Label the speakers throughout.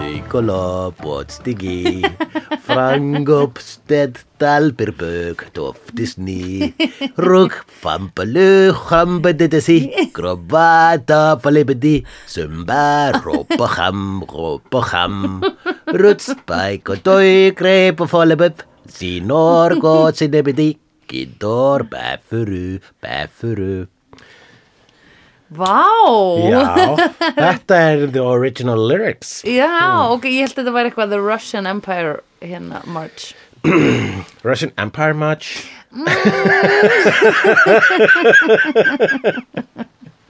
Speaker 1: Nikolov, Botstigi, Frangopstedt, Dalberbög, Doftisni, Ruk, Fampalu, Hambadedesi, Grovata, Falebedi, Sumba, Ropaham, Ropaham, Rutspike, Doi, Grepa, Falebeb, Sinorgo, Sinebedi, Gidor, Bæfuru, Bæfuru.
Speaker 2: Vá!
Speaker 3: Já, þetta er the original lyrics
Speaker 2: Já, ok, ég held að þetta væri eitthvað The Russian Empire hérna, March
Speaker 3: Russian Empire March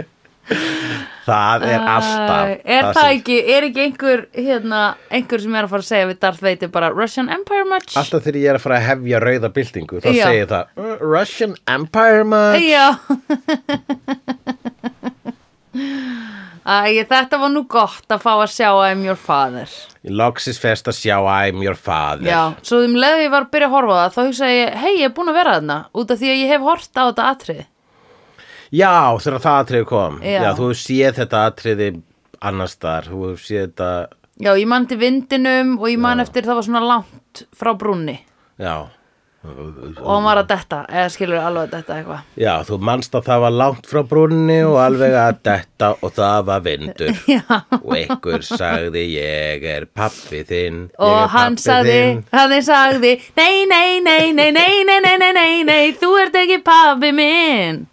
Speaker 3: Það er alltaf
Speaker 2: Uh, Er það
Speaker 3: sem-
Speaker 2: ekki, er ekki einhver hérna, einhver sem er að fara að segja við Darth Vader bara Russian Empire March?
Speaker 3: Alltaf þegar ég er að fara að hefja rauða byltingu þá
Speaker 2: Já.
Speaker 3: segir það "Uh, Russian Empire March
Speaker 2: Já Æ, þetta var nú gott að fá að sjá I'm your father
Speaker 3: Loksins fest að sjá I'm your father
Speaker 2: Já, svo um leðu ég var að byrja að horfa á það þá hugsaði ég, hei, ég er búin að vera þarna út af því að ég hef hort á þetta atrið
Speaker 3: Já, þegar það atriði kom
Speaker 2: Já.
Speaker 3: þú hefur séð þetta atriði annars þar, þú hefur séð þetta
Speaker 2: Já, ég man til vindinum og ég man eftir það var svona langt frá brúnni
Speaker 3: Já
Speaker 2: og hann var að detta, eða skilur alveg að detta eitthvað
Speaker 3: Já, þú manst að það var langt frá brunni og alveg að detta og það var vindur
Speaker 2: Já,
Speaker 3: og einhver sagði ég er pappi þinn ég
Speaker 2: og
Speaker 3: er
Speaker 2: hann
Speaker 3: pabbi
Speaker 2: sagði,
Speaker 3: þinn."
Speaker 2: hann sagði Nei, nei, nei, nei, nei, nei, nei, nei, nei, nei, þú ert ekki pabbi minn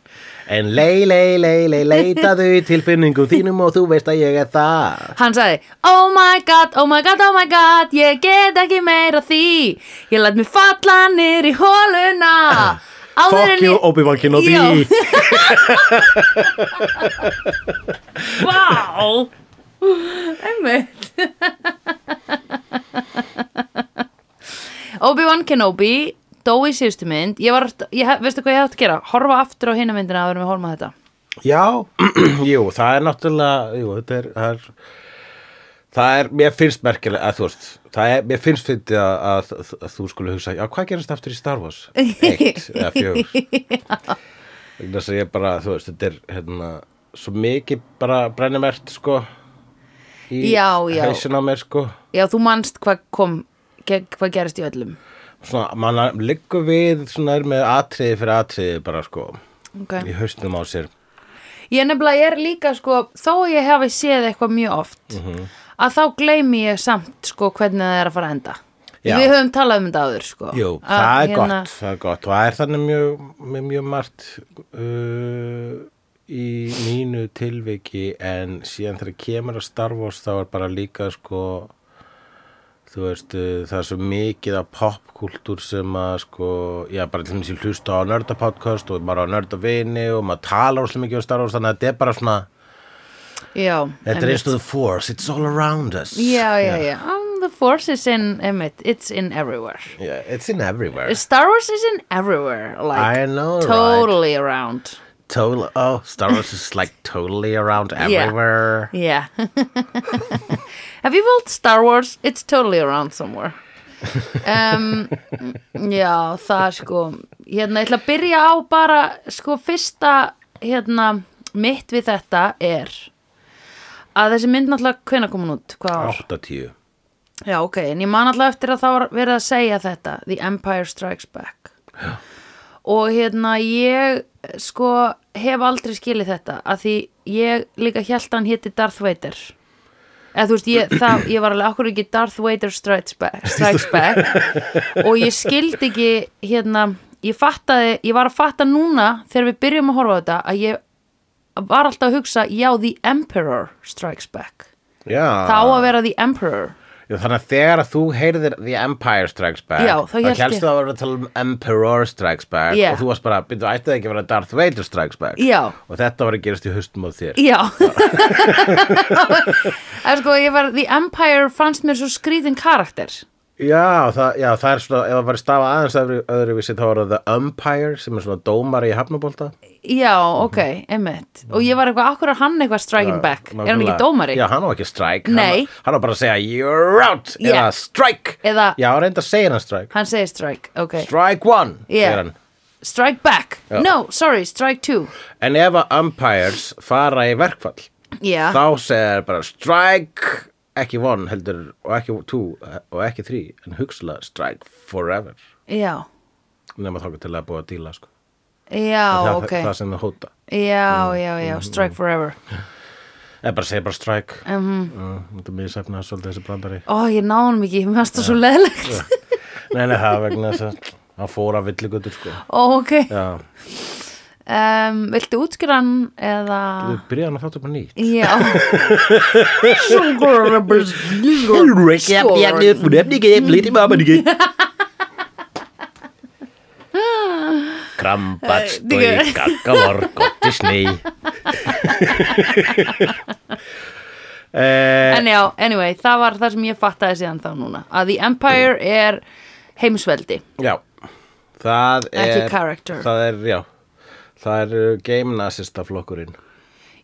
Speaker 3: En lei, lei, lei, lei, leitaðu í tilfinningum þínum og þú veist að ég er það
Speaker 2: Hann sagði, oh my god, oh my god, oh my god, ég get ekki meira af því. Ég læt mig falla nýr í hóluna. Áður en
Speaker 3: Fuck you, oh Obi-Wan Kenobi
Speaker 2: Já. Vá, einmitt. Obi-Wan Kenobi dó í síðustu mynd. Ég var, ég, veistu hvað ég hætti að gera? Horfa aftur á hina myndina að vera með horfa þetta.
Speaker 3: Já, jú, það er náttúrulega, jú, þetta er, það er, það er, mér finnst merkilega, að þú veist, það er, mér finnst fyndið að, að, að þú skulle hugsa, já, hvað gerast aftur í Star Wars? Eitt eða fjögur. Vegna þess að ég bara, þú veist, þetta er, hérna, svo mikið bara brennumert, sko, í
Speaker 2: Já, já.
Speaker 3: hausinn á mér, sko.
Speaker 2: Já, þú manst hvað kom, ge- hvað gerist í öllum.
Speaker 3: Svona, mann liggur við, svona, er með atriði fyrir atriði bara, sko,
Speaker 2: Okay.
Speaker 3: í hausnum á sér.
Speaker 2: Ég nefnilega er líka sko, þó að ég hafi séð eitthvað mjög oft,
Speaker 3: Mhm.
Speaker 2: að þá gleymi ég samt sko hvernig það er að fara að enda.
Speaker 3: Já.
Speaker 2: Við höfum talað um þetta áður sko.
Speaker 3: Jú,
Speaker 2: Að,
Speaker 3: það er
Speaker 2: hérna,
Speaker 3: gott, það er gott og það er þannig mjög, með mjög margt uh, í mínu tilviki en síðan þegar kemur að Star Wars þá er bara líka sko þú veist, uh, það er svo mikið af popkúltúr sem að sko, já, bara til þess að hlusta á nördapodcast og maður á nördavini og maður talar svo mikið á Star Wars þannig að þetta er bara svona,
Speaker 2: Já,
Speaker 3: þetta er
Speaker 2: einmitt.
Speaker 3: eins og the force, it's all around us
Speaker 2: Já, já, já. Um, the force is in, emitt, it's in everywhere.
Speaker 3: Yeah, it's in everywhere
Speaker 2: Star Wars is in everywhere, like
Speaker 3: I know, right?
Speaker 2: totally around.
Speaker 3: Totally, oh, Star Wars is like totally around everywhere.
Speaker 2: Yeah. Have you watched Star Wars? It's totally around somewhere. Um, já, það sko hérna, ég ætla að byrja á bara sko fyrsta hérna, mitt við þetta er að þessi mynd náttúrulega hvenær kom hún út? Hvað ár?
Speaker 3: 80.
Speaker 2: Já, ok, en ég man alltaf eftir að það var verið að segja þetta The Empire Strikes Back Já. og hérna ég sko hef aldrei skilið þetta að því ég líka held að hann héti Darth Vader eða þú veist, ég, það, ég var alveg okkur ekki Darth Vader Strikes Back, strikes back. og ég skildi ekki hérna, ég fattaði ég var að fatta núna þegar við byrjum að horfa á þetta að ég var alltaf að hugsa já, The Emperor Strikes Back
Speaker 3: Já.
Speaker 2: það á að vera The Emperor
Speaker 3: Já, þannig að þegar að þú heyrðir The Empire Strikes Back,
Speaker 2: Já, þá hélt ég-
Speaker 3: hélstu það að vera að tala um Emperor Strikes Back
Speaker 2: Já.
Speaker 3: og þú varst bara, byrju, ætti það ekki að vera Darth Vader Strikes Back?
Speaker 2: Já.
Speaker 3: Og þetta var að gerast í höstum á þér.
Speaker 2: Já En sko, ég var, The Empire fannst mér svo skrýtin karakter
Speaker 3: Já, það, já, það er svona, ef það var stafa aðeins öðru, öðruvísi, þá var það The Umpire sem er svona dómari í hafnabólta.
Speaker 2: Já, ok, einmitt Og ég var eitthvað, akkur er hann eitthvað striking back Er hann ekki dómari?
Speaker 3: Já, hann var ekki strike.
Speaker 2: Nei.
Speaker 3: Hann, hann var bara að segja, you're out,
Speaker 2: Já.
Speaker 3: eða strike.
Speaker 2: Eða-
Speaker 3: Já, reynda að segja hann strike.
Speaker 2: Hann segir strike, ok
Speaker 3: Strike one,
Speaker 2: Yeah.
Speaker 3: segir hann.
Speaker 2: Strike back,
Speaker 3: Já.
Speaker 2: no, sorry, strike two
Speaker 3: En ef að umpires fara í verkfall
Speaker 2: Já,
Speaker 3: þá segir bara strike ekki one heldur og ekki two og ekki three en hugsla strike forever
Speaker 2: já,
Speaker 3: nema þá til að búa að díla sko.
Speaker 2: já,
Speaker 3: það,
Speaker 2: ok
Speaker 3: það Mm, sem það hóta
Speaker 2: já, já, já, strike forever
Speaker 3: eða bara segja bara strike mm, þetta er misafnað svolítið þessi brandari
Speaker 2: ó, ég náðum ekki, mér varst það svo leðlegt
Speaker 3: nei, nei, það er vegna þess að hann fór af villigutur sko.
Speaker 2: ó, ok
Speaker 3: já,
Speaker 2: um, viltu útskýra hann eða
Speaker 3: við byrjaðum að þáttu bara nýtt
Speaker 2: já
Speaker 1: Bjarni, fröfningi, flýti mammanigi
Speaker 3: Krambat, stói, kakkavar, gott í snei eh,
Speaker 2: en já, anyway, það var það sem ég fattaði síðan þá núna að The Empire er heimsveldi
Speaker 3: Já, það er
Speaker 2: Ekki character.
Speaker 3: Það er, já Það er game nasista flokkurinn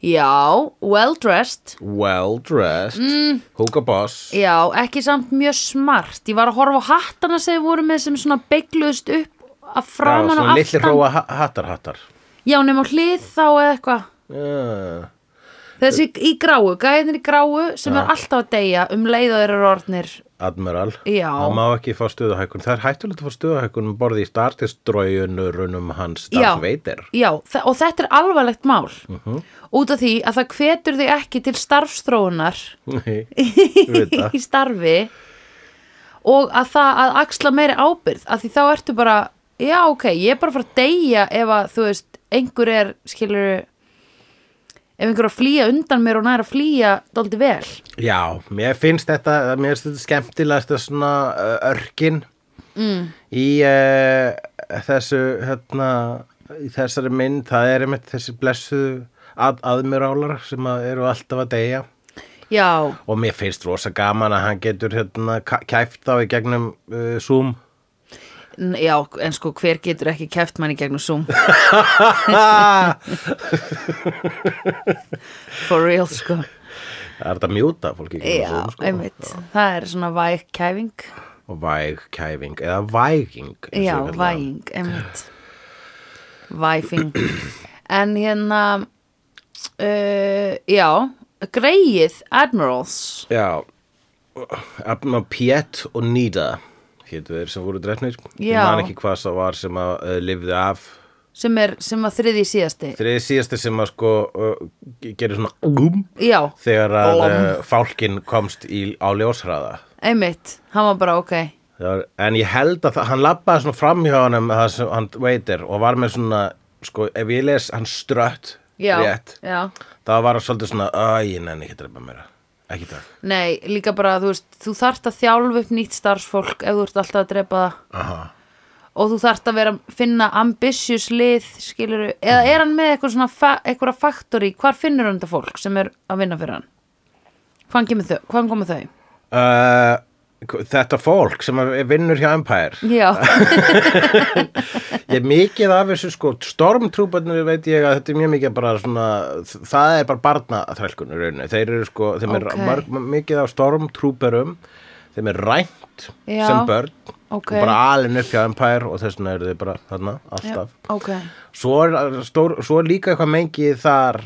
Speaker 2: já, well dressed
Speaker 3: Well dressed mm. Hugo Boss
Speaker 2: já, ekki samt mjög smart ég var að horfa á hattana sem þau voru með sem svona beigluðust upp að
Speaker 3: Já,
Speaker 2: framan
Speaker 3: svona
Speaker 2: og
Speaker 3: litli
Speaker 2: aftan
Speaker 3: hróa ha- hattar hattar
Speaker 2: já, nema á hlið þá eða eitthvað
Speaker 3: Já,
Speaker 2: þessi
Speaker 3: Eh.
Speaker 2: í gráu, gæðin í gráu sem er alltaf að deyja um leið og þeir eru orðnir
Speaker 3: Admiral
Speaker 2: Já.
Speaker 3: Það má ekki fá stöðuhækun Það er hættulegt að fá stöðuhækun um borði í startistrójunurunum hans
Speaker 2: Já.
Speaker 3: Darth Vader
Speaker 2: Já, þa- og þetta er alvarlegt mál
Speaker 3: Mhm.
Speaker 2: út af því að það hvetur þig ekki til starfstróunar
Speaker 3: Nei, ég veit það
Speaker 2: í starfi og að það að axla meiri ábyrð að því þá ertu bara, já ok ég er bara að fara að deyja ef að þú veist einhver er, skilur ef einhver er að flýja undan mér og næra að flýja dóldi vel
Speaker 3: Já, mér finnst þetta, mér finnst þetta skemmtilegast svona uh, örkin mm. í uh, þessu, hérna, í þessari mynd, það er einmitt þessi blessu að, aðmirálar sem að eru alltaf að deyja
Speaker 2: Já,
Speaker 3: og mér finnst rosa gaman að hann getur hérna ka- kæft þá í gegnum uh, Zoom.
Speaker 2: n- já, en sko hver getur ekki kæft manni gegnum Zoom
Speaker 3: það
Speaker 2: for real sko
Speaker 3: er þetta að mjúta fólki í gegnum
Speaker 2: Já,
Speaker 3: Zoom sko.
Speaker 2: einmitt, það er svona væg kæfing
Speaker 3: Og væg kæfing, eða væging. eins og
Speaker 2: Já,
Speaker 3: ég kalla það.
Speaker 2: væging, einmitt Væfing En hérna uh, Já Greið Admirals
Speaker 3: Já, Abma Piet og Nida hétu þeir sem voru drefnir. Ég
Speaker 2: Já.
Speaker 3: man ekki hvað það var sem að uh, lifði af.
Speaker 2: sem er sem að þriði síðasti
Speaker 3: Þriði síðasti sem að sko uh, gerir svona um
Speaker 2: Já,
Speaker 3: þegar að uh, fálkin komst í, á ljóshraða.
Speaker 2: einmitt Hann var bara ok
Speaker 3: Það Var, en ég held að það, hann labbaði svona framhjá honum það sem hann veitir og var með svona, sko, ef ég les hann strött
Speaker 2: Já,
Speaker 3: rétt,
Speaker 2: já
Speaker 3: þá var hann svolítið svona, að ég nenni ekki að drepa meira. Ekki takk.
Speaker 2: Nei, líka bara, þú veist, þú þarft að þjálfa upp nýtt starfsfólk ef þú ert alltaf að drepa það
Speaker 3: Aha.
Speaker 2: og þú þarft að vera finna ambitious lið, skilur eða
Speaker 3: Mhm.
Speaker 2: er hann með eitthvað svona fa- eitthvað faktori, hvar finnur hann þetta fólk sem er að vinna fyrir hann? Hvaðan kemur þau? Hvaðan koma þau?
Speaker 3: Uh, þetta fólk sem að- vinnur hjá Empire
Speaker 2: Já,
Speaker 3: ég er mikið af þessu sko stormtrúbarnir veit ég að þetta er mjög mikið bara svona, það er bara barnaþrælkun í rauninni, þeir eru sko þeim er
Speaker 2: Ok.
Speaker 3: marg, mikið af stormtrúberum þeim er rænt
Speaker 2: Já.
Speaker 3: sem börn
Speaker 2: Ok.
Speaker 3: og bara alin upp hjá Empire og þess vegna eru þeir bara þarna alltaf
Speaker 2: ok
Speaker 3: svo, er, eh, stór, svo er líka eitthvað mengið þar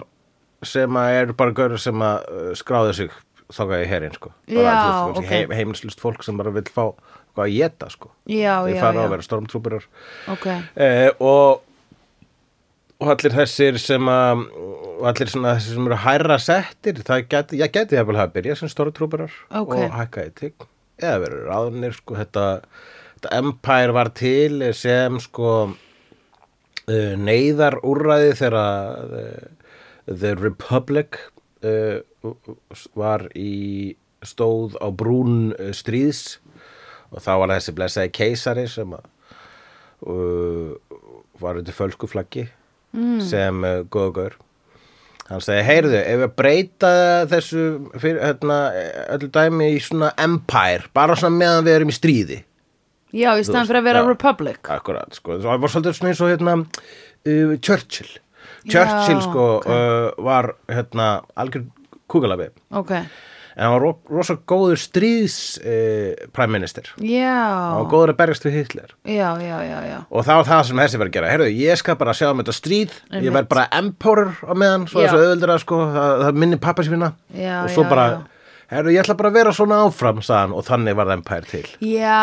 Speaker 3: sem að eru bara görður sem að uh, skráðu sig þóka í herin sko bara,
Speaker 2: Já,
Speaker 3: þú veist,
Speaker 2: ok.
Speaker 3: heim, heimilislust fólk sem bara vil fá hvað að geta sko
Speaker 2: Já,
Speaker 3: þeir
Speaker 2: já,
Speaker 3: fara
Speaker 2: já.
Speaker 3: að vera stormtrúburar
Speaker 2: Ok,
Speaker 3: eh, og og allir þessir sem að og allir svona þessir sem eru hærra settir það geti, ég geti það vel að byrja sem stormtrúburar
Speaker 2: Ok.
Speaker 3: og hækka í tigg eða verið ráðnir sko þetta, þetta empire var til sem sko uh, neyðar úrræði þegar að, uh, The Republic uh, var í stóð á brún uh, stríðs og þá var þessi blessaði keisari sem að, uh, var undir fölskuflaggi mm. sem uh, góðgaur hann segi, heyrðu, ef við breyta þessu fyrir, hérna, öllu dæmi í svona empire, bara svona meðan við erum í stríði
Speaker 2: já, í staðan
Speaker 3: veist,
Speaker 2: fyrir að vera
Speaker 3: já.
Speaker 2: Republic
Speaker 3: Akkurat, sko, það var svolítið svona eins og hérna uh, Churchill Churchill,
Speaker 2: Já,
Speaker 3: sko, uh, var hérna algjör kúkalabi
Speaker 2: Ok,
Speaker 3: en hann var ro rosa góður stríðs uh, prime minister
Speaker 2: já
Speaker 3: hann var góður að berjast við Hitler
Speaker 2: Já, já, já, já
Speaker 3: og það var það sem þessi verið að gera heyrðu, ég skal bara sjá um þetta stríð ég
Speaker 2: Einmitt.
Speaker 3: verð bara emporer á meðan svo
Speaker 2: Já.
Speaker 3: þessu auðvöldra, sko, það, það minni pappa sína
Speaker 2: Já,
Speaker 3: og svo
Speaker 2: já,
Speaker 3: bara
Speaker 2: já.
Speaker 3: herru, ég ætla bara að vera svona áfram, sagðan, og þannig var Empire til.
Speaker 2: Já,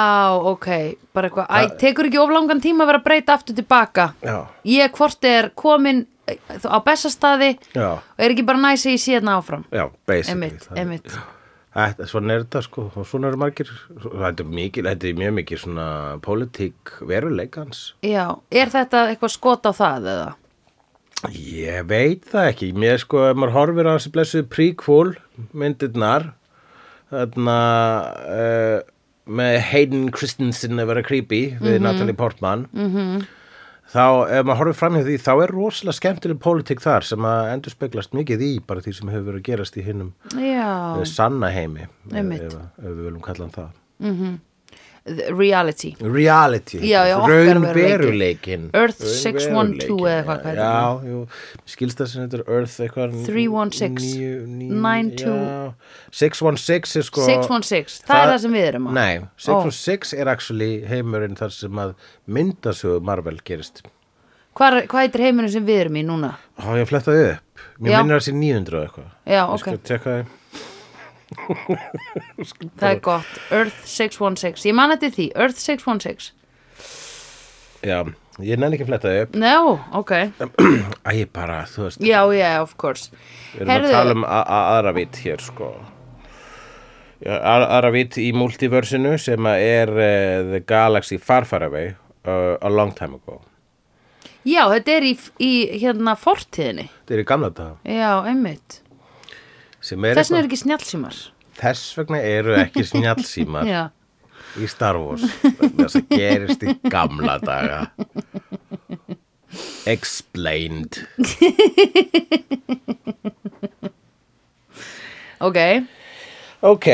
Speaker 2: ok, bara eitthvað Æ, tekur ekki of langan tíma að vera að breyta aftur tilbaka
Speaker 3: Já.
Speaker 2: Ég hvort er komin eh, á bestastaði
Speaker 3: Já.
Speaker 2: og er ekki bara næs að ég sé hérna áfram
Speaker 3: Já, basically.
Speaker 2: Emitt,
Speaker 3: þannig.
Speaker 2: emitt
Speaker 3: Þetta, svona er þetta sko, og svona eru margir, þetta er, mikil, þetta er mjög mikið svona pólitík veruleikans.
Speaker 2: Já, er þetta eitthvað skot á það eða?
Speaker 3: Ég veit það ekki, mér sko, ef maður horfir á þessi blessuðu prequel myndirnar, þarna uh, með Hayden Christensen að vera creepy við Natalie Portman,
Speaker 2: Mhm.
Speaker 3: þá ef maður horfir fram hjá því, þá er rosalega skemmtileg pólitík þar sem að endur speglast mikið í bara því sem hefur verið að gerast í hinnum
Speaker 2: Já,
Speaker 3: oh. sanna heimi, ef,
Speaker 2: Einmitt.
Speaker 3: ef, ef við viljum kalla hann það.
Speaker 2: The reality
Speaker 3: Reality,
Speaker 2: Já, já, okkar
Speaker 3: raunveruleikin
Speaker 2: Earth 612 eða hvað hvað heitir
Speaker 3: Já, jú, skilst það sem þetta er Earth eitthvað
Speaker 2: 316, 92.
Speaker 3: 92 616 er sko
Speaker 2: 616, það, er það sem við erum á
Speaker 3: Nei, 616 er actually heimurinn þar sem að myndasögu Marvel gerist
Speaker 2: Hvað, hvað heitir heiminu sem við erum í núna?
Speaker 3: Há, ég flettaði upp Mér
Speaker 2: Já.
Speaker 3: minnir það sé 900 og eitthvað
Speaker 2: Já,
Speaker 3: Ég
Speaker 2: ok,
Speaker 3: skal tekka það
Speaker 2: það er gott Earth 616, ég man þetta því Earth 616
Speaker 3: Já, ég nenni ekki að fletta það upp
Speaker 2: No, ok
Speaker 3: Æ, ég bara, þú veist
Speaker 2: Já, já, of course
Speaker 3: Við erum að tala um a- a- aðra vitt hér sko Ja, a- aðra vitt í multiversinu sem að er uh, The Galaxy Far Far Away uh, a long time ago
Speaker 2: Já, þetta er í, í hérna fortíðinni
Speaker 3: þetta er í gamla daga
Speaker 2: Já, einmitt
Speaker 3: sem er
Speaker 2: Þess vegna
Speaker 3: eitthvað-
Speaker 2: er ekki snjallsímar
Speaker 3: þess vegna eru ekki snjallsímar
Speaker 2: Já,
Speaker 3: í Star Wars þess að gerist í gamla daga explained
Speaker 2: ok
Speaker 3: ok,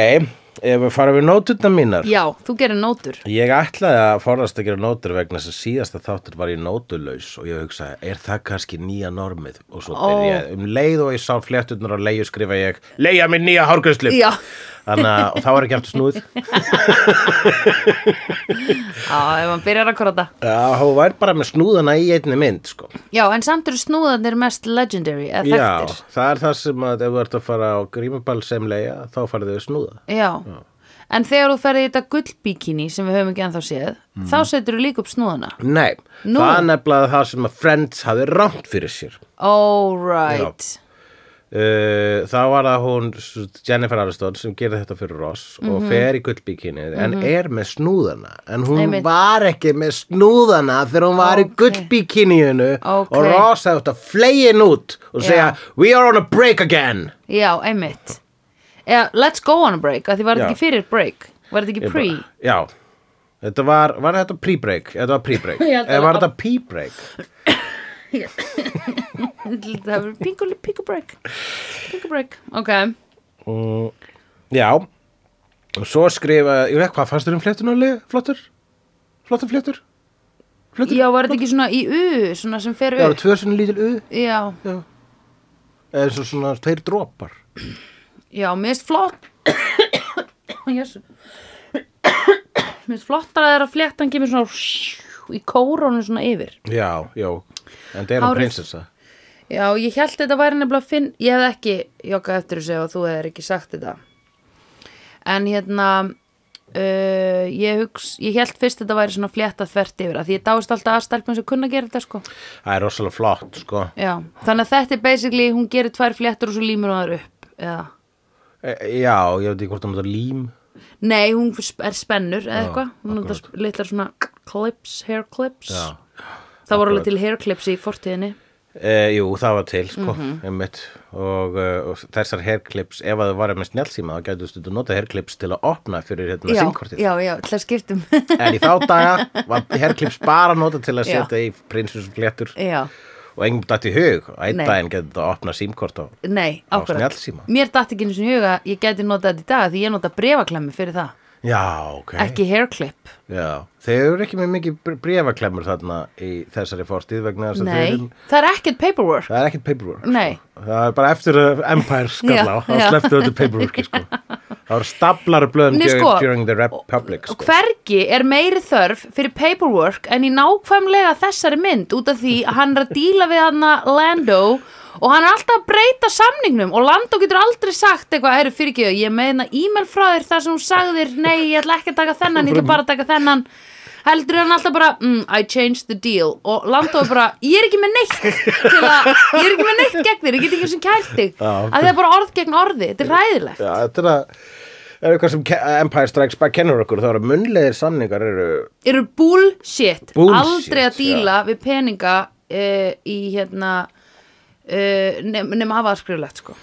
Speaker 3: ef við fara við nótutna mínar
Speaker 2: Já, þú gerir nótur
Speaker 3: Ég ætlaði að forðast að gera nótur vegna þess að síðasta þáttur var ég nótulaus og ég hugsaði, er það kannski nýja normið? Og svo
Speaker 2: Ó.
Speaker 3: byrjaði um leið og ég sá flétturnar á leiðu skrifa ég, leiða mér nýja hárgjörslu.
Speaker 2: Já.
Speaker 3: Þannig að og þá er ekki aftur snúð.
Speaker 2: Já, ef hann byrjar að korta
Speaker 3: Já, hún var bara með snúðana í einni mynd, sko.
Speaker 2: Já, en samt eru snúðanir mest legendary eða
Speaker 3: Já,
Speaker 2: þekktir
Speaker 3: það er það sem að ef þú ert að fara á grímaball sem leiða, þá farið þau snúða.
Speaker 2: Já. En þegar þú ferði í þetta gullbíkinni sem við höfum ekki ennþá séð
Speaker 3: Mhm.
Speaker 2: þá setur þú líka upp snúðana
Speaker 3: Nei,
Speaker 2: Nú.
Speaker 3: það er nefnilega það sem að Friends hafi rámt fyrir sér.
Speaker 2: All right
Speaker 3: Uh, þá var það hún Jennifer Aniston sem gerði þetta fyrir Ross
Speaker 2: Mhm.
Speaker 3: og fer í gullbíkinni en er með snúðana en hún
Speaker 2: Einmitt.
Speaker 3: var ekki með snúðana þegar hún var í
Speaker 2: Ókei.
Speaker 3: gullbíkinniðinu
Speaker 2: Ókei.
Speaker 3: og Ross hefði átt að flegin út og
Speaker 2: Já.
Speaker 3: segja we are on a break again
Speaker 2: Já, einmitt Já, let's go on a break, að því var þetta
Speaker 3: Já.
Speaker 2: ekki fyrir break Var þetta ekki
Speaker 3: Ég
Speaker 2: pre
Speaker 3: bara- já, þetta var, var þetta pre-break þetta var pre-break,
Speaker 2: Ég held að
Speaker 3: eða var
Speaker 2: það-
Speaker 3: þetta pre-break
Speaker 2: Það var pingu, pingu break Pingu break, ok
Speaker 3: mm, já og svo skrifa, ég veit hvað fannst þér um fléttunarlega, flottur flottur fléttur Flottur?
Speaker 2: Já, var þetta ekki svona í U, svona sem fer
Speaker 3: Já, það eru
Speaker 2: upp
Speaker 3: tvö svona lítil uð
Speaker 2: Já,
Speaker 3: Já. Eða eins og svona tveir dropar.
Speaker 2: já, mér finnst flott Jésu Mér finnst flottar að það er að fléttan kemur svona í kórónu svona yfir
Speaker 3: Já, já. En það er hún
Speaker 2: Hárið.
Speaker 3: prinsessa.
Speaker 2: Já, ég held þetta væri nefnilega finn Ég hef ekki jokkað eftir þessu og þú hefur ekki sagt þetta En hérna uh, ég, hugs, ég held fyrst þetta væri svona flétta þvert yfir að Því ég dáist alltaf að stelpum sem kunna að gera þetta sko
Speaker 3: Það er rosalega flott, sko.
Speaker 2: Já, þannig að þetta er basically hún gerir tvær fléttur og svo límur hún þar upp eða.
Speaker 3: E, já, ég veit ekki hvort það mútið lím.
Speaker 2: Nei, hún sp- er spennur eða
Speaker 3: Já,
Speaker 2: eitthvað, hún er
Speaker 3: akkurat.
Speaker 2: þetta litlar svona clips, hair clips
Speaker 3: Já.
Speaker 2: það voru alveg
Speaker 3: akkurat.
Speaker 2: til hair clips í fortíðinni
Speaker 3: E, jú, það var til, sko,
Speaker 2: Mhm.
Speaker 3: einmitt. Og, eh, og þessar hairclips, ef að þau varum með snjálsíma, þá gætu stundu nota hairclips til að opna fyrir hérna
Speaker 2: Já,
Speaker 3: símkortið.
Speaker 2: já, já, til að um- skiptum
Speaker 3: En í þá daga var hairclips bara nota til að
Speaker 2: Já.
Speaker 3: setja í prinsessfléttur
Speaker 2: Já,
Speaker 3: og engum dætt í hug. Og einn
Speaker 2: Nei.
Speaker 3: daginn getur það að opna símkort á.
Speaker 2: nei,
Speaker 3: Á
Speaker 2: ákvörð
Speaker 3: snjallsíma.
Speaker 2: Mér datt ekki eins og huga, að ég gæti notað þetta í dag því ég nota brefaklemmi fyrir það
Speaker 3: Já, ok.
Speaker 2: ekki hair clip,
Speaker 3: Já, þeir eru ekki með mikið brefaklemur þarna í þessari fortíð vegna þess að þeir
Speaker 2: nei
Speaker 3: eru,
Speaker 2: það er ekkert paperwork
Speaker 3: það er ekkert paperwork.
Speaker 2: Nei.
Speaker 3: Sko. Það er bara eftir að Empire skall á,
Speaker 2: Já,
Speaker 3: þá
Speaker 2: já.
Speaker 3: sleftur þetta paperworki sko. Það eru staplar af blöðum
Speaker 2: Nei,
Speaker 3: during,
Speaker 2: sko,
Speaker 3: during the Republic
Speaker 2: Og
Speaker 3: sko.
Speaker 2: hvergi er meiri þörf fyrir paperwork en í nákvæmlega þessari mynd út af því að hann er að díla við hann Lando og hann er alltaf að breyta samningnum og Landó getur aldrei sagt eitthvað æru fyrirgjöðu, ég meina e-mail frá þér þar sem hún sagðir, nei, ég ætla ekki að taka þennan ég ætla bara að taka þennan heldur er hann alltaf bara, mm, I changed the deal og Landó er bara, ég er ekki með neitt til að, ég er ekki með neitt gegn þér ég get ekki sem kært þig,
Speaker 3: Já.
Speaker 2: að það er bara orð gegn orði, þetta er ræðilegt
Speaker 3: Já, þetta er að er eitthvað sem Ke- Empire Strikes Back kennur okkur þá eru munlegir samningar eru
Speaker 2: eru bullshit,
Speaker 3: Bullshit,
Speaker 2: aldrei að díla við peninga uh, í hérna uh, nema nema hafa það skriflegt sko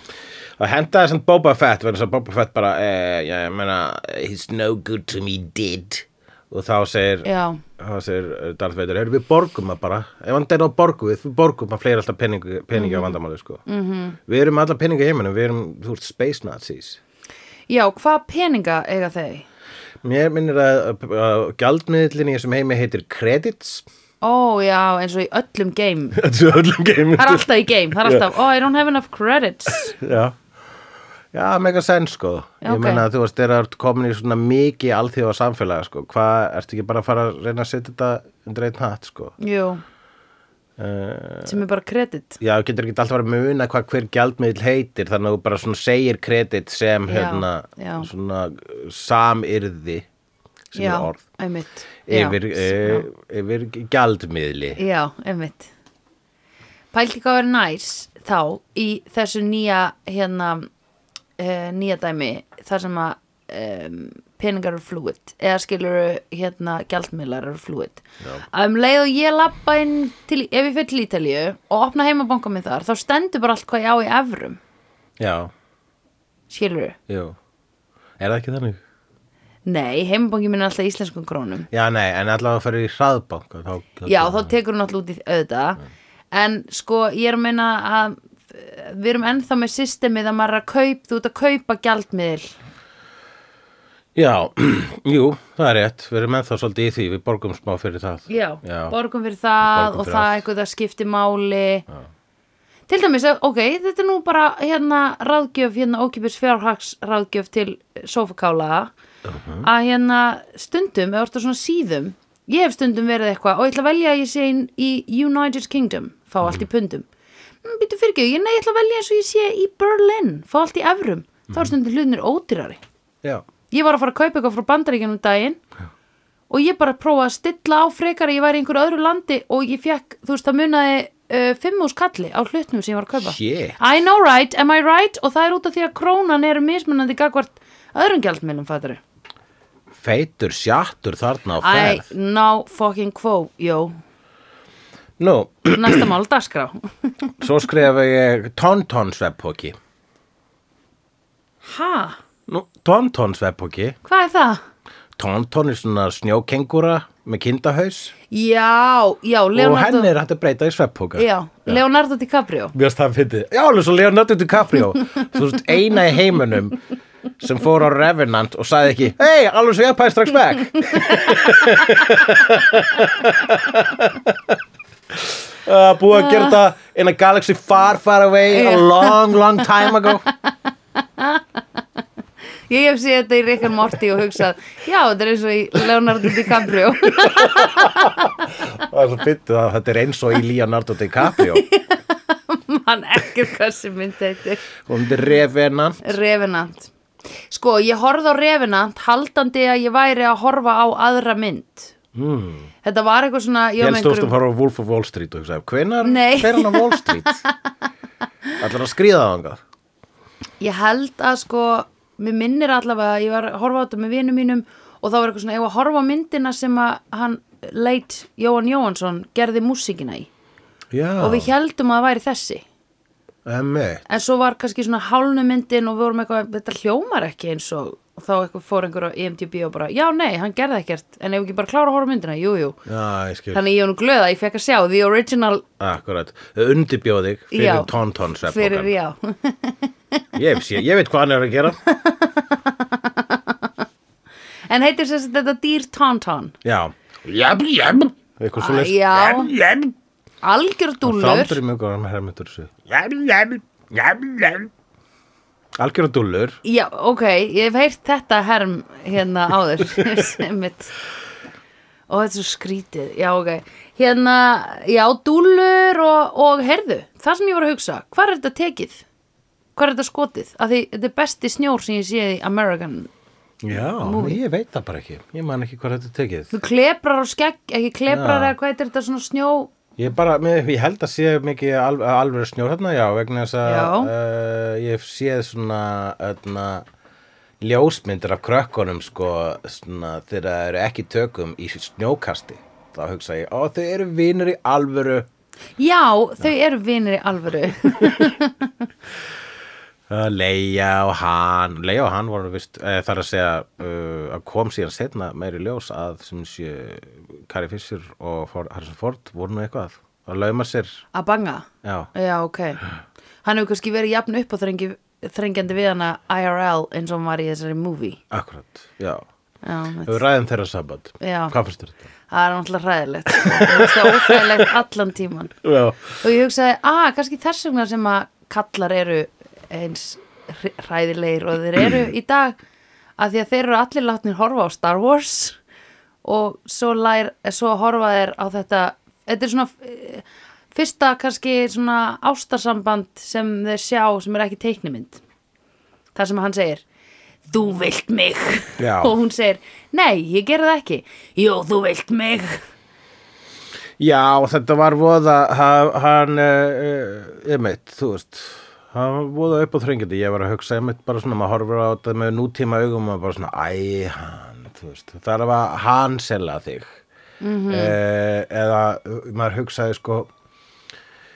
Speaker 3: að henda þessum Boba Fett verður þess að Boba Fett bara eh, já, ég meina, he's no good to me did og þá segir
Speaker 2: já,
Speaker 3: þá segir eh, Darth Vader, "Heyrðu, við borgum að bara ef hann deyr á borgu við, við borgum að fleira alltaf peningi, peningi
Speaker 2: Mhm.
Speaker 3: á vandamáli sko. mm -hmm. við erum alltaf peningi í heiminum, við erum þú veist space nazis
Speaker 2: já hvað peninga eiga þeir?
Speaker 3: mér minnir að, að, að gjaldmiðlinn í þessum heimi heitir credits
Speaker 2: ó já, eins og í öllum game
Speaker 3: þetta er öllum geimum
Speaker 2: það er alltaf í game, það er alltaf oh I don't have enough credits
Speaker 3: Já, já mega sens sko
Speaker 2: Já,
Speaker 3: Ég
Speaker 2: ok.
Speaker 3: meina að þú veist, þeir eru komin í svona mikið alþjóða samfélaga sko Hvað, ertu ekki bara að fara að reyna að setja þetta undir einn hatt sko
Speaker 2: jú,
Speaker 3: uh,
Speaker 2: sem er bara kredit
Speaker 3: Já, þú getur ekki alltaf að muna hvað hver gjaldmiðl heitir Þannig að þú bara svona segir kredit sem
Speaker 2: Já,
Speaker 3: hérna
Speaker 2: já.
Speaker 3: svona uh, samyrði sem
Speaker 2: já,
Speaker 3: er orð
Speaker 2: einmitt
Speaker 3: yfir,
Speaker 2: já,
Speaker 3: uh,
Speaker 2: já.
Speaker 3: yfir gjaldmiðli
Speaker 2: Já, einmitt Pældi hvað er næs þá í þessu nýja hérna uh, nýja dæmi þar sem að um, peningar eru flúið eða skilur hérna gjaldmiðlar eru flúið að um leið og ég lappa inn til, ef ég fyrir til Ítalíu og opna heimabanka minn þar þá stendur bara allt hvað ég á í evrum
Speaker 3: Já,
Speaker 2: skilur
Speaker 3: jú Er það ekki þannig?
Speaker 2: Nei, heimabanki minn er alltaf í íslenskum krónum
Speaker 3: Já, nei, en allavega að fara í hraðbanka þá,
Speaker 2: Já, þá tekur hún alltaf út í auðvitað En sko, ég er að meina að eh, við erum ennþá með systemið að maður er að kaup, þú ert að kaupa gjaldmiðil
Speaker 3: Já, jú, það er rétt, við erum ennþá svolítið í því, við borgum smá fyrir það.
Speaker 2: Já,
Speaker 3: Já.
Speaker 2: borgum fyrir það
Speaker 3: Borgum
Speaker 2: og
Speaker 3: fyrir
Speaker 2: það
Speaker 3: allt.
Speaker 2: eitthvað það skiptir máli Til dæmis, að- ok, þetta er nú bara hérna ráðgjöf, hérna ókipis fjárhags ráðgjöf til sofakála
Speaker 3: Mhm.
Speaker 2: að hérna stundum, eða orðið svona síðum ég hef stundum verið eitthvað og ég ætla að velja að ég sé inn í United Kingdom fá allt
Speaker 3: Mhm.
Speaker 2: í pundum mm, Býtu fyrirgjöf, ég nei, ég ætla að velja eins og ég sé í Berlin fá allt í evrum,
Speaker 3: Mhm.
Speaker 2: þá er stundum hlutinir ódýrari
Speaker 3: Já,
Speaker 2: ég var að fara að kaupa eitthvað frá bandaríkjunum um daginn og ég bara prófaði að stilla á frekar að ég væri í einhverju öðru landi og ég fekk, þú veist, það munaði uh, fimm hús kalli á hlutnum sem ég var að kaupa
Speaker 3: Shit.
Speaker 2: I know right, am I right og það er út af því að krónan er mismunandi gagvart öðrum gjaldmiðlum fættari
Speaker 3: feitur sjattur þarna á
Speaker 2: I
Speaker 3: ferð.
Speaker 2: know fucking quo, jó
Speaker 3: Nú,
Speaker 2: næsta mál dagskrá
Speaker 3: svo skrifa ég Tonton-svepphóki.
Speaker 2: ha,
Speaker 3: Nú, Tonton-svepphóki,
Speaker 2: hvað er það?
Speaker 3: Tonton er svona snjókengúra með kindahaus
Speaker 2: já, já,
Speaker 3: og
Speaker 2: Leonardo
Speaker 3: henni er hægt að breyta í svepphóka.
Speaker 2: já, Leonardo DiCaprio
Speaker 3: Mér finnst það fyndið. Já, alveg svo Leonardo DiCaprio, þú veist, eina í heiminum sem fór á Revenant og sagði ekki, hei, alveg svo ég pæði strax back. Uh, búið að gera þetta in a galaxy far, far away a
Speaker 2: Já.
Speaker 3: long, long time ago.
Speaker 2: Ég hef séð þetta í Rick and Morty og hugsað, já, þetta er eins og í Leonardo DiCaprio.
Speaker 3: Það er svo fyndið að þetta er eins og í Leonardo DiCaprio.
Speaker 2: Man ekkert hvað sem myndi þetta er.
Speaker 3: Hún er Revenant.
Speaker 2: Revenant. Sko, ég horfði á Revenant haldandi að ég væri að horfa á aðra mynd. Mm. Þetta var eitthvað svona,
Speaker 3: Ég
Speaker 2: ég var
Speaker 3: held
Speaker 2: með
Speaker 3: stóðst að
Speaker 2: einhverjum...
Speaker 3: fara á Wolf of Wall Street og hugsaði, hvenar
Speaker 2: Nei.
Speaker 3: fer hann á Wall Street? Ætlar að skriða það angað?
Speaker 2: Ég held að sko, mér minnir allavega, að ég var að horfa á þetta með vinum mínum og þá var eitthvað svona, ég var að horfa á myndina sem að hann leit Jóhann Jóhannsson gerði músíkina í.
Speaker 3: Já,
Speaker 2: Og við heldum að það væri þessi.
Speaker 3: emmitt.
Speaker 2: En svo var kannski svona hálnu myndin og við vorum eitthvað, þetta hljómar ekki eins og og þá eitthvað fór einhverju á E IMDb og bara, já nei, hann gerði ekkert, en ef ekki bara klára að horfa á myndina, jú, jú.
Speaker 3: Já, ég skil.
Speaker 2: Þannig ég var nú glöð að ég fekk að sjá The Original
Speaker 3: Akkurat, undirbjóð þig fyrir
Speaker 2: Já.
Speaker 3: Tonton
Speaker 2: fyrir,
Speaker 3: sveppokan
Speaker 2: já,
Speaker 3: ég, sé- ég veit hvað hann er að gera
Speaker 2: en heitir sem sagt þetta Dýr Tauntaun,
Speaker 3: Já Jæm, jæm Eitthvað svo leist
Speaker 2: já.
Speaker 3: jæm
Speaker 2: algjör dúllur,
Speaker 3: Þáttur í mjög góðan með hermyndur
Speaker 4: Yum, yum, yum, yum.
Speaker 3: Algjörða dúllur
Speaker 2: já, ok, ég hef heyrt þetta herm hérna áður, sem mitt, og þetta er svo skrítið, já, ok, hérna, já, dúllur og, og herðu, það sem ég var að hugsa hvað er þetta tekið? Hvað er þetta skotið? Af því þetta er besti snjór sem ég séð í American
Speaker 3: Já, ég veit það bara ekki. Ég man ekki hvað þetta er tekið.
Speaker 2: Þú klebrar og skegg, ekki klebrar
Speaker 3: Já.
Speaker 2: eða hvað er þetta svona snjó
Speaker 3: Ég bara, mér, ég held að sé mikið alv alveg snjór hérna, já, vegna þess
Speaker 2: Já.
Speaker 3: að uh, ég sé svona, öðna, ljósmyndir af krökkunum, sko, svona, þegar það eru ekki í tökum í snjókasti. Þá hugsa ég, ó, þau eru vinur í alvöru.
Speaker 2: Já, þau eru vinir í alvöru
Speaker 3: Uh, Leia og hann, Leia og hann voru vist, uh, þar að segja, uh, að kom síðan setna meiri ljós að, sem sé, Carrie Fisher og Ford, Harrison Ford voru nú eitthvað að lauma sér,
Speaker 2: að banga
Speaker 3: já.
Speaker 2: Já, ok. Hann hefur kannski verið jafn upp á þrengi, þrengjandi við hana IRL eins og hann var í þessari movie.
Speaker 3: Akkurat, já.
Speaker 2: Já, mitt.
Speaker 3: Við ræðum þeirra samband.
Speaker 2: Já.
Speaker 3: Hvað finnst þér þetta?
Speaker 2: það er náttúrulega hræðilegt. sko. Mér finnst Það er óþægilegt allan tíman.
Speaker 3: Já.
Speaker 2: Og ég hugsaði, að kannski þess vegna sem að kallar eru eins hri- hræðilegir og þeir eru í dag að því að þeir eru allir látnir horfa á Star Wars og svo, lær, svo horfa þeir á þetta þetta er svona eh, fyrsta kannski svona ástarsamband sem þeir sjá sem er ekki teiknimynd þar sem hann segir þú vilt mig
Speaker 3: Já.
Speaker 2: og hún segir, nei, ég gerði það ekki jú, þú vilt mig
Speaker 3: Já, þetta var voða, ha- hann, uh, einmitt, þú veist, hann var voða upp á þrengjandi. Ég var að hugsa einmitt bara svona, maður horfir á þetta með nútíma augum og bara svona, æ, hann, þú veist, það er að var hann sela þig. Mm -hmm. eða uh, maður hugsaði sko,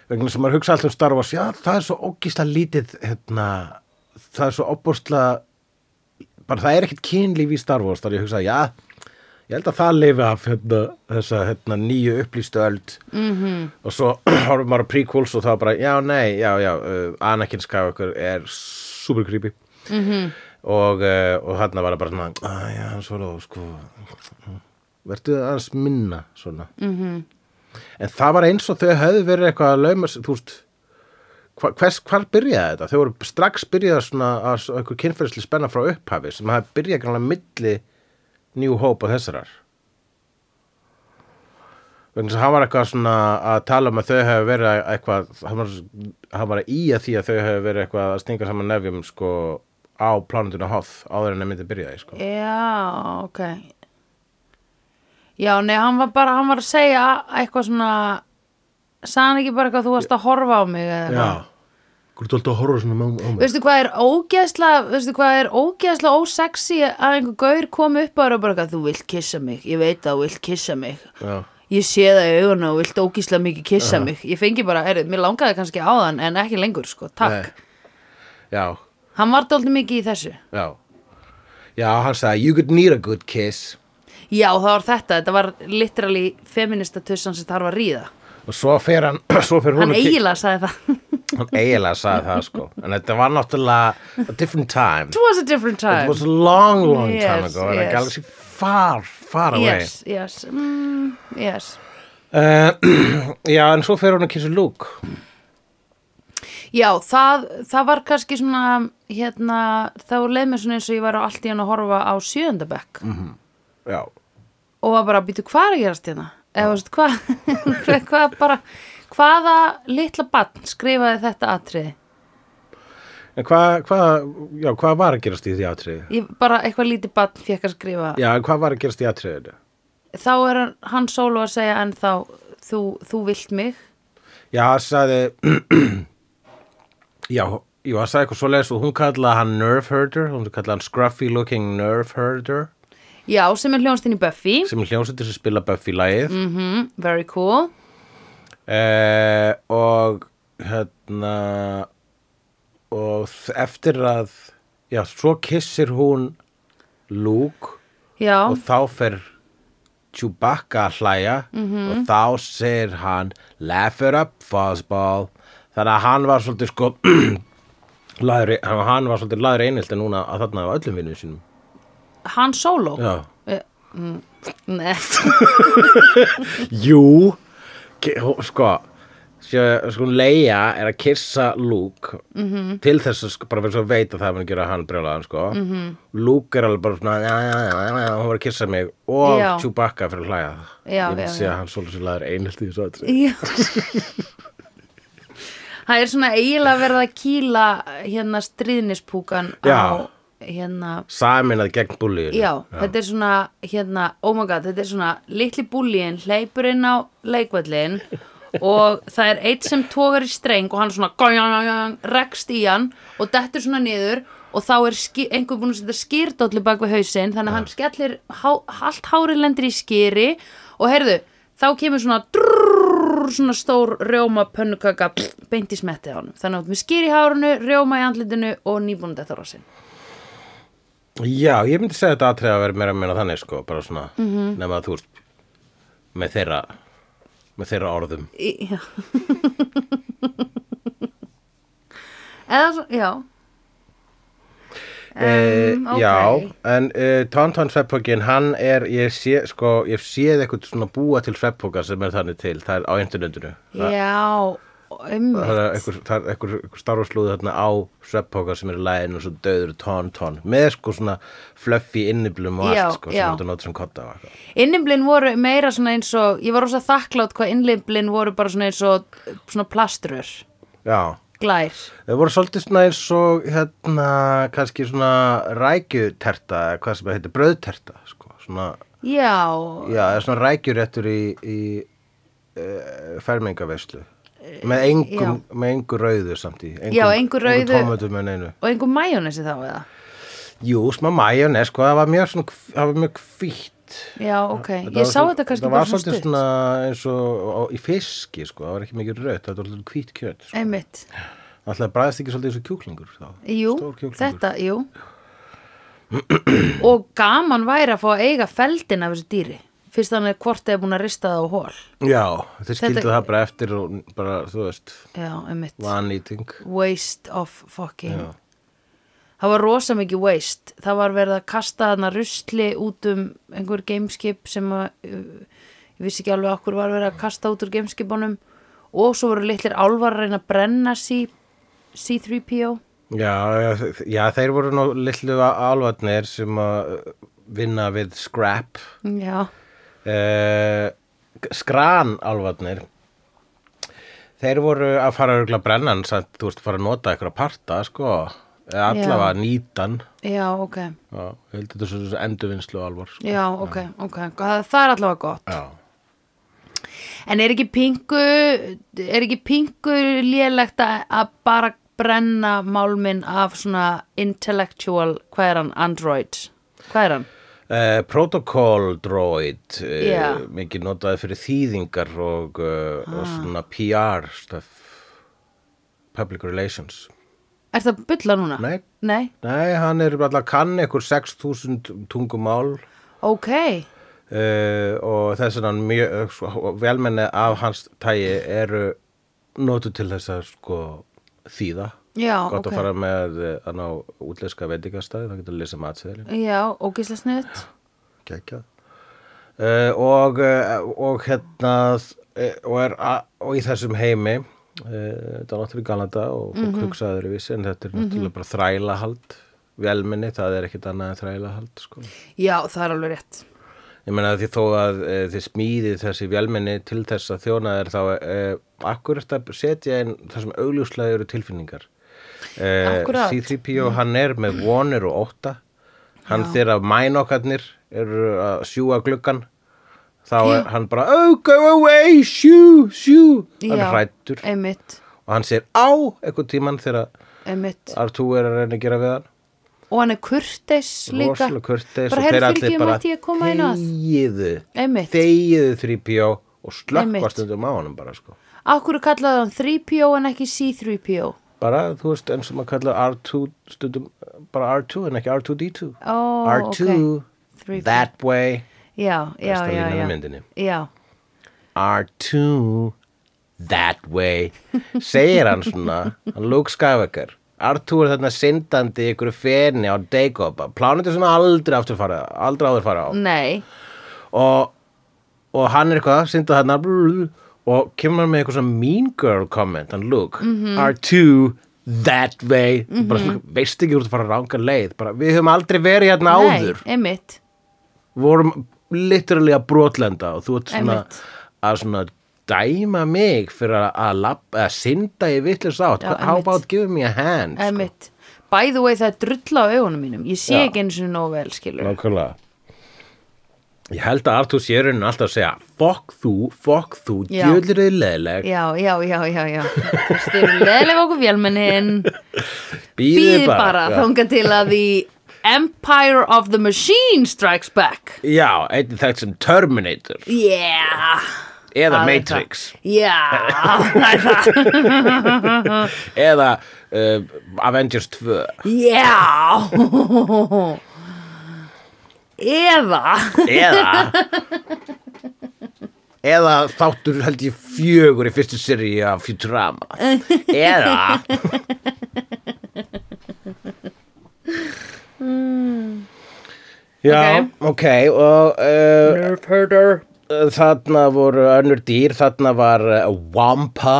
Speaker 3: vegna sem maður hugsa alltaf um Star Wars, já, það er svo ógísla lítið, hérna, það er svo óbúrsla, bara það er ekkert kynlíf í Star Wars, þar ég hugsaði, já, ég held að það lifi af hérna, þessa hérna, nýju upplýstu öld -hmm. og svo horfum maður á prequels og það bara, já, nei, já, já, uh, Anakin Skywalker er super creepy. Mm -hmm. Og, uh, og þarna var það bara svona, að já, hann svo sko, verður það aðeins minna, svona. Mm -hmm. En það var eins og þau höfðu verið eitthvað að lauma, sig- þú veist, hva- hvers, hvar byrjaði þetta? Þau voru strax byrjaði svona að s- einhver kynferðisli spenna frá upphafi sem það byrjaði grannlega milli New Hope og þessarar. Vegna þess að hann var eitthvað svona að tala um að þau hefur verið að- eitthvað, hann var, hann var að íja því að þau hefur verið eitthvað að stinga saman nefjum sko á plánundinu Hoth áður en það myndi byrjaði sko.
Speaker 2: Já, ok Já, nei, hann var bara hann var að segja eitthvað svona sagði hann ekki bara eitthvað þú varst að horfa á mig eða eitthvað
Speaker 3: Hvað er þetta alltaf að horfa svona með á mig?
Speaker 2: Veistu hvað er ógeðslega veistu hvað er ógeðslega ósexy að einhver gaur kom upp á þér og bara eitthvað þú vilt kissa mig, ég veit að þú vilt kissa mig
Speaker 3: Já.
Speaker 2: ég sé það í augunum og vilt ógeðslega mikið kissa mig ég fengi bara, heyrðu, mér langaði kannski á þann en ekki lengur, sko, takk
Speaker 3: Já,
Speaker 2: Hann var dálítið mikið í þessu
Speaker 3: já. Já, hann sagði, you could need a good kiss.
Speaker 2: Já, það var þetta, þetta var literally feminista tussan sem þarf að ríða
Speaker 3: Og svo fer hann, svo fer hún
Speaker 2: Hann
Speaker 3: að ki-
Speaker 2: eiginlega sagði það
Speaker 3: Hann eiginlega sagði það, sko. En þetta var náttúrulega a different time.
Speaker 2: It was a different time
Speaker 3: It was a long, long time
Speaker 2: Yes,
Speaker 3: ago. And
Speaker 2: yes.
Speaker 3: a galaxy far, far away.
Speaker 2: Yes, yes, mm, yes
Speaker 3: Uh, já, en svo fer hún að kissa Luke.
Speaker 2: Já, það, það var kannski svona hérna, þá leið mér svona eins og ég var á allt í hann að horfa á sjöndabekk
Speaker 3: Mhm.
Speaker 2: mm.
Speaker 3: Já.
Speaker 2: og var bara, býtu, hvað er að gerast hérna? Eða, veist, hvað, hvað bara hvaða litla barn skrifaði þetta atriði?
Speaker 3: En hvað, hva, já, hvað var að gerast í því atriði?
Speaker 2: Ég, bara eitthvað lítið barn fekk að skrifa
Speaker 3: Já, en hvað var að gerast í atriðinu?
Speaker 2: þá er hann- hann sólu að segja en þá, þú, þú vilt mig
Speaker 3: Já, hann sagði Já, jú, hann sagði eitthvað svoleiðis og hún kallaði hann nerve herder hún kallaði hann scruffy looking nerve herder
Speaker 2: Já, sem er hljónstinn í Buffy
Speaker 3: sem er hljómsveitir sem spila Buffy lagið mm.
Speaker 2: mm, Very cool
Speaker 3: Eh, og hérna og þ- eftir að já, svo kissir hún Luke
Speaker 2: Já,
Speaker 3: og þá fer Chewbacca að hlæja og þá segir hann laugh it up fuzzball þannig að hann var svolítið sko laðri, hann var svolítið laður einhilt en núna að þarna af öllum vinnum sínum
Speaker 2: hann sóló
Speaker 3: já.
Speaker 2: Nei,
Speaker 3: jú Ke- hó- sko Sjö, sko, Leia er að kissa Luke
Speaker 2: Mhm.
Speaker 3: -hmm. til þess að sko, bara fyrir svo að veita það að hann gera hann brjólaðan sko.
Speaker 2: Mhm.
Speaker 3: -hmm. Luke er alveg bara svona já, já, já, já, já, hún var að kissa mig og
Speaker 2: Já.
Speaker 3: Chewbacca fyrir að hlæja
Speaker 2: Já,
Speaker 3: ég
Speaker 2: já,
Speaker 3: sé
Speaker 2: já.
Speaker 3: að hann svolítið sér laður einhelt í þessu aðri
Speaker 2: Já. Það er svona eiginlega verið að kýla hérna stríðnispúkan
Speaker 3: Já.
Speaker 2: á hérna
Speaker 3: saminað gegn búlíun
Speaker 2: já, þetta er svona hérna, oh my god, þetta er svona litli búlíin hleypur inn á leikvöllin og það er eitt sem tógar í streng og hann svona gojang, rekst í hann og dettur svona niður og þá er ski- einhver búin að setja skýrdóllu bak við hausinn þannig að hann skellir há, allt hárið lendir í skýri og heyrðu, þá kemur svona drrrr, svona stór rjóma pönnukaka pff, beint í smetti á hann þannig að þú ert með skýri í hárinu, rjóma í andlitinu og nýbúin þetta rásinn
Speaker 3: Já, ég myndi segja þetta atrið að vera meira að meina þannig sko, bara svona,
Speaker 2: Mhm.
Speaker 3: -hmm. nema að þú veist með þeirra með þeirra orðum
Speaker 2: Í- Já Eða svo, já
Speaker 3: Um,
Speaker 2: Mm, ok.
Speaker 3: Já, en uh, Tonton sveppókin, hann er, ég sé, sko, ég séð eitthvað svona búa til sveppóka sem er þannig til, það er á internetinu. Það-
Speaker 2: Já,
Speaker 3: Það
Speaker 2: einmitt
Speaker 3: er eitthvað, það er eitthvað, eitthvað starfarslúði þarna á sveppóka sem er í læginu og svo döður Tonton með sko svona fluffy inniblum og
Speaker 2: Já,
Speaker 3: allt, sko, sem
Speaker 2: já.
Speaker 3: þetta notur sem kotta og eitthvað.
Speaker 2: Innimblin voru meira svona eins og Ég var rosa þakklátt hvað innimblin voru bara svona eins og Svona plastrur,
Speaker 3: Já,
Speaker 2: glær
Speaker 3: þau voru svolítið svona eins og, hérna, kannski svona rækjuterta, eða hvað sem það heitir, brauðterta, sko, svona...
Speaker 2: Já,
Speaker 3: Já, það er svona rækjuréttur í, í uh, fermingaveislu með engum, með engu rauðu samt í engum,
Speaker 2: E, Já, engu rauðu.
Speaker 3: engum tómatum en einu
Speaker 2: og einhver majónesi þá eða
Speaker 3: Jú, smá majónes, sko, það var mjög svona hv- það var mjög hvítt
Speaker 2: Já, ok,
Speaker 3: Þetta
Speaker 2: ég
Speaker 3: var
Speaker 2: sá
Speaker 3: svona-
Speaker 2: þetta kannski
Speaker 3: Það var
Speaker 2: bara svona
Speaker 3: svolítið
Speaker 2: stutt
Speaker 3: svona eins og á, í fiski, sko, það var ekki mikið rautt það var svolítið hvítt kjöt sko.
Speaker 2: Einmitt,
Speaker 3: Alltaf bræðist ekki svolítið eins og kjúklingur þá.
Speaker 2: E- jú,
Speaker 3: Stór kjúklingur.
Speaker 2: þetta, jú Og gaman væri að fá að eiga feldin af þessu dýri Fyrst þannig að hvort eða búin að rista það á hól
Speaker 3: Já, þeir skildu
Speaker 2: Þetta-
Speaker 3: það bara eftir og bara, þú veist,
Speaker 2: Já, einmitt
Speaker 3: vanýting
Speaker 2: Waste of fucking
Speaker 3: Já.
Speaker 2: Það var rosa mikið waste Það var verið að kasta þarna rusli út um einhver gameskip sem að uh, ég vissi ekki alveg okkur var verið að kasta út úr gameskipunum og svo voru litlir álfar að reyna að brenna C, C3PO
Speaker 3: Já, já, þe- já, þeir voru nú lillu alvarnir sem að uh, vinna við scrap
Speaker 2: Já,
Speaker 3: uh, skran alvarnir þeir voru að fara örugglega að brenna hann samt, þú veist, fara að nota eitthvað parta, sko eða allavega nýtan
Speaker 2: já, ok
Speaker 3: já, ég held þetta svo, svo endurvinnslu alvar sko.
Speaker 2: Já, ok, ok, það, það er allavega gott
Speaker 3: já,
Speaker 2: En er ekki pingu er ekki pingu lélegt að að bara brenna málminn af svona intellectual, hvað er hann, android hvað er hann?
Speaker 3: uh, protocol droid uh,
Speaker 2: Já. Ah.
Speaker 3: mikið notaði fyrir þýðingar og, uh, og svona PR stuff public relations
Speaker 2: Er það bulla núna?
Speaker 3: Nei.
Speaker 2: Nei?
Speaker 3: Nei, hann er alltaf kann einhver 6.000 tungumál
Speaker 2: Ok,
Speaker 3: uh, og þess að hann mjög eh, sko, velmenni af hans tægi eru notu til þess að sko þýða.
Speaker 2: já,
Speaker 3: Gott
Speaker 2: ok
Speaker 3: að fara með eh, að ná útleska veitingastæði, það getur að lesa matseðilin,
Speaker 2: Já, ógislega sniðut
Speaker 3: geggjað. Uh, og, uh, og hérna uh, og, er, a- og í þessum heimi uh, þetta er náttúrulega í Galanda og fólk
Speaker 2: Mhm.
Speaker 3: hugsaður í vissi en þetta er náttúrulega bara þrælahald velminni, það er ekkit annað en þrælahald sko.
Speaker 2: Já, það er alveg rétt
Speaker 3: Ég meina því þó að e, þið smíðið þessi vélmenni til þess að þjóna þér þá e, akkur er þetta setja inn það sem augljóslega eru tilfinningar. E,
Speaker 2: Akkúrat.
Speaker 3: C-3PO hann er með vonir og óta. Hann þegar að mænokkarnir eru að sjúa gluggan þá er hann bara oh go away, sjú, sjú. Hann
Speaker 2: já,
Speaker 3: er hrættur
Speaker 2: Einmitt,
Speaker 3: og hann sér á eitthvað tíman þegar
Speaker 2: einmitt
Speaker 3: R2 er að reyna að gera við hann.
Speaker 2: Og hann er kurteis líka
Speaker 3: rosalega kurteis
Speaker 2: Bara heyrðu fyrir ekki, mætti ég koma inn að
Speaker 3: þegiðu,
Speaker 2: Einmitt.
Speaker 3: þegiðu 3PO og
Speaker 2: Einmitt.
Speaker 3: slökkvast stundum á honum bara sko
Speaker 2: Akkur kallaði hann 3PO en ekki C3PO
Speaker 3: bara, þú veist, eins og maður kallar R2 stundum, bara R2 en ekki R2D2
Speaker 2: Ó,
Speaker 3: R2,
Speaker 2: ok 3PO.
Speaker 3: that way
Speaker 2: Já, já,
Speaker 3: Besta
Speaker 2: já,
Speaker 3: línan í
Speaker 2: já.
Speaker 3: myndinni.
Speaker 2: Já,
Speaker 3: R2, that way segir hann svona hann Luke Skywalker R2 er þarna syndandi í ykkur fenni á Dagobah, plánetu sem aldrei aftur fara, aldrei áður fara á
Speaker 2: nei
Speaker 3: og, og hann er eitthvað, syndað hann og kemur hann með eitthvað svona mean girl comment hann Luke,
Speaker 2: Mhm.
Speaker 3: are two that way, bara svona, veist ekki þú ert að fara að ranga leið, bara við höfum aldrei verið hérna áður
Speaker 2: Nei, einmitt
Speaker 3: vorum literally að brotlenda og þú ert svona
Speaker 2: Einmitt.
Speaker 3: að svona dæma mig fyrir að, að, lab, að synda í vitlis átt
Speaker 2: Já,
Speaker 3: how
Speaker 2: einmitt.
Speaker 3: about giving me a hand sko?
Speaker 2: Einmitt. By the way, það er drull á augunum mínum. Ég sé
Speaker 3: Já.
Speaker 2: ekki eins og nóg vel, skilur.
Speaker 3: nákvæmlega ég held að Artur Sérun alltaf að segja fuck þú, fuck þú,
Speaker 2: Já.
Speaker 3: djöðlir þið leðleg
Speaker 2: Já, já, já, já, já. Styrir leðilega okkur vélmennin. Býðið bara
Speaker 3: Já.
Speaker 2: þangað til að því Empire of the Machine strikes back.
Speaker 3: já, einn þekkt sem Terminator
Speaker 2: Yeah.
Speaker 3: eða
Speaker 2: Það er
Speaker 3: Matrix
Speaker 2: það. Já, það er það.
Speaker 3: eða uh, Avengers 2
Speaker 2: Já. Eða.
Speaker 3: eða eða þáttur held ég fjögur í fyrstu seri af Futurama eða Já, ok, og uh,
Speaker 2: Herder.
Speaker 3: þarna voru önnur dýr, þarna var uh, Wampa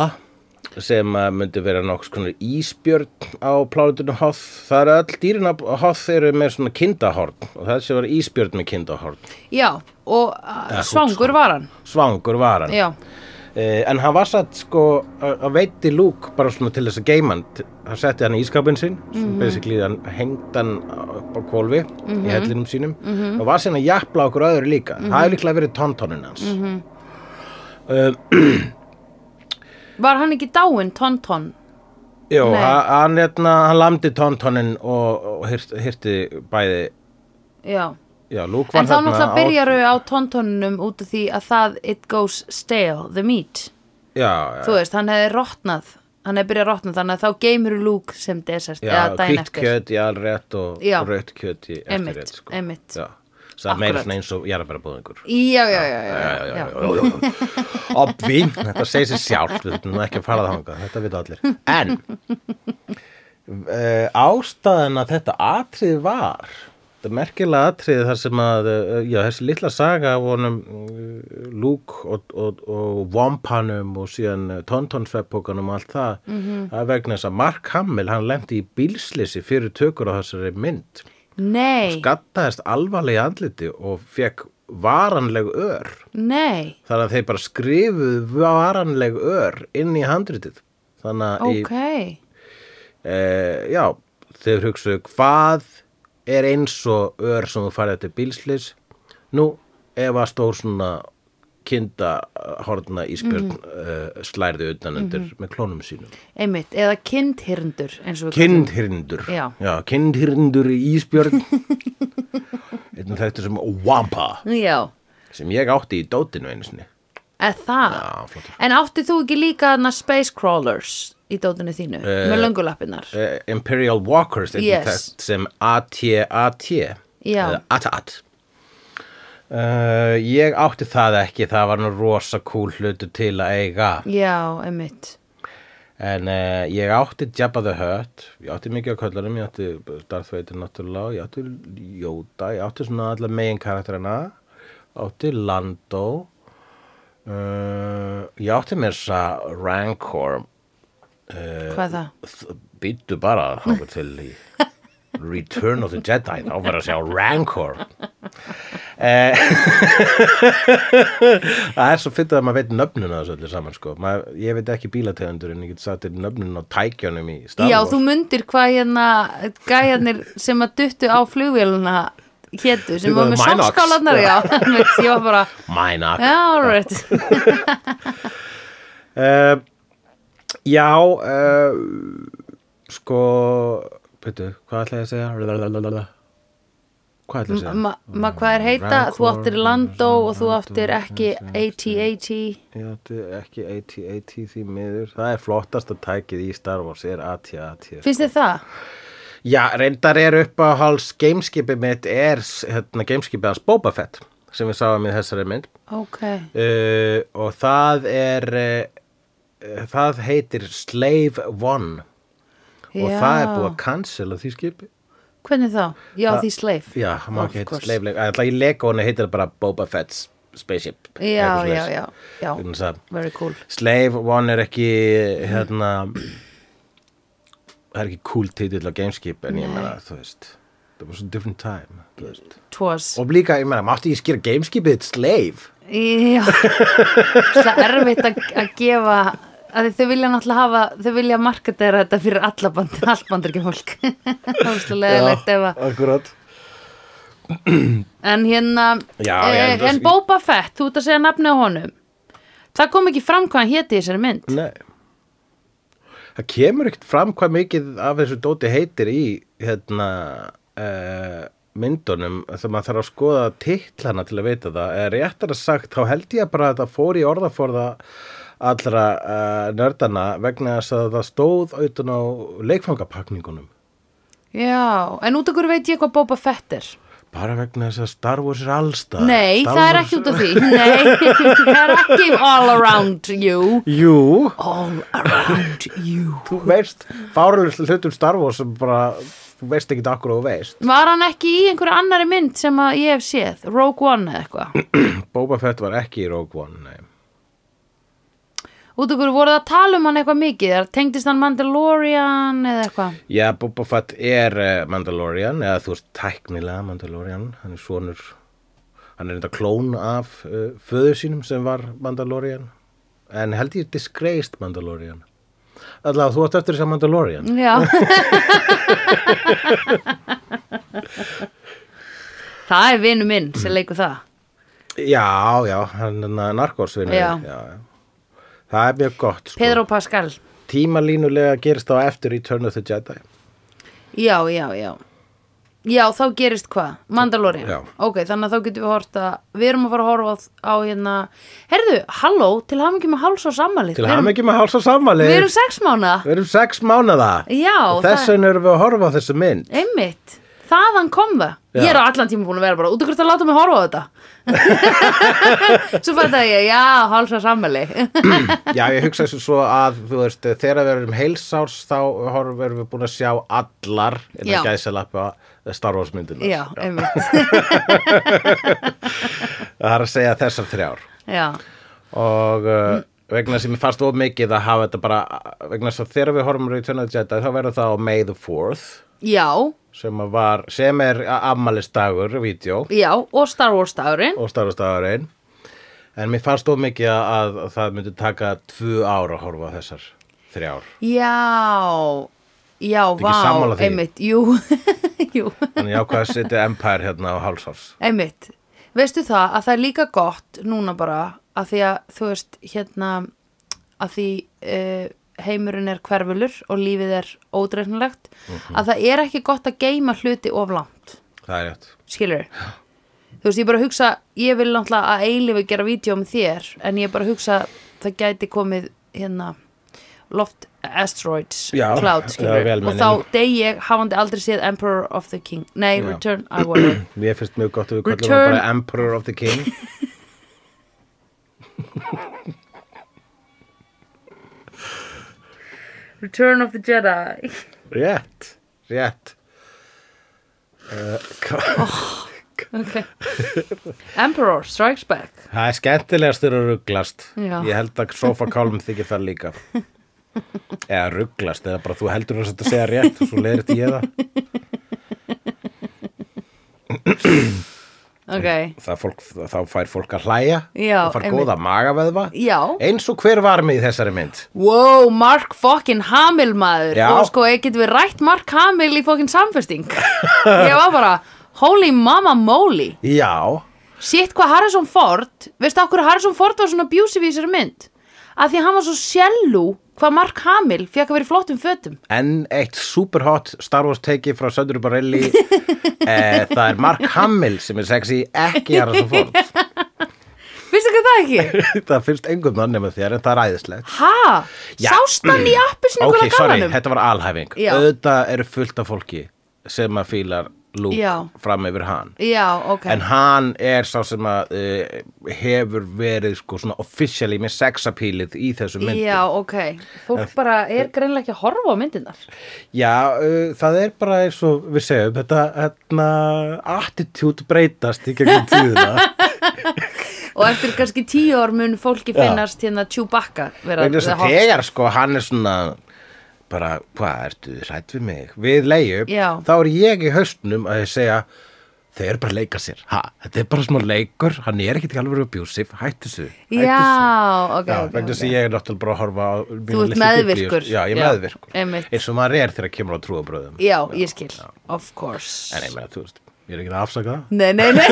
Speaker 3: sem uh, myndi vera nokks konar ísbjörn á plánutinu Hoth. Það eru öll dýrin á Hoth eru með svona kindahorn og þessi var ísbjörn með kindahorn.
Speaker 2: Já, og uh,
Speaker 3: sko.
Speaker 2: svangur var hann.
Speaker 3: Svangur var hann.
Speaker 2: Já.
Speaker 3: Eh, en hann var satt sko að að veitti Luke bara svona til þess að geima hann T- hann setti hann í ískapin sinn mm
Speaker 2: Mhm.
Speaker 3: basically hann hengd hann á kvolfi í hellinum sínum
Speaker 2: Mhm.
Speaker 3: og var sinna jafla okkur öðru líka það er líklega verið tontonin hans
Speaker 2: Mhm. Var hann ekki dáinn, Tonton?
Speaker 3: Jú,
Speaker 2: Nei.
Speaker 3: ha- hann, hérna, hann lamdi tontonin og, og hirti, hirti bæði
Speaker 2: Já.
Speaker 3: já, Luke var
Speaker 2: En þá
Speaker 3: þarna
Speaker 2: náttúrulega
Speaker 3: á-
Speaker 2: byrjaru á tontonunum út af því að það it goes stale, the meat.
Speaker 3: já,
Speaker 2: Þú veist, hann hefði rotnað, hann hefði byrjað að rotnað þannig að þá geymur Luke sem desert
Speaker 3: já,
Speaker 2: eða daginn
Speaker 3: hvitt
Speaker 2: eftir.
Speaker 3: kjöt í alrétt og
Speaker 2: Já.
Speaker 3: rautt kjöt í
Speaker 2: Einmitt,
Speaker 3: eftirrétt sko.
Speaker 2: einmitt.
Speaker 3: Já. svo það er meira
Speaker 2: Akkurat.
Speaker 3: svona eins og ég er bara búðingur
Speaker 2: Já, já, já, já, já, já.
Speaker 3: Obvi, þetta segir sér sjálf við þurfum nú ekki að fara þangað, þetta vita allir en uh, ástæðan að þetta atrið var þetta merkilega atrið þar sem að uh, já, þessi litla saga af honum uh, Luke og, og, og Wampanum og síðan uh, Tontonsveppókanum og allt það
Speaker 2: Mhm.
Speaker 3: það er vegna þess að Mark Hamill hann lendi í bílslisi fyrir tökur á þessari mynd
Speaker 2: Nei,
Speaker 3: gattaðist alvarlega í andliti og fekk varanleg ör
Speaker 2: nei,
Speaker 3: þannig að þeir bara skrifuðu varanleg ör inn í handritið þannig að
Speaker 2: ok.
Speaker 3: í, e, já, þeir hugsuðu hvað er eins og ör sem þú farið til bílslis nú, ef að stór svona kinda horna íspjörn
Speaker 2: Mhm.
Speaker 3: mm slærði utan undir með klónum sínum
Speaker 2: Einmitt, eða kindhyrndur eins og við köllum.
Speaker 3: kindhyrndur
Speaker 2: Já.
Speaker 3: kindhyrndur í íspjörn einn og þetta sem Wampa
Speaker 2: Já,
Speaker 3: sem ég átti í dótinu einu sinni
Speaker 2: eða það.
Speaker 3: Já, flottur.
Speaker 2: en átti þú ekki líka þarna space crawlers í dótinu þínu, með löngulappinar?
Speaker 3: uh, Imperial Walkers einnig
Speaker 2: Yes.
Speaker 3: þekkt sem AT-AT
Speaker 2: Já.
Speaker 3: eða AT-AT uh, ég átti það ekki það var nú rosa cool hlutu til að eiga
Speaker 2: Já, einmitt.
Speaker 3: en uh, ég átti Jabba the Hutt ég átti mikið á köllunum ég átti Darth Vader náttúrulega ég átti Yoda, ég átti svona allar megin karakterina átti Lando uh, ég átti mér þess að Rancor
Speaker 2: Hvað er það?
Speaker 3: býttu bara þáka til í Return of the Jedi þá verður að sjá Rancor eh, það er svo fyrir að maður veit nöfnun á þessu öllu saman sko Mað, ég veit ekki bílategundur en ég get sagt nöfnun á tækjunum í Star
Speaker 2: Já,
Speaker 3: Wars
Speaker 2: þú myndir hvað hérna gæjarnir sem að duttu á flugvéluna hétu, sem
Speaker 3: Þú
Speaker 2: var
Speaker 3: veist,
Speaker 2: með
Speaker 3: Minox.
Speaker 2: samskálanar, já, einmitt, ég var bara,
Speaker 3: Mænak
Speaker 2: já, all right,
Speaker 3: Eh, Já uh, sko Pytu, hvað ætla ég að segja? Lalalala. Hvað ætla ég að segja?
Speaker 2: Ma- ma hvað er heita, þú
Speaker 3: Rancor,
Speaker 2: áttir Lando og þú
Speaker 3: Rancor,
Speaker 2: áttir ekki AT-AT,
Speaker 3: Ég átti ekki AT-AT því miður. Það er flottast að tækið í Star Wars er AT-AT.
Speaker 2: finnst þið það?
Speaker 3: Já, reyndar er uppáhalds gameskipi mitt er s- hérna, gameskipi hans Boba Fett sem við sáum í þessari mynd
Speaker 2: Ok,
Speaker 3: uh, og það er uh, það heitir Slave One og það er búið
Speaker 2: já,
Speaker 3: að cancela því skipi
Speaker 2: hvernig þá? Já, því sleif,
Speaker 3: Já, það má
Speaker 2: Of
Speaker 3: ekki heita
Speaker 2: course.
Speaker 3: Slave Leif Það er alltaf í Lego hann heitir það bara Boba Fett's spaceship
Speaker 2: já,
Speaker 3: eitthvað
Speaker 2: já,
Speaker 3: svoleiðis.
Speaker 2: já, já,
Speaker 3: Vegna þess að
Speaker 2: very cool
Speaker 3: Slave One er ekki hérna það er ekki cool titill á gameskip en ég meina þú veist það var svo different time þú veist.
Speaker 2: Twas,
Speaker 3: og líka ég meina mátti ég skýra gameskipið þitt slave
Speaker 2: já Það er erfitt að, að gefa að þau vilja náttúrulega hafa þau vilja marketera þetta fyrir alla band, allt bandur ekki fólk Óslulegilegt ef að
Speaker 3: akkurat
Speaker 2: En hérna,
Speaker 3: Já,
Speaker 2: eh,
Speaker 3: ég held að-
Speaker 2: en Boba Fett, þú ert að segja nafni á honum Það kom ekki fram hvað hann héti í þessari mynd
Speaker 3: Nei. Það kemur ekkert fram hvað mikið af þessu dóti heitir í hérna, uh, myndunum þegar maður þarf að skoða titlana til að vita það. Eh, Réttara sagt, þá held ég bara að þetta fór í orðaforða allra uh, nördana vegna þess að það stóð auðvitað á leikfangapakningunum.
Speaker 2: Já, en út af hverju veit ég hvað Boba Fett er
Speaker 3: Bara vegna þess að Star Wars er allstað.
Speaker 2: Nei, það er ekki út af því Nei, það er ekki all around you
Speaker 3: Jú,
Speaker 2: All around you
Speaker 3: þú veist, fárlega hlutum Star Wars sem bara, þú veist ekki akkur og þú veist.
Speaker 2: Var hann ekki í einhverju annari mynd sem að ég hef séð? Rogue One eða eitthvað?
Speaker 3: Boba Fett var ekki í Rogue One, nei.
Speaker 2: Út af hverju voruð það að tala um hann eitthvað mikið? Eða Tengdist hann Mandalorian eða eitthvað?
Speaker 3: Já, Boba Fett er eh, Mandalorian, eða þú veist tæknilega Mandalorian, hann er svonur, hann er enda klón af uh, föður sínum sem var Mandalorian, en held ég disgraced Mandalorian. Allavega, þú átt eftir þess að Mandalorian.
Speaker 2: Já Það er vinu minn sem leikur það
Speaker 3: Já, já, hann er narkórsvinnur.
Speaker 2: Já.
Speaker 3: já, já. Það er mjög gott, sko.
Speaker 2: Pedro Pascal
Speaker 3: Tímalínulega gerist þá eftir Return of the Jedi.
Speaker 2: Já, já, já Já, þá gerist hvað? Mandalorian
Speaker 3: Já.
Speaker 2: Ok, þannig að þá getum við horft að Við erum að fara að horfa á- á hérna Herðu, halló, til hafa ekki með háls og sammalið
Speaker 3: Til hann ekki með háls og sammali.
Speaker 2: Við erum sex mánuða
Speaker 3: Við erum sex mánaða.
Speaker 2: Já,
Speaker 3: Og Þess
Speaker 2: það-
Speaker 3: vegna erum við að horfa á þessu mynd.
Speaker 2: Einmitt, þaðan kom það
Speaker 3: Já.
Speaker 2: Ég er á allan tíma búin að vera bara út af hvert að láta mig horfa á þetta Svo fætti ég, já, hálsa sammæli
Speaker 3: Já, ég hugsa þessu svo að þú veist, þegar við erum heilsárs þá horfum við erum búin að sjá allar en
Speaker 2: Já.
Speaker 3: það gæsa lappa Star Wars myndina
Speaker 2: Já, einmitt
Speaker 3: það er að segja þessar þrjár
Speaker 2: Já,
Speaker 3: og uh, vegna sem ég fannst of mikið að hafa þetta bara vegna þess að þegar við horfum við í Tönnaði Jedi þá verður það á May the 4th
Speaker 2: já,
Speaker 3: sem, að var, sem er ammalistagur, vídeo
Speaker 2: já Og Star Wars dagurinn
Speaker 3: og Star Wars dagurinn en mér fannst of mikið að, að það myndi taka tvö ár að horfa á þessar þrjár
Speaker 2: Já, já,
Speaker 3: ekki sammála
Speaker 2: vá,
Speaker 3: því?
Speaker 2: einmitt Jú, jú
Speaker 3: þannig ég ákvað að setja Empire hérna á hálsárs
Speaker 2: Einmitt, veistu það að það er líka gott núna bara að því að þú veist hérna að því uh, heimurinn er hverfulur og lífið er ódreifnilegt
Speaker 3: Mhm.
Speaker 2: að það er ekki gott að geima hluti of langt,
Speaker 3: það er rétt
Speaker 2: skilur þú veist ég bara hugsa, ég vil náttúrulega að eilifu gera vídeo með þér en ég bara hugsa það gæti komið hérna loft asteroids
Speaker 3: Já,
Speaker 2: cloud
Speaker 3: já,
Speaker 2: skilur og
Speaker 3: velmeinin.
Speaker 2: þá dey ég hafandi aldrei séð Emperor of the King nei,
Speaker 3: Já.
Speaker 2: Return I Wanna
Speaker 3: Mér finnst mjög gott að við kallum
Speaker 2: Return-
Speaker 3: hann bara Emperor of the King
Speaker 2: Return of the Jedi
Speaker 3: Rétt, rétt uh, hva-
Speaker 2: Ok. Emperor Strikes Back
Speaker 3: Það er skemmtilegast þegar að rugglast
Speaker 2: Já.
Speaker 3: Ég held að sofakálum þykir það líka Eða rugglast eða bara þú heldur þess að þetta segja rétt og svo leiðir ég það
Speaker 2: Ok,
Speaker 3: Það fólk, Þá fær fólk að hlæja
Speaker 2: Já,
Speaker 3: og fær
Speaker 2: einmitt.
Speaker 3: góða magaveðva
Speaker 2: já
Speaker 3: Eins og hver var með í þessari mynd
Speaker 2: Wow, Mark fokkin Hamill maður
Speaker 3: Já.
Speaker 2: Og sko, getum við rætt Mark Hamill í fokkin samfesting Ég var bara Holy mama moly
Speaker 3: Já,
Speaker 2: Sitt hvað Harrison Ford Veistu okkur Harrison Ford var svona abusive í þessari mynd Að því að hann var svo sjálú Hvað Mark Hamill fekk að vera í flottum fötum
Speaker 3: Enn eitt superhot Star Wars teiki frá Söndur Barelli eh, Það er Mark Hamill sem er sexy, ekki Harrison Ford
Speaker 2: Veistu hvað það ekki?
Speaker 3: Það finnst engum þannig með þér en það er æðislegt
Speaker 2: Ha?
Speaker 3: Já.
Speaker 2: Sást hann í appisinu
Speaker 3: Ok,
Speaker 2: okay,
Speaker 3: sorry,
Speaker 2: galanum?
Speaker 3: þetta var alhæfing
Speaker 2: um? Já.
Speaker 3: Auðvitað eru fullt af fólki sem að fílar Luke
Speaker 2: Já.
Speaker 3: fram yfir hann
Speaker 2: já, ok
Speaker 3: en hann er sá sem að uh, hefur verið sko svona officially með sexapílið í þessu myndum
Speaker 2: já, ok, fólk bara er greinlega ekki að horfa á myndinar
Speaker 3: Já, uh, það er bara eins og við segjum, þetta hérna, attitude breytast í gegnum tíðina.
Speaker 2: og eftir kannski tíu ár mun fólki finnast hérna Chewbacca vera
Speaker 3: Vegna þess að
Speaker 2: vera hot.
Speaker 3: þegar sko hann er svona bara, hvað ertu hrætt við mig? Við leiðum,
Speaker 2: Já.
Speaker 3: þá er ég í haustnum að ég segja þeir eru bara að leika sér, ha, þetta er bara smá leikur hann er ekkert ekki alveg abusive, hættu þessu hættu þessu.
Speaker 2: já, ok,
Speaker 3: Já,
Speaker 2: ok,
Speaker 3: vegna þess að
Speaker 2: ok
Speaker 3: ég er náttúrulega bara að horfa á mína
Speaker 2: Þú ert
Speaker 3: litlu biblíu, sko.
Speaker 2: meðvirkur.
Speaker 3: Já, ég er
Speaker 2: Já,
Speaker 3: meðvirkur,
Speaker 2: einmitt.
Speaker 3: eins og maður er þegar kemur á trúabröðum
Speaker 2: já, ég skil, of course
Speaker 3: En ég meina, þú veist, ég er ekki að afsaka það
Speaker 2: nei, nei, nei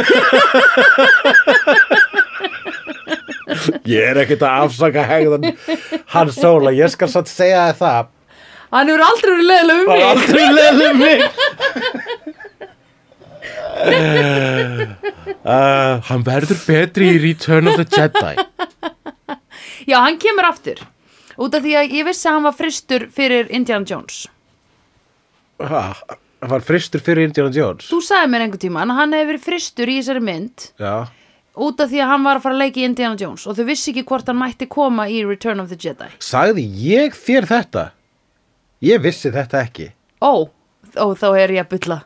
Speaker 3: Ég er ekkert að afsaka hegðan hann sóla, ég skal satt segja þér það
Speaker 2: hann hefur aldrei verið
Speaker 3: Það
Speaker 2: leiðilega um
Speaker 3: er
Speaker 2: mig
Speaker 3: aldrei leðið mig uh, Hann verður betri í Return of the Jedi
Speaker 2: Já, hann kemur aftur Út af því að ég vissi að hann var fristur fyrir Indiana Jones
Speaker 3: Ha, Hann var fristur fyrir Indiana Jones
Speaker 2: Þú sagði mér einhvern tímann að hann hefur verið fristur í þessari mynd
Speaker 3: Já,
Speaker 2: Út af því að hann var að fara að leika í Indiana Jones Og þau vissi ekki hvort hann mætti koma í Return of the Jedi
Speaker 3: sagði ég þér þetta? Ég vissi þetta ekki
Speaker 2: Ó, ó þá er ég að bulla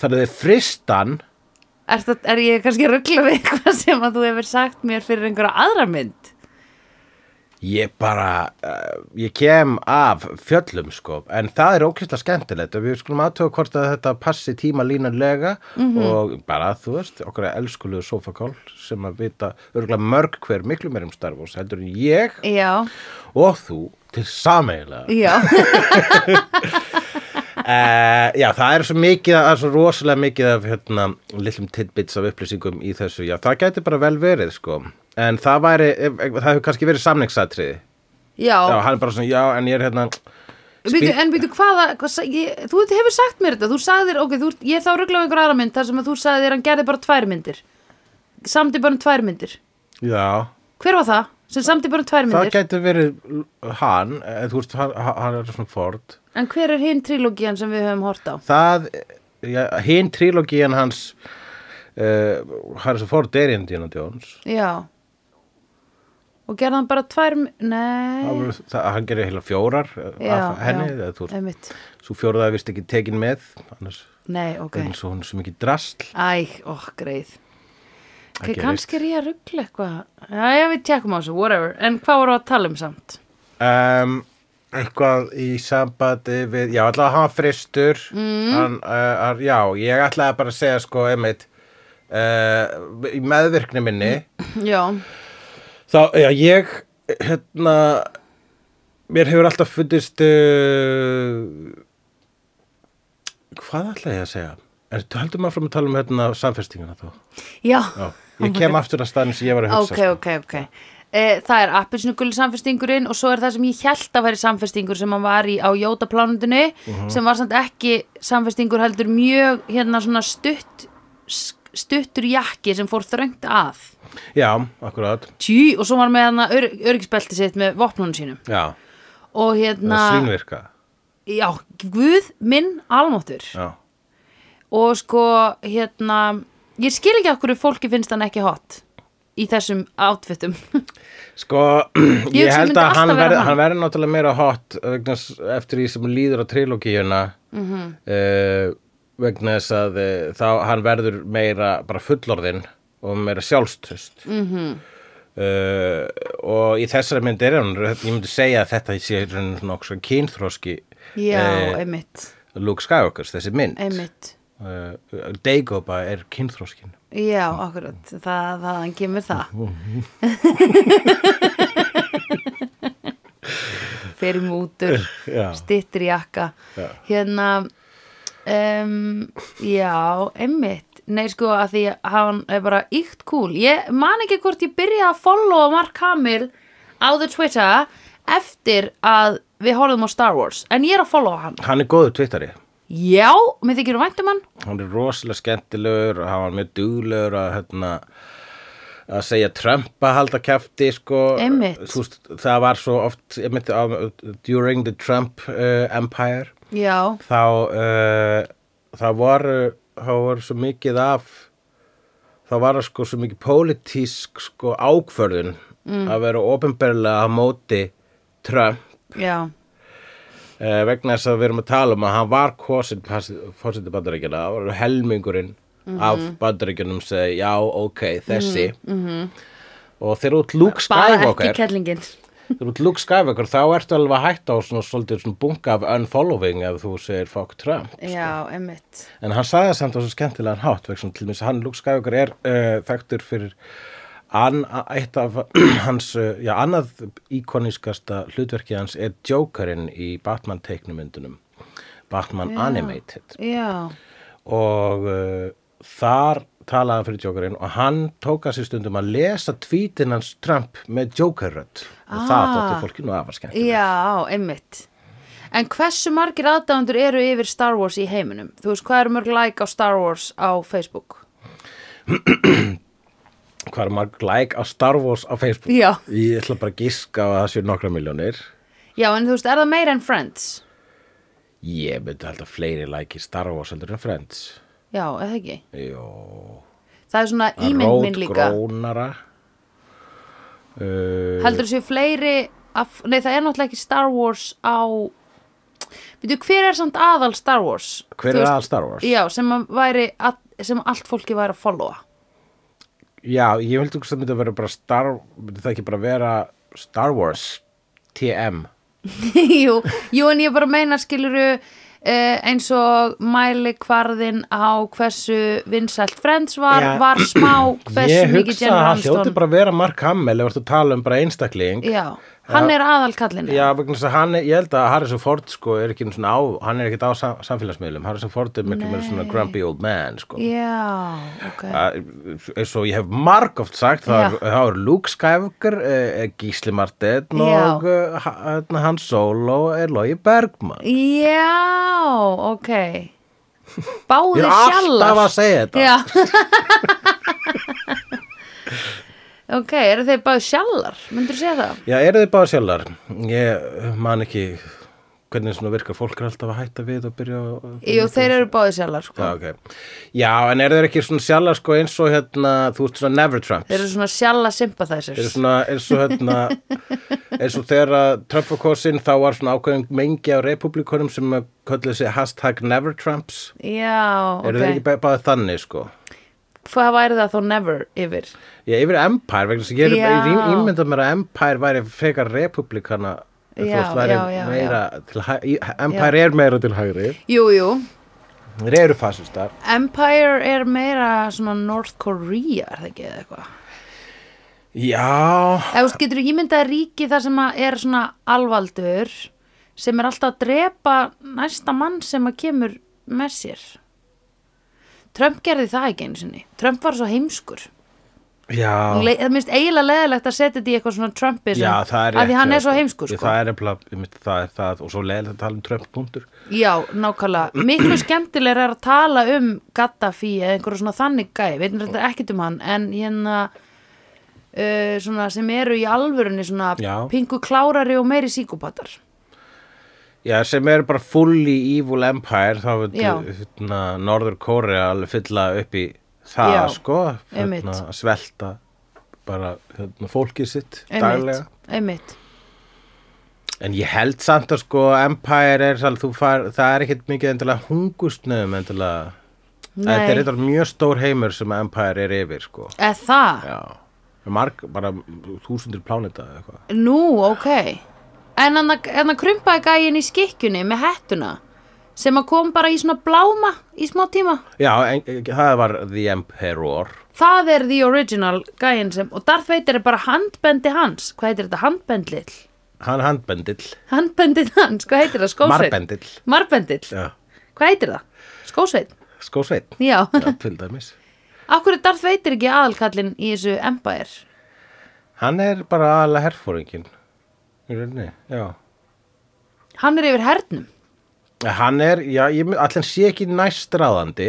Speaker 3: Þannig að þið fristan
Speaker 2: Er, það, er ég kannski að ruggla við eitthvað sem að þú hefur sagt mér fyrir einhverja aðra mynd?
Speaker 3: Ég bara, uh, ég kem af fjöllum sko, en það er ókvæslega skemmtilegt og við skulum aðtöga hvort að þetta passi tíma línanlega og bara, þú veist, okkur er elskulegu sofakál sem að vita örgulega mörg hver miklu meir um Star Wars heldur en ég
Speaker 2: Já,
Speaker 3: og þú til sameiginlega.
Speaker 2: já,
Speaker 3: Uh, já, það er svo mikið, það er svo rosalega mikið af hérna, lillum tidbits af upplýsingum í þessu, já, það gæti bara vel verið sko, en það væri, eh, það hefur kannski verið samningsatriði.
Speaker 2: já
Speaker 3: Já, hann er bara svona, já, en ég er hérna...
Speaker 2: Býtu, en býtu hvaða, hvað, sa- ég, þú hefur sagt mér þetta, þú sagðir, ok, þú, ert- ég þá ruggla á einhver aðra mynd þar sem að þú sagðir hann gerði bara tvær myndir, samdi bara um tvær myndir.
Speaker 3: Já,
Speaker 2: Hver var það sem samdi bara um tvær
Speaker 3: það
Speaker 2: myndir?
Speaker 3: getur verið hann, eða þú veist, hann, hann er svona Ford.
Speaker 2: En hver er hinn trilógian sem við höfum hort á?
Speaker 3: Það, ja, hinn trilógían hans, uh, hann er svo Ford er Indiana Jones.
Speaker 2: Já. Og gerði hann bara tvær, my-
Speaker 3: Það,
Speaker 2: nei,
Speaker 3: voru- það, hann gerir heila fjórar
Speaker 2: Mm. já,
Speaker 3: af henni,
Speaker 2: já, Eh.
Speaker 3: eða þú veist,
Speaker 2: einmitt.
Speaker 3: svo fjóraða er vist ekki tekin með, annars
Speaker 2: Nei, ok.
Speaker 3: okay. eins og hún er svo mikið drasl.
Speaker 2: Æ, ó, greið.
Speaker 3: Það
Speaker 2: Okay,
Speaker 3: gerist.
Speaker 2: kannski er ég að ruggla eitthvað. Já, já, við tjekkum á þessu, whatever. En hvað voru að tala um samt?
Speaker 3: um, eitthvað í sambandi við, já, alltaf hann var fristur mm. hann, uh, hann, já, ég ætlaði bara að segja sko, einmitt uh, í meðvirkni minni
Speaker 2: Mm. Já,
Speaker 3: þá, já, ég hérna mér hefur alltaf fundist uh, hvað ætlaði ég að segja en höldum að fram að tala um hérna samfestinguna þá,
Speaker 2: já.
Speaker 3: já, ég kem aftur að staðin sem ég var að hugsa
Speaker 2: ok,
Speaker 3: sko.
Speaker 2: ok, ok e, það er appisnugul samfestingurinn og svo er það sem ég held að væri samfestingur sem hann var í á jótaplánundinu
Speaker 3: Mhm.
Speaker 2: sem var samt ekki samfestingur heldur mjög hérna svona stutt s- stuttur jakki sem fór þröngt að
Speaker 3: já, akkurat,
Speaker 2: tjú og svo var hann með hann ör, örgisbelti sitt með vopnunum sínum
Speaker 3: já, það
Speaker 2: og
Speaker 3: er
Speaker 2: hérna,
Speaker 3: svínvirka
Speaker 2: já, guð minn almáttur
Speaker 3: já,
Speaker 2: og sko hérna ég skil ekki okkur fólki finnst hann ekki hot í þessum átfittum
Speaker 3: Sko,
Speaker 2: Ég
Speaker 3: ég
Speaker 2: hugsa
Speaker 3: held
Speaker 2: myndi
Speaker 3: að
Speaker 2: alltaf
Speaker 3: hann
Speaker 2: vera
Speaker 3: verði
Speaker 2: hann.
Speaker 3: hann verði náttúrulega meira hot vegna, s- eftir því sem líður á trilógíuna mm
Speaker 2: Mhm.
Speaker 3: vegna þess að eh, þá hann verður meira bara fullorðinn og meira sjálfstust mm
Speaker 2: Mhm.
Speaker 3: og í þessari mynd er hann ég myndi segja að þetta sé í rauninni svona okkur kynþróski
Speaker 2: já,
Speaker 3: Eh,
Speaker 2: einmitt,
Speaker 3: Luke Skywalker, þessi mynd
Speaker 2: einmitt
Speaker 3: uh, Dagobah er kynþróskin
Speaker 2: Já, akkurat, það, þaðan kemur það Fyrir mútur,
Speaker 3: Já.
Speaker 2: stittir jakka Hérna, um, já, einmitt Nei, sko, að því að hann er bara íkt kúl Ég man ekki hvort ég byrjaði að followa Mark Hamill á the Twitter eftir að við horfðum á Star Wars En ég er að followa hann
Speaker 3: Hann er góður tvittari
Speaker 2: Já, mér þykir um væntum hann
Speaker 3: hann er rosalega skemmtilegur og hann var mjög duglegur að hérna að segja Trump að halda kæfti sko,
Speaker 2: Einmitt.
Speaker 3: Þú veist, það var svo oft einmitt, á, eh, during the Trump uh, empire
Speaker 2: Já,
Speaker 3: þá uh, það voru þá var svo mikið af þá var það sko svo mikið pólitísk sko ákvörðun að vera ofinberlega á móti Trump
Speaker 2: já,
Speaker 3: eh, vegna þess að við erum að tala um að hann var kosin fórseti bandaríkjana það var helmingurinn af
Speaker 2: Mhm.
Speaker 3: bandaríkjunum segi já ok þessi og þegar út Luke
Speaker 2: bara ekki
Speaker 3: Skywalker
Speaker 2: kettlingin
Speaker 3: þegar út Luke Skywalker þá ertu alveg að hætta á svona svolítið svona bunga af unfollowing ef þú segir fuck Trump
Speaker 2: já, emmitt
Speaker 3: En hann sagði það samt á svo skemmtilegan hátt vegna svona, til mér að hann Luke Skywalker er uh, þekktur fyrir an, eitt af hans, uh, já, annað íkonískasta hlutverkið hans er Jokerinn í Batman teiknumyndunum Batman Animated
Speaker 2: já,
Speaker 3: og uh, þar talaði hann fyrir Jokerinn og hann tók að sér stundum að lesa tvítin hans Trump með Jokerrödd og það
Speaker 2: Ah.
Speaker 3: þótti fólki nú afar skemmtilegt.
Speaker 2: já, emmitt en hversu margir aðdáðundur eru yfir Star Wars í heiminum? þú veist, hvað eru mörg like á Star Wars á Facebook?
Speaker 3: Hvað er marg like á Star Wars á Facebook?
Speaker 2: Já.
Speaker 3: Ég ætla bara að giska á að það séu nokkra miljónir.
Speaker 2: já, en þú veist, er það meira en Friends?
Speaker 3: Ég myndi held að fleiri læki Star Wars heldur en Friends.
Speaker 2: já, eða ekki
Speaker 3: Jó.
Speaker 2: það er svona ímynd minn líka
Speaker 3: Rótgrónara. Uh,
Speaker 2: heldur þessu fleiri af, nei það er náttúrulega ekki Star Wars á veitu hver er samt aðal Star Wars
Speaker 3: hver
Speaker 2: Þú
Speaker 3: er
Speaker 2: veist-
Speaker 3: aðal Star Wars?
Speaker 2: já sem að væri að, sem allt fólki væri að followa
Speaker 3: Já, ég vildi ekki að myndi að vera bara Star, myndi það ekki bara vera Star Wars TM.
Speaker 2: jú, jú en ég bara meina skiluru uh, eins og mælikvarðin á hversu vinsælt Friends var,
Speaker 3: Já.
Speaker 2: var smá hversu
Speaker 3: ég
Speaker 2: mikið
Speaker 3: hugsa
Speaker 2: Jennifer
Speaker 3: að hann hljóti
Speaker 2: Aniston
Speaker 3: bara að vera Mark Hamill ef þú ert að tala um bara einstakling.
Speaker 2: já, hann er aðalkallin
Speaker 3: Já, vegna þess að hann, er- ég held að Harrison Ford sko er ekki svona á, hann er ekkert á sam samfélagsmiðlum, Harrison Ford er miklu meira svona grumpy old man sko.
Speaker 2: já, ok
Speaker 3: Að- eins og Eh, ég hef marg oft sagt þá er,
Speaker 2: Já.
Speaker 3: þá er Luke Skywalker eh, Gísli Martin
Speaker 2: Já.
Speaker 3: og eh, ha- hérna, hann Solo er Logi Bergman
Speaker 2: Já, ok Báði
Speaker 3: Ég er
Speaker 2: sjallar
Speaker 3: alltaf að segja þetta
Speaker 2: Já Ok, eru þeir báði sjallar? Myndur þú segja það?
Speaker 3: Já, eru þið báða sjálfar? Ég eh, man ekki hvernig svona virkar fólk er alltaf að hætta við og byrja að
Speaker 2: Jú, þeir eru báði sjallar sko.
Speaker 3: Já, ok. Já, en eru þeir ekki svona sjálfar sko eins og hérna, þú ert svona Never Trumps?
Speaker 2: Þeir eru svona sjalla
Speaker 3: er
Speaker 2: sympathizers
Speaker 3: svona eins og hérna eins og þegar að Trump var kosin þá var svona ákveðin mengi á republikunum sem að kölluðu sig hashtag never Trumps
Speaker 2: Já,
Speaker 3: eru þeir ekki
Speaker 2: ok
Speaker 3: bara- bara þannig sko
Speaker 2: Hvað væri það þá never yfir?
Speaker 3: ég yfir Empire vegna sem ég er
Speaker 2: Já.
Speaker 3: ég ímynda mér að Empire væri frekar republikana þú
Speaker 2: Já,
Speaker 3: veist, væri
Speaker 2: já, já,
Speaker 3: meira til hæ- í- Empire er meira til hægri
Speaker 2: Jú, jú
Speaker 3: þeir eru fasistar
Speaker 2: Empire er meira svona North Korea er það ekki eða eitthvað
Speaker 3: já,
Speaker 2: Ef þú veist, getur ímyndað ríki þar sem að er svona alvaldur sem er alltaf að drepa næsta mann sem að kemur með sér. Trump gerði það ekki einu sinni. Trump var svo heimskur.
Speaker 3: já
Speaker 2: Le það minnst eiginlega leðilegt að setja þetta í eitthvað svona Trumpism.
Speaker 3: Já, það er
Speaker 2: Af því
Speaker 3: rétt,
Speaker 2: hann
Speaker 3: já,
Speaker 2: er svo heimskur,
Speaker 3: Ég,
Speaker 2: sko.
Speaker 3: Það er eitthvað, það er það og svo leiðilegt að tala um Trump punktur
Speaker 2: Já, nákvæmlega. Miklu skemmtilega er að tala um Gaddafi eða einhverju svona þannig gæ. Við veitum þetta ekkit um hann, en hérna... Uh, svona sem eru í alvörunni svona
Speaker 3: Já.
Speaker 2: pingu klárari og meiri síkupatar
Speaker 3: Já, sem er bara fully evil empire þá
Speaker 2: Já.
Speaker 3: veitum hérna, Norður Kórea alveg fylla upp í það
Speaker 2: Já,
Speaker 3: sko,
Speaker 2: einmitt.
Speaker 3: að svelta bara hérna, fólkið sitt daglega
Speaker 2: einmitt, einmitt
Speaker 3: en ég held samt að sko empire er sal, far, það er ekkit mikið endilega hungustnöðum endilega þetta er
Speaker 2: Nei.
Speaker 3: eitthvað mjög stór heimur sem empire er yfir sko
Speaker 2: Eða það?
Speaker 3: Já. Marg, bara þúsundir plánita eða eitthvað
Speaker 2: Nú, ok. En hann að krumpaði gægin í skikkjunni með hettuna sem að kom bara í svona bláma í smá tíma.
Speaker 3: Já, en, það var The Emperor
Speaker 2: Það er the original gægin sem, og Darth Vader er bara handbendi hans. Hvað heitir þetta? Handbendlill?
Speaker 3: hann handbendill,
Speaker 2: Handbendið hans, hvað heitir það? Skósveit?
Speaker 3: marbendill
Speaker 2: Marbendill.
Speaker 3: Já.
Speaker 2: Hvað heitir það? Skósveit?
Speaker 3: skósveit
Speaker 2: Já.
Speaker 3: Já, til dæmis.
Speaker 2: Akkur er Darth Vader ekki aðalkallinn í þessu Empire?
Speaker 3: Hann er bara aðalega herfóringin. Í rauninni, já.
Speaker 2: Hann er yfir hernum.
Speaker 3: Hann er, já, ég mynd- ætli hann sé ekki næstráðandi.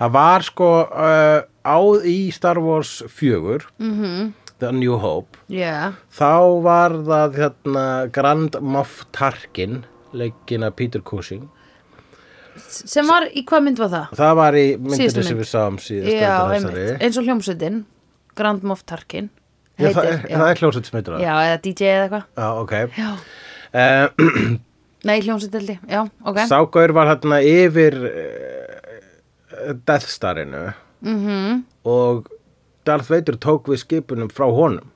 Speaker 3: Það var sko uh, áð í Star Wars 4,
Speaker 2: Mhm.
Speaker 3: -hmm. The New Hope.
Speaker 2: Já.
Speaker 3: Þá var það hérna Grand Moff Tarkin, leggin af Peter Cushing.
Speaker 2: sem var, í hvað mynd var það?
Speaker 3: það var í myndinu
Speaker 2: Síðustu
Speaker 3: sem
Speaker 2: mynd.
Speaker 3: við sáum síðast
Speaker 2: Já,
Speaker 3: undan
Speaker 2: einmitt,
Speaker 3: þessari.
Speaker 2: eins og hljómsveitin Grand Moff Tarkin
Speaker 3: Já, það
Speaker 2: heitir,
Speaker 3: er, það er hljóset sem heitir það
Speaker 2: já, eða DJ eða eitthvað
Speaker 3: Já, ok
Speaker 2: Já.
Speaker 3: uh,
Speaker 2: Nei, hljómsveitildi, já, ok
Speaker 3: Ságaur var hérna yfir uh, Death Starinu
Speaker 2: mm
Speaker 3: og Darth Vader tók við skipunum frá honum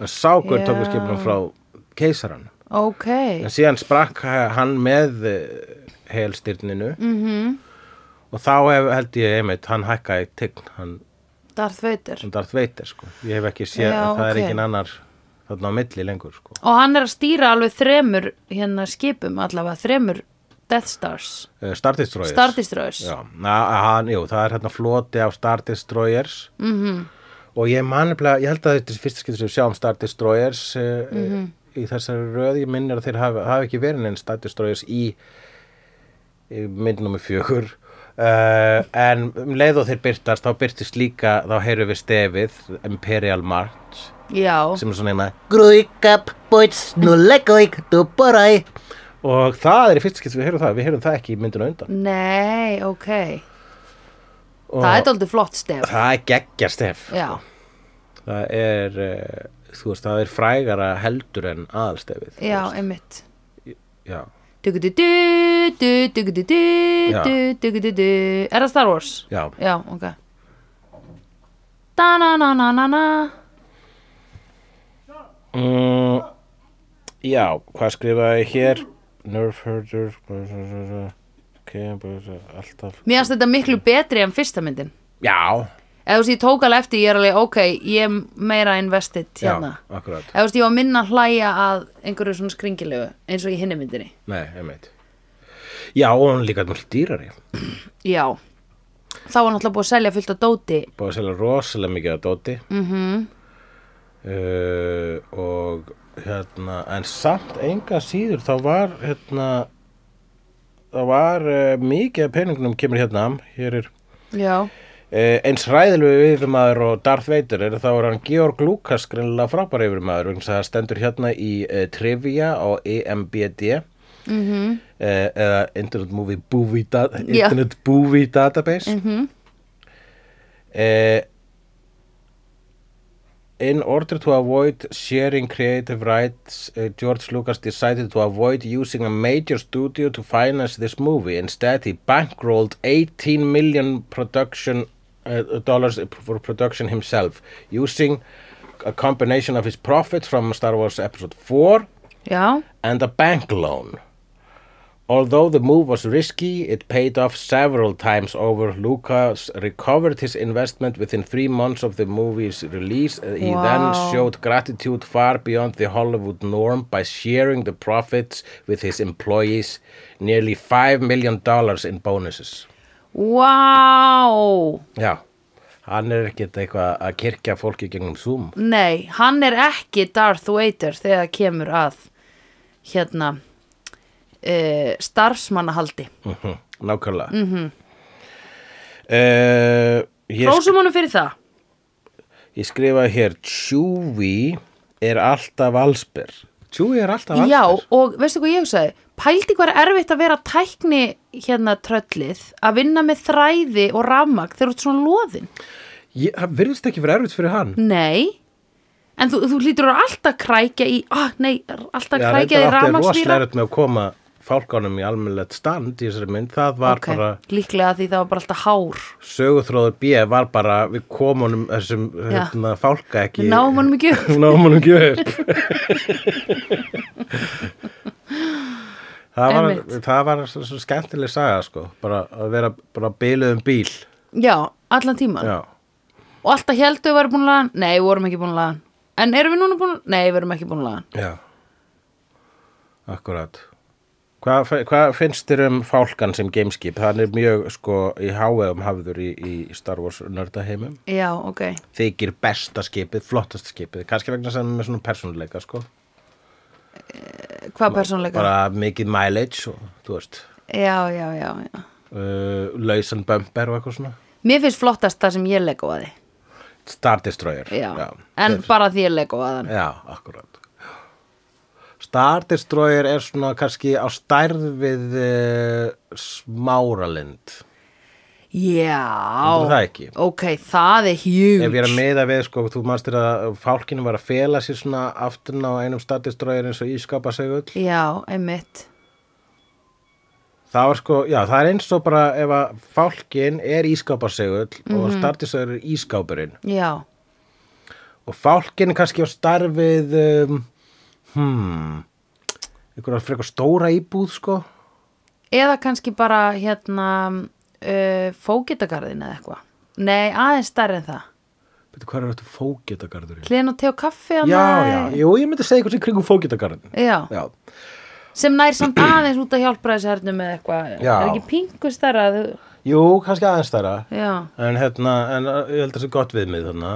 Speaker 3: en Ságaur tók við
Speaker 2: Já.
Speaker 3: skipunum frá keisaranum
Speaker 2: Ok,
Speaker 3: en síðan sprakk ha- hann með eh, helstyrninu mm -hmm.
Speaker 2: Mhm.
Speaker 3: og þá hef, held ég einmitt hann hækkaði tign hann,
Speaker 2: Darth Vader
Speaker 3: hann Darth Vader sko. ég hef ekki séð
Speaker 2: Já,
Speaker 3: að það
Speaker 2: ok.
Speaker 3: er engin annar þarna á milli lengur sko.
Speaker 2: Og hann er að stýra alveg þremur hérna skipum allavega, þremur Death Stars,
Speaker 3: Eh, Star Destroyers
Speaker 2: Star Destroyers
Speaker 3: Já, na, hann, jú, það er hérna floti af Star Destroyers -hmm.
Speaker 2: Mhm.
Speaker 3: og ég maniplega, ég held að þetta er fyrsta skiptur sem við sjáum Star Destroyers mm
Speaker 2: Mhm.
Speaker 3: í þessari röð, ég minnir að þeir hafi, hafi ekki verið neinn Star Destroyers í, í mynd nummer fjögur uh, en um leið og þeir byrtast þá byrtist líka, þá heyru við stefið Imperial March
Speaker 2: Já,
Speaker 3: sem er svona eina
Speaker 1: Grúik upp, bóts, nú leggóik, þú borai
Speaker 3: og það er í fyrsta skiptur við heyrum það, við heyrum það ekki í myndinu undan
Speaker 2: nei, ok
Speaker 3: og
Speaker 2: Það er dálítið flott stef
Speaker 3: það er geggja stef
Speaker 2: Já,
Speaker 3: það er eh, þú veist, það er frægara heldur en aðalstefið þú
Speaker 2: já,
Speaker 3: veist.
Speaker 2: einmitt
Speaker 3: já.
Speaker 2: Dugudu-du, dugudu-du,
Speaker 3: Já.
Speaker 2: dugudu-du Er það Star Wars?
Speaker 3: já,
Speaker 2: Já, ok Da-na-na-na-na-na
Speaker 3: mm, já, hvað skrifaði ég hér nerf herder ok, bara alltaf
Speaker 2: Mér finnst þetta miklu betri en fyrsta myndin
Speaker 3: já,
Speaker 2: Eða þú veist, ég tók alveg eftir, ég er alveg, ok, ég er meira invested
Speaker 3: já,
Speaker 2: hérna
Speaker 3: akkurat
Speaker 2: Eða þú veist, ég var minna að hlæja að einhverju svona skringilegu eins og í hinni myndinni
Speaker 3: nei, einmitt já, og hún er líka mjög dýrari
Speaker 2: Já Þá var náttúrulega búið að selja fullt af dóti
Speaker 3: búið að selja rosalega mikið að dóti mm Eh, og hérna en samt enga síður þá var hérna þá var uh, mikið af peningunum kemur hérna am, hér er
Speaker 2: Já
Speaker 3: uh, eins ræðilegu yfirmaður og Darth Vader er þá er hann Georg Lucas greinlega frábær yfirmaður vegna þess að það stendur hérna í uh, Trivia á E EMBD
Speaker 2: mm
Speaker 3: uh, eða Internet Movie Booby, da
Speaker 2: Já.
Speaker 3: Internet Booby Database Eh, mm -hmm. In order to avoid sharing creative rights, uh, George Lucas decided to avoid using a major studio to finance this movie. Instead, he bankrolled 18 million production uh, dollars for production himself, using a combination of his profits from Star Wars Episode 4
Speaker 2: Já
Speaker 3: and a bank loan. Although the move was risky, it paid off several times over. Lucas recovered his investment within three months of the movie's release. Uh, He
Speaker 2: Wow.
Speaker 3: then showed gratitude far beyond the Hollywood norm by sharing the profits with his employees, nearly $5 million in bonuses.
Speaker 2: Vá
Speaker 3: Já, hann er ekkert eitthvað að kirkja fólki gegnum Zoom.
Speaker 2: Nei, hann er ekki Darth Vader þegar kemur að hérna uh, starfsmannahaldi
Speaker 3: Mhm, Nákvæmlega. Mm -hmm. uh, ég sk-
Speaker 2: Rósum honum fyrir það
Speaker 3: Ég skrifaði hér Chewie er alltaf allsber Chewie er alltaf allsber
Speaker 2: Já, og veistu hvað ég hugsaði? Pældi hvað er erfitt að vera tækni hérna tröllið að vinna með þræði og rafmagn þegar þú ert svona loðin.
Speaker 3: ég, Það virðist ekki verið erfitt fyrir hann
Speaker 2: Nei, en þú, þú lítur að alltaf krækja í, ah, nei, alltaf
Speaker 3: Já,
Speaker 2: krækja í
Speaker 3: reyndar átti rosalega
Speaker 2: rafmagnsvíra.
Speaker 3: erfitt með að koma fálkanum í almennlegt stand í þessari mynd Það var
Speaker 2: Ok,
Speaker 3: bara,
Speaker 2: líklega því það var bara alltaf hár.
Speaker 3: söguþróður B var bara Við komunum þessum
Speaker 2: Já.
Speaker 3: hérna, fálka ekki
Speaker 2: Við náum honum ekki upp.
Speaker 3: Við náum honum ekki upp Það var,
Speaker 2: Einmitt.
Speaker 3: það var svo, svo skemmtileg saga sko, bara að vera bara biluð um bíl
Speaker 2: Já, allan tíman.
Speaker 3: Já
Speaker 2: Og alltaf heldur við varum búin að laga, hann. nei, við vorum ekki búin að laga. hann. En erum við núna búin að, nei, við erum ekki búin að laga. hann.
Speaker 3: Já, akkurat. Hvað hva finnst þér um fálkan sem gameskip? Hann er mjög sko í háveðum hafður í, í Star Wars nördaheimum.
Speaker 2: Já, ok.
Speaker 3: Þykir besta skipið, flottasta skipið, kannski vegna sem með svona persónuleika sko.
Speaker 2: Hvað persónleika?
Speaker 3: Bara mikið mileage og þú veist,
Speaker 2: Já, já, já, já.
Speaker 3: uh, lausan bumper og eitthvað svona.
Speaker 2: Mér finnst flottast það sem ég lego að þið.
Speaker 3: Star Destroyer.
Speaker 2: Já, en bara því ég lego að hann
Speaker 3: Já, akkurat. Star Destroyer er svona kannski á stærð við uh, smáralind
Speaker 2: Já
Speaker 3: Heldur það ekki?
Speaker 2: Ok, það er huge
Speaker 3: ef ég er að meða við sko, þú mannstir að fálkinu var að fela sér svona afturna á einum Star Destroyer eins og ískapa sig öll
Speaker 2: Já, einmitt
Speaker 3: það var sko, já það er eins og bara ef að fálkin er ískapa sig öll
Speaker 2: Mhm.
Speaker 3: og Star Destroyer er ískápurinn
Speaker 2: Já,
Speaker 3: og fálkin er kannski á starfið um, hmm einhverja frekar stóra íbúð sko
Speaker 2: eða kannski bara hérna uh, fógetagarðin eða eitthvað Nei, aðeins stærri en það
Speaker 3: betur hvað er þetta fógetagarðurinn?
Speaker 2: Hliðin á te og kaffi
Speaker 3: Já,
Speaker 2: þarna
Speaker 3: já,
Speaker 2: í-
Speaker 3: jú, ég myndi segja eitthvað sem kringum fógetagarðin
Speaker 2: Já,
Speaker 3: Já,
Speaker 2: sem nær samt aðeins út að hjálpa þessi hernum eða eitthvað
Speaker 3: Já.
Speaker 2: Er ekki pingu stærra að þú-
Speaker 3: jú, kannski aðeins stærra
Speaker 2: Já,
Speaker 3: en hérna, en uh, ég held að það sé gott viðmið þarna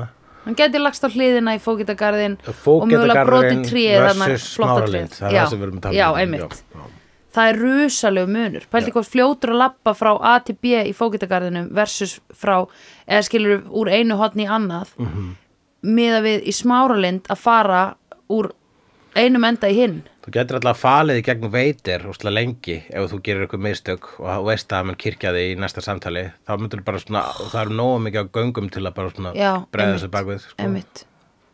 Speaker 2: hann geti lagst á hliðina í fógetagarðin og mögulega
Speaker 3: Fógetagarðurinn
Speaker 2: brotið tríð
Speaker 3: versus smáralind það er það sem við erum að tala
Speaker 2: Já,
Speaker 3: um.
Speaker 2: einmitt
Speaker 3: já, já.
Speaker 2: það er rusalegu munur pælti hvað fljótur að lappa frá A til B í fókitagarðinum versus frá eða skilur úr einu hotn í annað
Speaker 3: Mhm.
Speaker 2: miða við í smáralind að fara úr einum enda í hinn
Speaker 3: Þú getur alltaf falið í gegnum veitir úrslega lengi ef þú gerir eitthvað mistök og þú veist að mann kirkja þig í næsta samtali þá myndur bara svona, og það eru nógu mikið á göngum til að bara svona
Speaker 2: Já,
Speaker 3: bregða
Speaker 2: einmitt,
Speaker 3: þessu bakvið sko.
Speaker 2: einmitt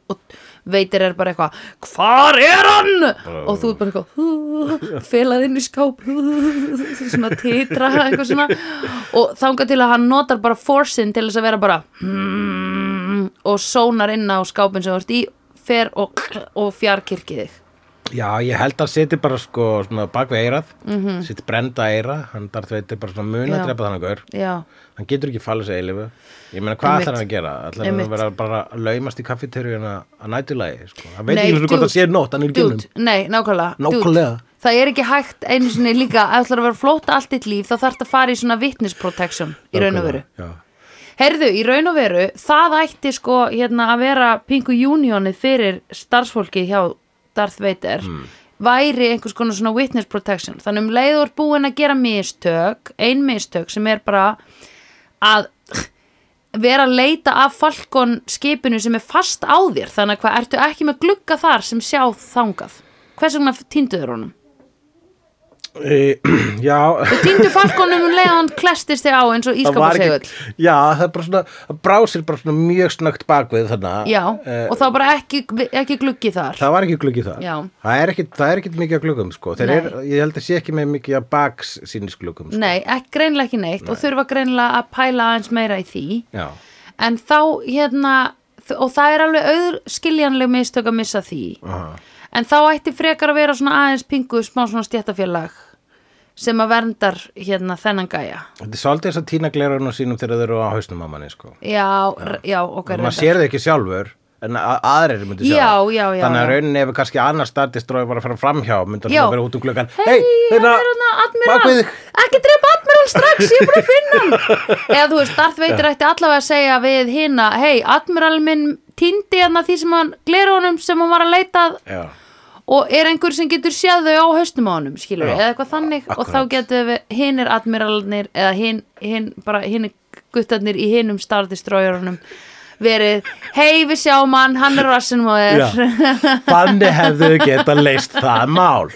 Speaker 2: og veitir er bara eitthvað hvar er hann? og þú er bara eitthvað felað inn í skáp svona titra eitthvað svona og þangað til að hann notar bara forcein til þess að vera bara hmm, og sónar inn á skápin sem þú ert í fer og, og fjarkirkið þig
Speaker 3: Já, ég held að hann seti bara sko svona bakvið eirað, mm -hmm. seti brenda eira hann darð veitir bara svona mun
Speaker 2: Mhm. Já.
Speaker 3: að drepa þannig gaur
Speaker 2: já,
Speaker 3: hann getur ekki falið sér eilifu ég meina hvað
Speaker 2: Einmitt.
Speaker 3: ætlar hann að gera ætlar hann
Speaker 2: Einmitt.
Speaker 3: að vera bara að laumast í kaffiterjuna að nætulagi sko. hann veit
Speaker 2: Nei,
Speaker 3: ekki einu sinni hvort
Speaker 2: dude.
Speaker 3: það sé nótt hann er í gilnum
Speaker 2: dút, nei, nákvæmlega, dude.
Speaker 3: Nákvæmlega.
Speaker 2: það er ekki hægt einu sinni líka, ef þú ætlar að vera flóta allt þitt líf þá þarf það að fara í svona witness protection í raun og veru
Speaker 3: Já.
Speaker 2: Herðu, í raun og veru, það ætti sko hérna að vera pingu unionið fyrir starfsfólki hjá Darth Vader væri einhvers konar svona witness protection. Þannig um leiður búin að gera mistök, ein mistök sem er bara að vera að leita af falkon skipinu sem er fast á þér. Þannig að hvað, ertu ekki með glugga þar sem sjá þangað? Hvers vegna týnduður honum?
Speaker 3: E, já
Speaker 2: Týndu falkonum um leiðan klestist þig á eins og
Speaker 3: það var
Speaker 2: ískapasegull.
Speaker 3: ekki, já, það er bara svona það brá sér bara svona mjög snögt bakvið þannig
Speaker 2: Já,
Speaker 3: Eh,
Speaker 2: og þá bara ekki, ekki gluggi þar.
Speaker 3: það var ekki gluggi það
Speaker 2: Já.
Speaker 3: það er ekkit, það er ekkit mikið að gluggum sko. Þeir
Speaker 2: Nei.
Speaker 3: er, ég held að sé ekki með mikið að baks sínisgluggum sko.
Speaker 2: Nei, ekki, greinlega ekki neitt og þurfa greinlega að pæla aðeins meira í því
Speaker 3: já,
Speaker 2: en þá hérna þ- og það er alveg auður skiljanleg mistök að missa því
Speaker 3: Aha.
Speaker 2: en þá ætti frekar að vera svona aðeins pingu smá svona stjættafélag sem að verndar hérna þennan gæja
Speaker 3: þetta er svolítið þess að tína glerun og sínum þegar þeir eru á hausnum að manni sko.
Speaker 2: Já, r- já, okkar
Speaker 3: maður sér það ekki sjálfur en a- aðrir myndi sjá
Speaker 2: Já,
Speaker 3: það.
Speaker 2: já, já,
Speaker 3: þannig að
Speaker 2: já.
Speaker 3: rauninni ef kannski annar startist dróði bara að fara framhjá myndi hann
Speaker 2: Já.
Speaker 3: bara vera út um gluggan
Speaker 2: Hei, hann
Speaker 3: hérna,
Speaker 2: er hann
Speaker 3: bakvið
Speaker 2: Admiral,
Speaker 3: þig.
Speaker 2: ekki drepa Admiral strax, ég er bara að finna hann Eða þú veist, Darth Vader ætti allavega að segja við hina Hei, Admiral minn týndi hann því sem hann glera honum sem hann var að leita að
Speaker 3: Já.
Speaker 2: og er einhver sem getur séð þau á haustum á honum skilur
Speaker 3: Já,
Speaker 2: eða eitthvað þannig og þá
Speaker 3: akkurat.
Speaker 2: getur við hinnir admiralnir eða hinn, hinn, bara hinnir guttarnir í hinnum Star Destroyerunum verið, hei við sjáum hann hann er rassinum á
Speaker 3: Já.
Speaker 2: þér
Speaker 3: Þannig hefðu geta leist það mál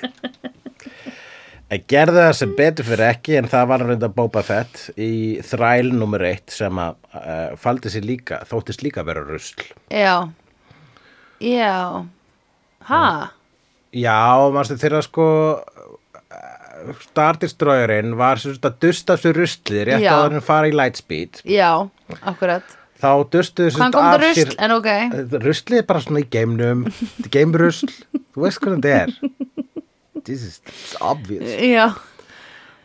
Speaker 3: En gerðu það sem betur fyrir ekki en það var reynda Boba Fett í þræl nummer eitt sem að uh, faldi sér líka, þóttist líka vera rusl
Speaker 2: já já ha,
Speaker 3: Já, mannstu þeirra sko eh, Star Destroyerin var sem sagt að dusta af sér rusli rétt
Speaker 2: Já.
Speaker 3: að hann fara í Lightspeed
Speaker 2: já, akkurat
Speaker 3: þá dustuðu sem
Speaker 2: hvaðan
Speaker 3: sagt
Speaker 2: kom
Speaker 3: af
Speaker 2: það rusl,
Speaker 3: sér- Eh,
Speaker 2: en ok
Speaker 3: Ruslið er bara svona í geimnum Þetta er geimrusl, þú veist hvernig þetta er This is it's obvious
Speaker 2: já,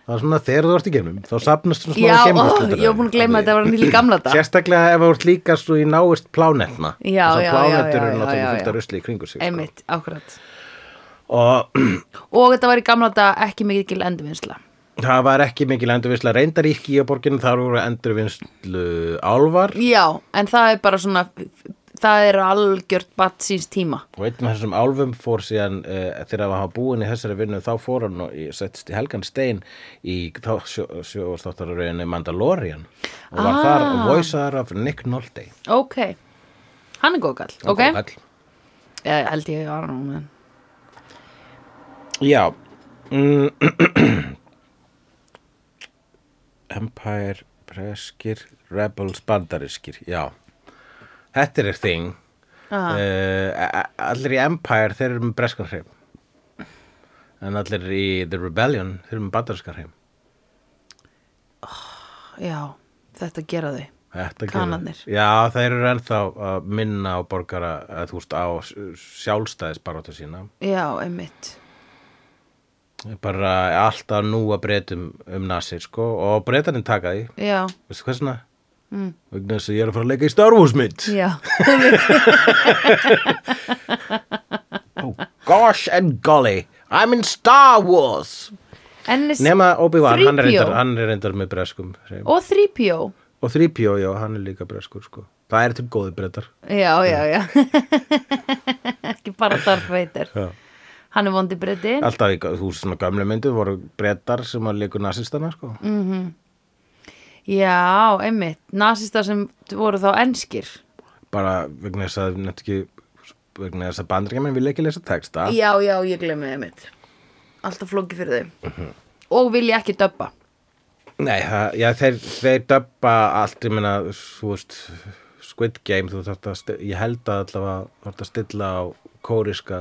Speaker 3: Það er svona þegar þú ert í geimnum, þá sapnast svona smá
Speaker 2: já, ó,
Speaker 3: geimrúslutur.
Speaker 2: ég var búin að gleyma að þetta var nýli gamla dag
Speaker 3: Sérstaklega ef þú ert líka svo í náist plánetna.
Speaker 2: Já,
Speaker 3: Þessar
Speaker 2: já, já,
Speaker 3: plánetur
Speaker 2: já,
Speaker 3: eru
Speaker 2: já, já,
Speaker 3: náttúrulega fullt
Speaker 2: já.
Speaker 3: af rusli í kringu sig.
Speaker 2: einmitt, akkurat
Speaker 3: Sko. Og
Speaker 2: og þetta var í gamla dag ekki mikil endurvinnsla
Speaker 3: það var ekki mikil endurvinnsla reyndar í Kíaborginu, þar voru endurvinnslu álvar
Speaker 2: Já, en það er bara svona það er algjört batt síns tíma
Speaker 3: og einn af þessum álfum fór síðan uh, þegar hann var búin í þessari vinnu þá fór hann og í- settist í Helgan Stein í þá sjóastáttararauðinu Mandalorian og var
Speaker 2: Ah.
Speaker 3: þar og voisaðar af Nick Nolte.
Speaker 2: Ok, hann er góð kall Ok,
Speaker 3: Hann var kall.
Speaker 2: ég held ég að hann
Speaker 3: Já mm. Empire breskir Rebels bandariskir Já Þetta er þing
Speaker 2: Aha.
Speaker 3: uh, Allir í Empire þeir eru með breskan hreim En allir í The Rebellion þeir eru með bandariskan hreim
Speaker 2: Já, þetta gera þau
Speaker 3: Þetta gerir-
Speaker 2: Kanarnir.
Speaker 3: Já, þeir eru ennþá að minna á borgara að þú veist á sjálfstæðisbaróttu sína
Speaker 2: Já, einmitt
Speaker 3: bara alltaf nú að breytum um nasir sko og breytaninn taka því
Speaker 2: Já,
Speaker 3: Veistu hvað svona? Mm. Vegna þess að ég er að fara að leika í Star Wars mynd.
Speaker 2: já,
Speaker 3: Gosh and golly, I'm in Star Wars.
Speaker 2: ennis
Speaker 3: Nema Obi-Wan, hann, er
Speaker 2: 3PO.
Speaker 3: reyndar- hann er reyndar með breskum. hreim.
Speaker 2: og 3PO
Speaker 3: Og 3PO, já, hann er líka breskur sko. Það er til góði breytar.
Speaker 2: Já, já, já Ekki bara Darth Vader
Speaker 3: Já.
Speaker 2: Hann er vondi breyti
Speaker 3: Alltaf í gö- þú veist, svona gömle myndu voru breytar sem að leiku nasistana sko.
Speaker 2: Já, einmitt, nasista sem voru þá enskir
Speaker 3: Bara vegna þess að nefnt ekki vegna þess að bandringarmenn vil ekki lesa texta
Speaker 2: Já, já, ég glemmi einmitt Alltaf flóki fyrir þau Og vilja ekki döbba
Speaker 3: Nei, það, já, þeir, þeir döbba allt, ég meina, þú veist, Squid Game, þú þarft að, sti- ég held að allavega, þú þarft að stilla á kóriska,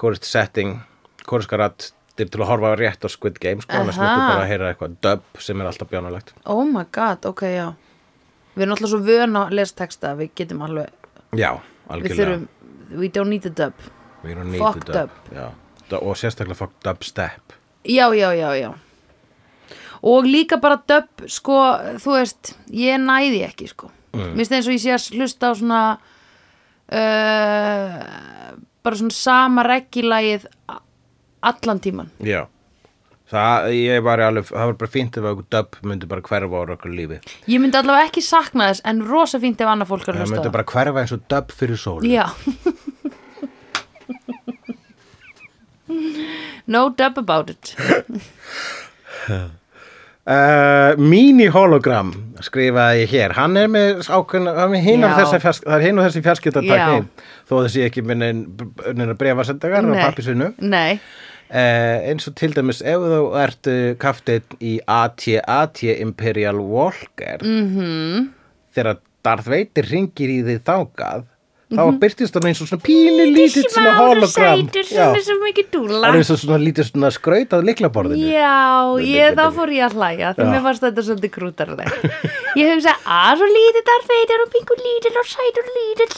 Speaker 3: kórist setting, kóriska rætt, til til að horfa rétt á Squid Game, sko, annars
Speaker 2: Aha.
Speaker 3: mættu bara að heyra eitthvað döbb sem er alltaf bjánulegt.
Speaker 2: Oh my god, ok, já Við erum alltaf svo vön að lesa texta að Við getum alveg,
Speaker 3: Já,
Speaker 2: við
Speaker 3: algjörlega.
Speaker 2: þurfum We don't need the dub
Speaker 3: Við erum nýttu
Speaker 2: fuck
Speaker 3: döbb. Já, Dö- og sérstaklega fuck dubstep.
Speaker 2: Já, já, já, já Og líka bara döpp, sko, þú veist, ég næði ekki, sko.
Speaker 3: Mm.
Speaker 2: Mér finnst eins og ég sé að hlusta á svona, uh, bara svona sama reggilagið a- allan tíman.
Speaker 3: Já. Það, ég var alveg, það var bara fínt ef eitthvað döbb myndi bara hverfa ára okkur lífi.
Speaker 2: Ég myndi allavega ekki sakna þess, en rosa fínt ef annað fólk er
Speaker 3: Það
Speaker 2: að hlusta á
Speaker 3: myndi
Speaker 2: það.
Speaker 3: bara hverfa eins og döbb fyrir sólu.
Speaker 2: Já. no dub about it.
Speaker 3: Uh, mini hologram skrifaði ég hér hann er með ákveðna, hann er með hinn af
Speaker 2: Já.
Speaker 3: þessa fjarsk, það er hinn af þessi fjarskiptatakni
Speaker 2: Já.
Speaker 3: þó þessi ekki með neina brefasendagar og
Speaker 2: Nei.
Speaker 3: pappisvinnu uh,
Speaker 2: Nei,
Speaker 3: eins og til dæmis ef þú ert uh, kaftið í AT-AT Imperial Walker mm
Speaker 2: Mhm.
Speaker 3: -hmm. þegar Darth Vader ringir í því þákað þá byrtist hann eins og svona pínu lítill svona hologram
Speaker 2: Mhm. sætur
Speaker 3: Já.
Speaker 2: sem er svo mikið dúla.
Speaker 3: hann er eins og svona lítill svona skraut að liklaborðinu
Speaker 2: Já,
Speaker 3: Við
Speaker 2: ég,
Speaker 3: myndinni.
Speaker 2: þá fór ég að hlæja því mér fannst þetta svolítið krútarleg Ég hugsa að svo lítið þar feitir og pingu lítill og sætur lítill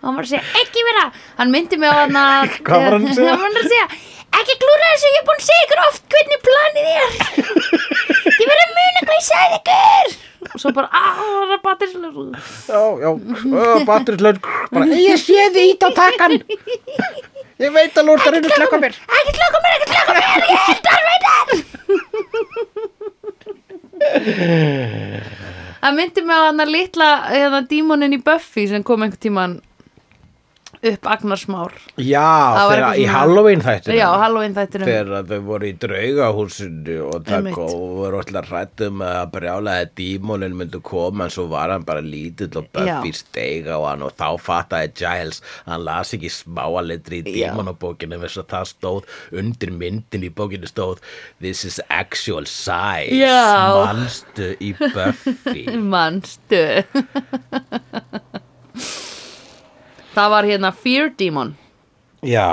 Speaker 2: og hann var að segja ekki vera, hann myndi mig á hann að
Speaker 3: Hvað var hann að segja?
Speaker 2: hann var að segja ekki glúra þessu, ég er búin að segja ykkur oft hvernig planið er ég verið að muna hvað ég sagði ykkur og svo bara, að það er að batir
Speaker 3: já, já, batterislaun bara, ég sé þið ít á takkan ég veit að lúrtar einu slökka mér
Speaker 2: ekki klokka mér, ekki klokka mér, ég er darveitar Það myndi mig á hann að litla eða dímonin í Buffy sem kom einhvern tíman upp Agnarsmár
Speaker 3: já,
Speaker 2: Það var
Speaker 3: þegar
Speaker 2: eitthvað
Speaker 3: í
Speaker 2: svona-
Speaker 3: Halloween þættinu
Speaker 2: Já, Halloween þættinum
Speaker 3: þegar að þau voru í draugahúsinu og það
Speaker 2: Einmitt.
Speaker 3: kom og voru alltaf hrættum að brjálaði dímonin myndu koma en svo var hann bara lítill og Buffy
Speaker 2: Já.
Speaker 3: steig á hann og þá fattaði Giles að hann las ekki smáa letri í
Speaker 2: Já.
Speaker 3: dímonabókinu þess að það stóð undir myndin í bókinu stóð This is actual size
Speaker 2: Já.
Speaker 3: manstu í Buffy
Speaker 2: Manstu Það var hérna Fear Demon
Speaker 3: Já,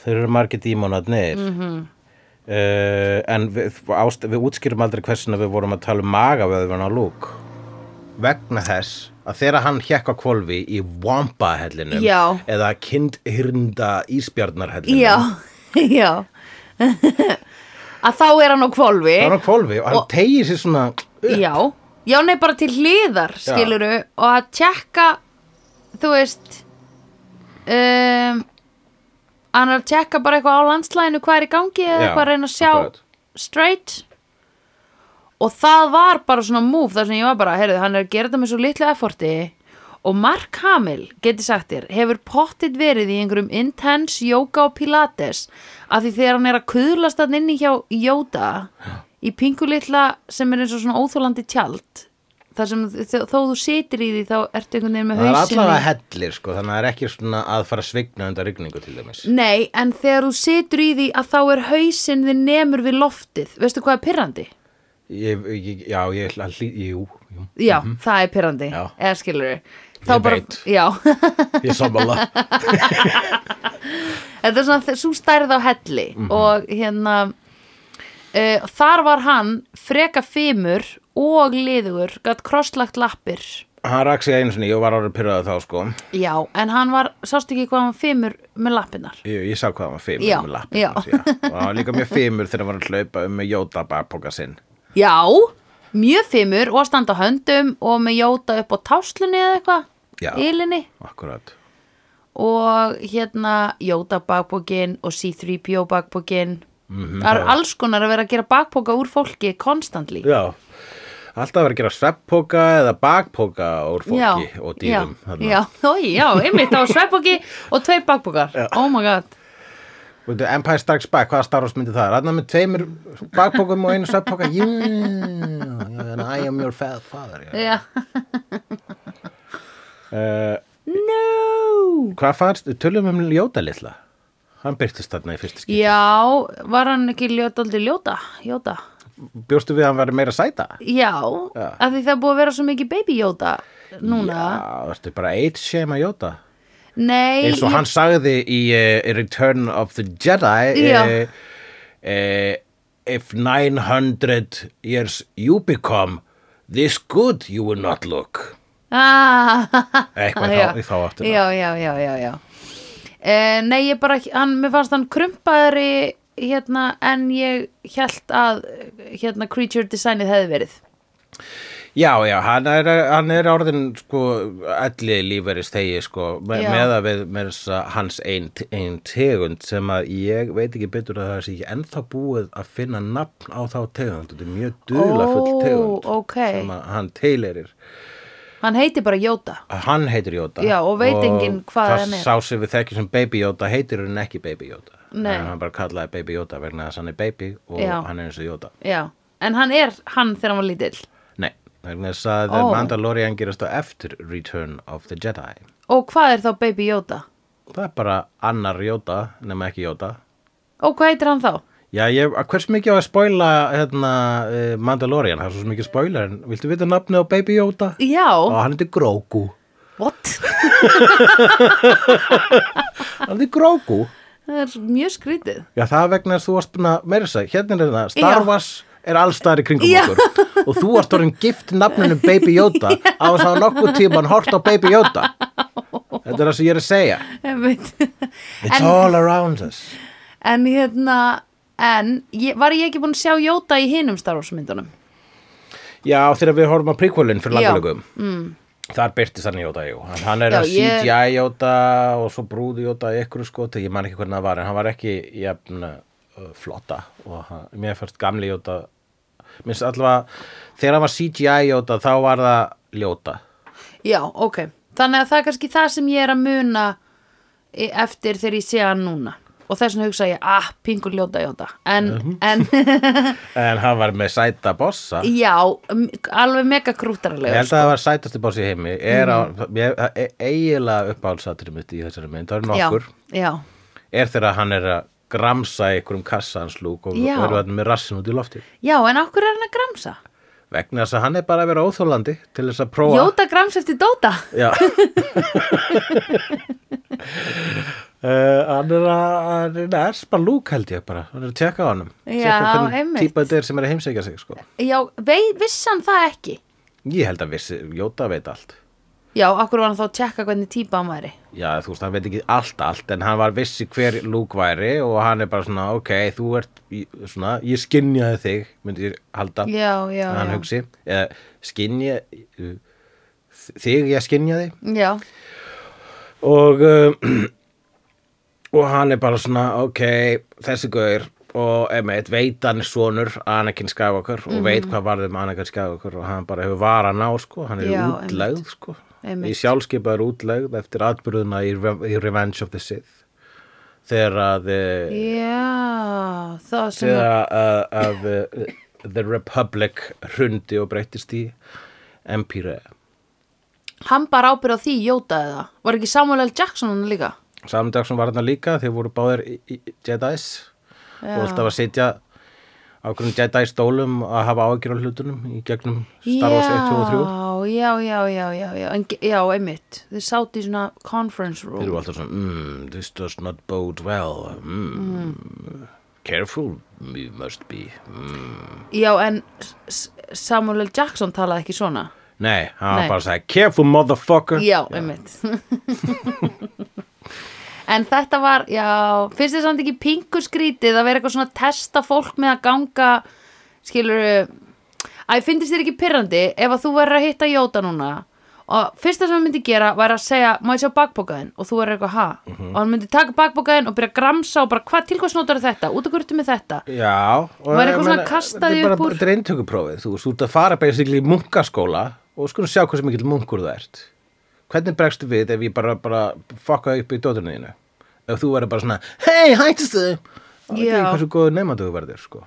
Speaker 3: þeir eru margir dímonarnir mm
Speaker 2: Mhm.
Speaker 3: -hmm. En við, ást, við útskýrum aldrei hversin að við vorum að tala um magavöðvun á lúk Vegna þess að þegar hann hjekk á kvolfi í Wampa-hellinum
Speaker 2: Já.
Speaker 3: eða kindhyrnda ísbjarnar-hellinum
Speaker 2: Já, já að þá er hann á kvolfi
Speaker 3: Það er á kvolfi og hann
Speaker 2: Og-
Speaker 3: tegir sér svona
Speaker 2: Já, já nei bara til hliðar skiluru og að tjekka þú veist um, hann er að tjekka bara eitthvað á landslæðinu hvað er í gangi eða
Speaker 3: Já,
Speaker 2: eitthvað að reyna að sjá
Speaker 3: akkurat.
Speaker 2: straight og það var bara svona move þar sem ég var bara, heyrðu, hann er að gera þetta með svo litlu efforti og Mark Hamill geti sagt þér, hefur pottit verið í einhverjum intense yoga og pilates af því þegar hann er að kuðlast hann inni hjá Yoda í pingu litla sem er eins og svona óþólandi tjald þar sem þó, þó þú sitir í því þá ertu einhvern veginn með
Speaker 3: Það er
Speaker 2: hausinni
Speaker 3: allavega hellir sko, þannig að það er ekki svona að fara að svigna undan rigningu til dæmis.
Speaker 2: Nei, en þegar þú situr í því að þá er hausinn þið nemur við loftið veistu hvað er pirrandi?
Speaker 3: Ég, ég, já, ég ætla að hlý, jú, jú,
Speaker 2: Já, það er pirrandi,
Speaker 3: Mhm. Já.
Speaker 2: eða skilur þá
Speaker 3: Ég
Speaker 2: bara,
Speaker 3: veit.
Speaker 2: já,
Speaker 3: ég sammála.
Speaker 2: þetta er svona svo stærð á helli og hérna uh, þar var hann freka fimur og liðugur gætt krosslagt lappir
Speaker 3: Hann rak sig einu sinni, ég var árið pyrraðið þá sko,
Speaker 2: Já, en hann var, sástu ekki hvað hann var fimur með lappinnar
Speaker 3: ég, ég sá hvað hann var fimur
Speaker 2: Já,
Speaker 3: með lappin
Speaker 2: já.
Speaker 3: hans, já. Og hann var líka mjög fimur þegar hann var að hlaupa um með jóta bakpoka sinn.
Speaker 2: Já, mjög fimur og að standa á höndum og með jóta upp á táslunni eða eitthvað,
Speaker 3: Já.
Speaker 2: ylinni
Speaker 3: Akkurat.
Speaker 2: og hérna jóta bakbókin og C3PO bakbókin Það eru alls konar að vera að gera bakbóka úr fólki konstantli
Speaker 3: Já, alltaf verið að gera svepppoka eða bakpoka úr fólki
Speaker 2: já,
Speaker 3: og dýrum.
Speaker 2: Já,
Speaker 3: þarna.
Speaker 2: já, Ói, já einmitt á sveppbóki og tveir bakbókar Oh my god
Speaker 3: Veitu, Empire Strikes Back, hvaða Star Wars myndi það? er? Rannar með tveimur bakpokum og einu svepppoka. Yeah, and I am your fa- father. Yeah.
Speaker 2: Já.
Speaker 3: Uh,
Speaker 2: No
Speaker 3: hvað fannst, tölum um Ljóta litla? Hann byrtist þarna í fyrstu skil.
Speaker 2: Já, var hann ekki ljóta aldrei ljóta? Jóta
Speaker 3: Bjóstu við að hann væri meira sæta?
Speaker 2: Já,
Speaker 3: Já.
Speaker 2: af því það er búið að vera svo mikið baby Yoda núna.
Speaker 3: Já, ertu bara eitt shame að Jóta?
Speaker 2: Nei,
Speaker 3: Eins og
Speaker 2: ég-
Speaker 3: hann sagði í uh, Return of the Jedi
Speaker 2: Já.
Speaker 3: uh, uh, If 900 years you become this good you will not look
Speaker 2: Ah,
Speaker 3: Eitthvað í
Speaker 2: já.
Speaker 3: þá- í þá áttina.
Speaker 2: Já, já, já, já, já. Eh, nei, ég bara, hann, mér fannst hann krumpaðari hérna en ég held að hérna creature designið hefði verið.
Speaker 3: Já, já, hann er, hann er orðin sko allir lífverðis þegi sko me,
Speaker 2: Já.
Speaker 3: með að við með þess að hans ein, ein tegund sem að ég veit ekki betur að það sé ekki ennþá búið að finna nafn á þá tegund þetta er mjög dulafull
Speaker 2: Ó,
Speaker 3: tegund
Speaker 2: ókei.
Speaker 3: sem að hann teilerir
Speaker 2: Hann heiti bara Yoda.
Speaker 3: hann heitir Jóta
Speaker 2: Já, og veit enginn hvað hann er.
Speaker 3: það sá sem við þekkjum sem Baby Jóta heitir hann ekki Baby Jóta
Speaker 2: Nei.
Speaker 3: hann bara kallaði Baby Jóta vegna þess að hann er baby og
Speaker 2: Já.
Speaker 3: hann er eins og Jóta
Speaker 2: Já, en hann er hann þegar hann var lítill.
Speaker 3: nei, vegna þess að
Speaker 2: Ó.
Speaker 3: Mandalorian gerast á eftir Return of the Jedi
Speaker 2: Og hvað er þá baby Yoda?
Speaker 3: það er bara annar Jóta nema ekki Jóta
Speaker 2: Og hvað heitir hann þá?
Speaker 3: já, ég, að hversu mikið á að spoila hérna, eh, Mandalorian, það er svo mikið spoiler en viltu vita nafnið á Baby Jóta? og
Speaker 2: Já,
Speaker 3: hann heitir Grogu
Speaker 2: what?
Speaker 3: hann heitir Grogu
Speaker 2: það er mjög skrítið.
Speaker 3: Já, það er vegna að þú varst búin að meira þess að, hérna er það, Star
Speaker 2: Já.
Speaker 3: Wars er allstaðar í kringum
Speaker 2: Já.
Speaker 3: okkur og þú varst orðin gift nafninu Baby Yoda á þess að hafa nokkuð tíman hort á Baby Yoda Þetta er það sem ég er að segja
Speaker 2: Einmitt.
Speaker 3: It's
Speaker 2: En-
Speaker 3: all around us
Speaker 2: En hérna, en ég, var ég ekki búin að sjá Jóta í hinum Star Wars myndunum?
Speaker 3: Já, þegar við horfum á prequelin fyrir
Speaker 2: Já.
Speaker 3: langalögum mm. Þar byrtist hann Yoda, jú Hann- Hann er
Speaker 2: Já,
Speaker 3: að
Speaker 2: ég-
Speaker 3: CGI Yoda og svo brúði Yoda í ykkur sko ég man ekki hvernig það var, en hann var ekki jafn uh, flotta og hann, mér fyrst gamli Yoda minnst allavega, þegar hann var CGI Yoda þá var það ljóta
Speaker 2: Já, ok. Þannig að það er kannski það sem ég er að muna e- eftir þegar ég sé hann núna. Og þess vegna hugsa ég, ah, pingur ljóta Jóta. En, en,
Speaker 3: En hann var með sæta bossa Ég
Speaker 2: já, m- alveg mega krúttaralegur.
Speaker 3: held að það var sætasti boss í heimi Er á,
Speaker 2: Mm.
Speaker 3: ég, það er eiginlega uppáhaldsatrið mitt í þessari mynd Það eru nokkur
Speaker 2: Já, já.
Speaker 3: Er þegar hann er að gramsa í einhverjum kassanslúk og
Speaker 2: Já.
Speaker 3: verður hann með rassin út í lofti
Speaker 2: Já, en okkur er hann að gramsa?
Speaker 3: Vegna þess að hann er bara að vera óþólandi til þess að prófa
Speaker 2: Jóta grams eftir Dóta.
Speaker 3: Já Uh, hann er að, hann er að espa lúk held ég bara, hann er að tjekka á honum
Speaker 2: Já,
Speaker 3: Tékka hvernig
Speaker 2: einmitt.
Speaker 3: típa þetta er sem er að heimsækja sig sko.
Speaker 2: Já, vei, vissi hann það ekki?
Speaker 3: ég held að vissi, Jóta veit allt
Speaker 2: Já, okkur var hann þá að tjekka hvernig típa hann væri.
Speaker 3: Já, þú veist, hann veit ekki allt allt en hann var vissi hver Luke væri og hann er bara svona, ok, þú ert í- svona, ég skinjaði þig myndi ég halda,
Speaker 2: Já, já,
Speaker 3: að hann
Speaker 2: já.
Speaker 3: hugsi eða skinja uh, þig ég skinjaði
Speaker 2: Já,
Speaker 3: og um, og hann er bara svona, ok þessi gaur og emeit, veit hann er sonur Anakin Skywalker
Speaker 2: Mhm.
Speaker 3: og veit hvað varði með Anakin Skywalker og hann bara hefur varan á sko, hann er
Speaker 2: Já,
Speaker 3: útlegð sko
Speaker 2: Einmitt.
Speaker 3: í sjálfskeipaður útlegð eftir atbyrðuna í, Re- í Revenge of the Sith þegar að eh,
Speaker 2: já, það
Speaker 3: uh,
Speaker 2: sem...
Speaker 3: þegar að, að, að eh, The Republic hrundi og breyttist í Empire
Speaker 2: Hann bara ábyrð á því Jóta eða Var ekki Samuel L. Jackson hann líka?
Speaker 3: Samuel Jackson var þarna líka þeir voru báðir í- í- Jedis
Speaker 2: Já.
Speaker 3: og alltaf að sitja á hvernig Jedi stólum að hafa áhyggjur á hlutunum í gegnum Star Wars 1, 2 og 3
Speaker 2: Já, já, já, já, já, en, ge- já, einmitt Þeir sátt í svona conference
Speaker 3: Þeir
Speaker 2: room
Speaker 3: eru alltaf svona, mm, this does not bode well, mm, careful you must be. Mm.
Speaker 2: Já, en S- S- Samuel L. Jackson talaði ekki svona
Speaker 3: Nei, hann
Speaker 2: Nei.
Speaker 3: bara sagði, careful motherfucker.
Speaker 2: Já, einmitt En þetta var, já, finnst þið samt ekki pingu skrítið að vera eitthvað svona að testa fólk með að ganga, skilur, æ, finnst þér ekki pyrrandi ef að þú verður að hitta Jóta núna og fyrsta sem hann myndi gera væri að segja, má ég sjá bakbókaðin og þú verður eitthvað, ha? Og hann myndi taka bakbókaðin og byrja að gramsa og bara, hvað, til hvers notar þetta? Út af hverju ertu með þetta?
Speaker 3: Já. og
Speaker 2: Var
Speaker 3: ég
Speaker 2: eitthvað svona
Speaker 3: meina,
Speaker 2: kastað
Speaker 3: þetta er
Speaker 2: upp
Speaker 3: bara-
Speaker 2: úr?
Speaker 3: Þetta er eintökuprófið, þú veist, þú ert að fara basically í munkaskóla og skulum sjá hversu mikill munkur þú ert. Hvernig bregstu við ef ég bara, bara fucka upp í dótunni þínu? Ef þú verður bara svona, hei, hættist þau? Það er
Speaker 2: Já.
Speaker 3: ekki hversu góðu nefnandi þú verður, sko.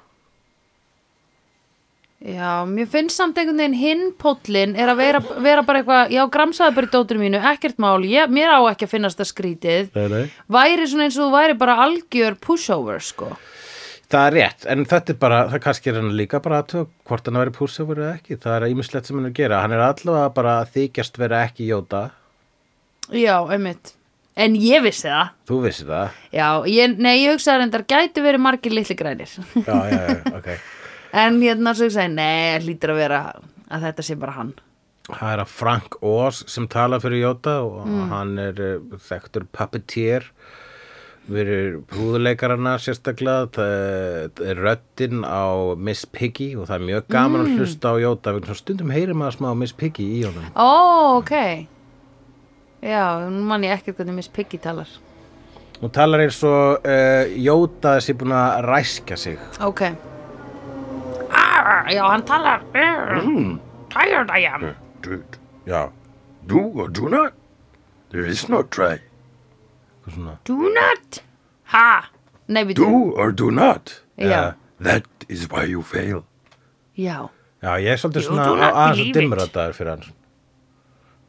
Speaker 2: Já, mér finnst samt einhvern veginn hinn póllin er að vera, vera bara eitthvað, já, gramsaði bara í dótinu mínu, ekkert mál, ég, mér á ekki að finnast það skrítið.
Speaker 3: Nei, nei.
Speaker 2: Væri svona eins og þú væri bara algjör pushover, sko.
Speaker 3: Það er rétt, en þetta er bara, það kannski er hann líka bara aðtög hvort hann að vera púrsefur eða ekki, það er ímislegt sem hann er að gera, hann er allavega bara að þykjast vera ekki jóta,
Speaker 2: Já, einmitt. En ég vissi það.
Speaker 3: þú vissir það,
Speaker 2: Já, ég, nei, ég hugsaði reyndar, gæti verið margir litli grænir.
Speaker 3: já, já, já, ok,
Speaker 2: en hérna svo ég segi, nei, hlýtur að vera að þetta sé bara hann.
Speaker 3: það er að Frank Oz sem tala fyrir jóta og
Speaker 2: Mm.
Speaker 3: hann er eh, þekktur puppeteer, verið húðuleikarana sérstaklega, það er röddin á Miss Piggy og það er mjög gaman
Speaker 2: Mm.
Speaker 3: að hlusta á jóta, vegna þess að stundum heyrir maður smá Miss Piggy í honum.
Speaker 2: Ó, ok. Já, nú man ég ekkert hvernig Miss Piggy talar.
Speaker 3: Hún talar eins og uh, Jóta sé búin að ræskja sig.
Speaker 2: Ok. Arr, já, hann talar. mm, Arr.
Speaker 5: Mm.
Speaker 4: Tired I am.
Speaker 5: Eh. Dude,
Speaker 3: Já.
Speaker 5: do or do not? There is no try.
Speaker 3: Svona.
Speaker 4: Do not.
Speaker 2: Ha? Nei, við
Speaker 5: Do or do not? Uh,
Speaker 2: Já.
Speaker 5: That is why you fail.
Speaker 2: Já.
Speaker 3: Já, ég er svolítið
Speaker 4: You
Speaker 3: svona
Speaker 4: do
Speaker 3: á-
Speaker 4: not
Speaker 3: aðeins
Speaker 4: believe
Speaker 3: að dimmur
Speaker 4: it.
Speaker 3: þetta er fyrir hann.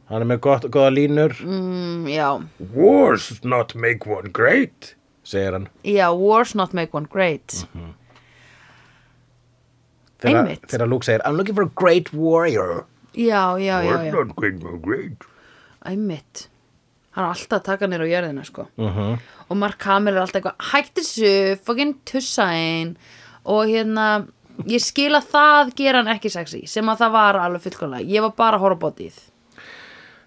Speaker 3: Hann er með gott, goða línur,
Speaker 2: Mm, já.
Speaker 5: Wars not make one great.
Speaker 3: segir hann.
Speaker 2: Já, wars not make one great.
Speaker 5: Mhm.
Speaker 3: Þegar-
Speaker 2: Einmitt.
Speaker 3: Þegar Luke segir, I'm looking for a great warrior.
Speaker 2: Já, já, já,
Speaker 5: Wars
Speaker 2: já.
Speaker 5: not make one great.
Speaker 2: Æmitt. Hann er alltaf að taka nýr á jörðina, sko.
Speaker 5: Uh-huh.
Speaker 2: Og Mark Hamill er alltaf eitthvað, hætti þessu, fucking tussa einn. Og hérna, ég skil að það gera hann ekki sexy, sem að það var alveg fullkomlega. Ég var bara að horfa bótið.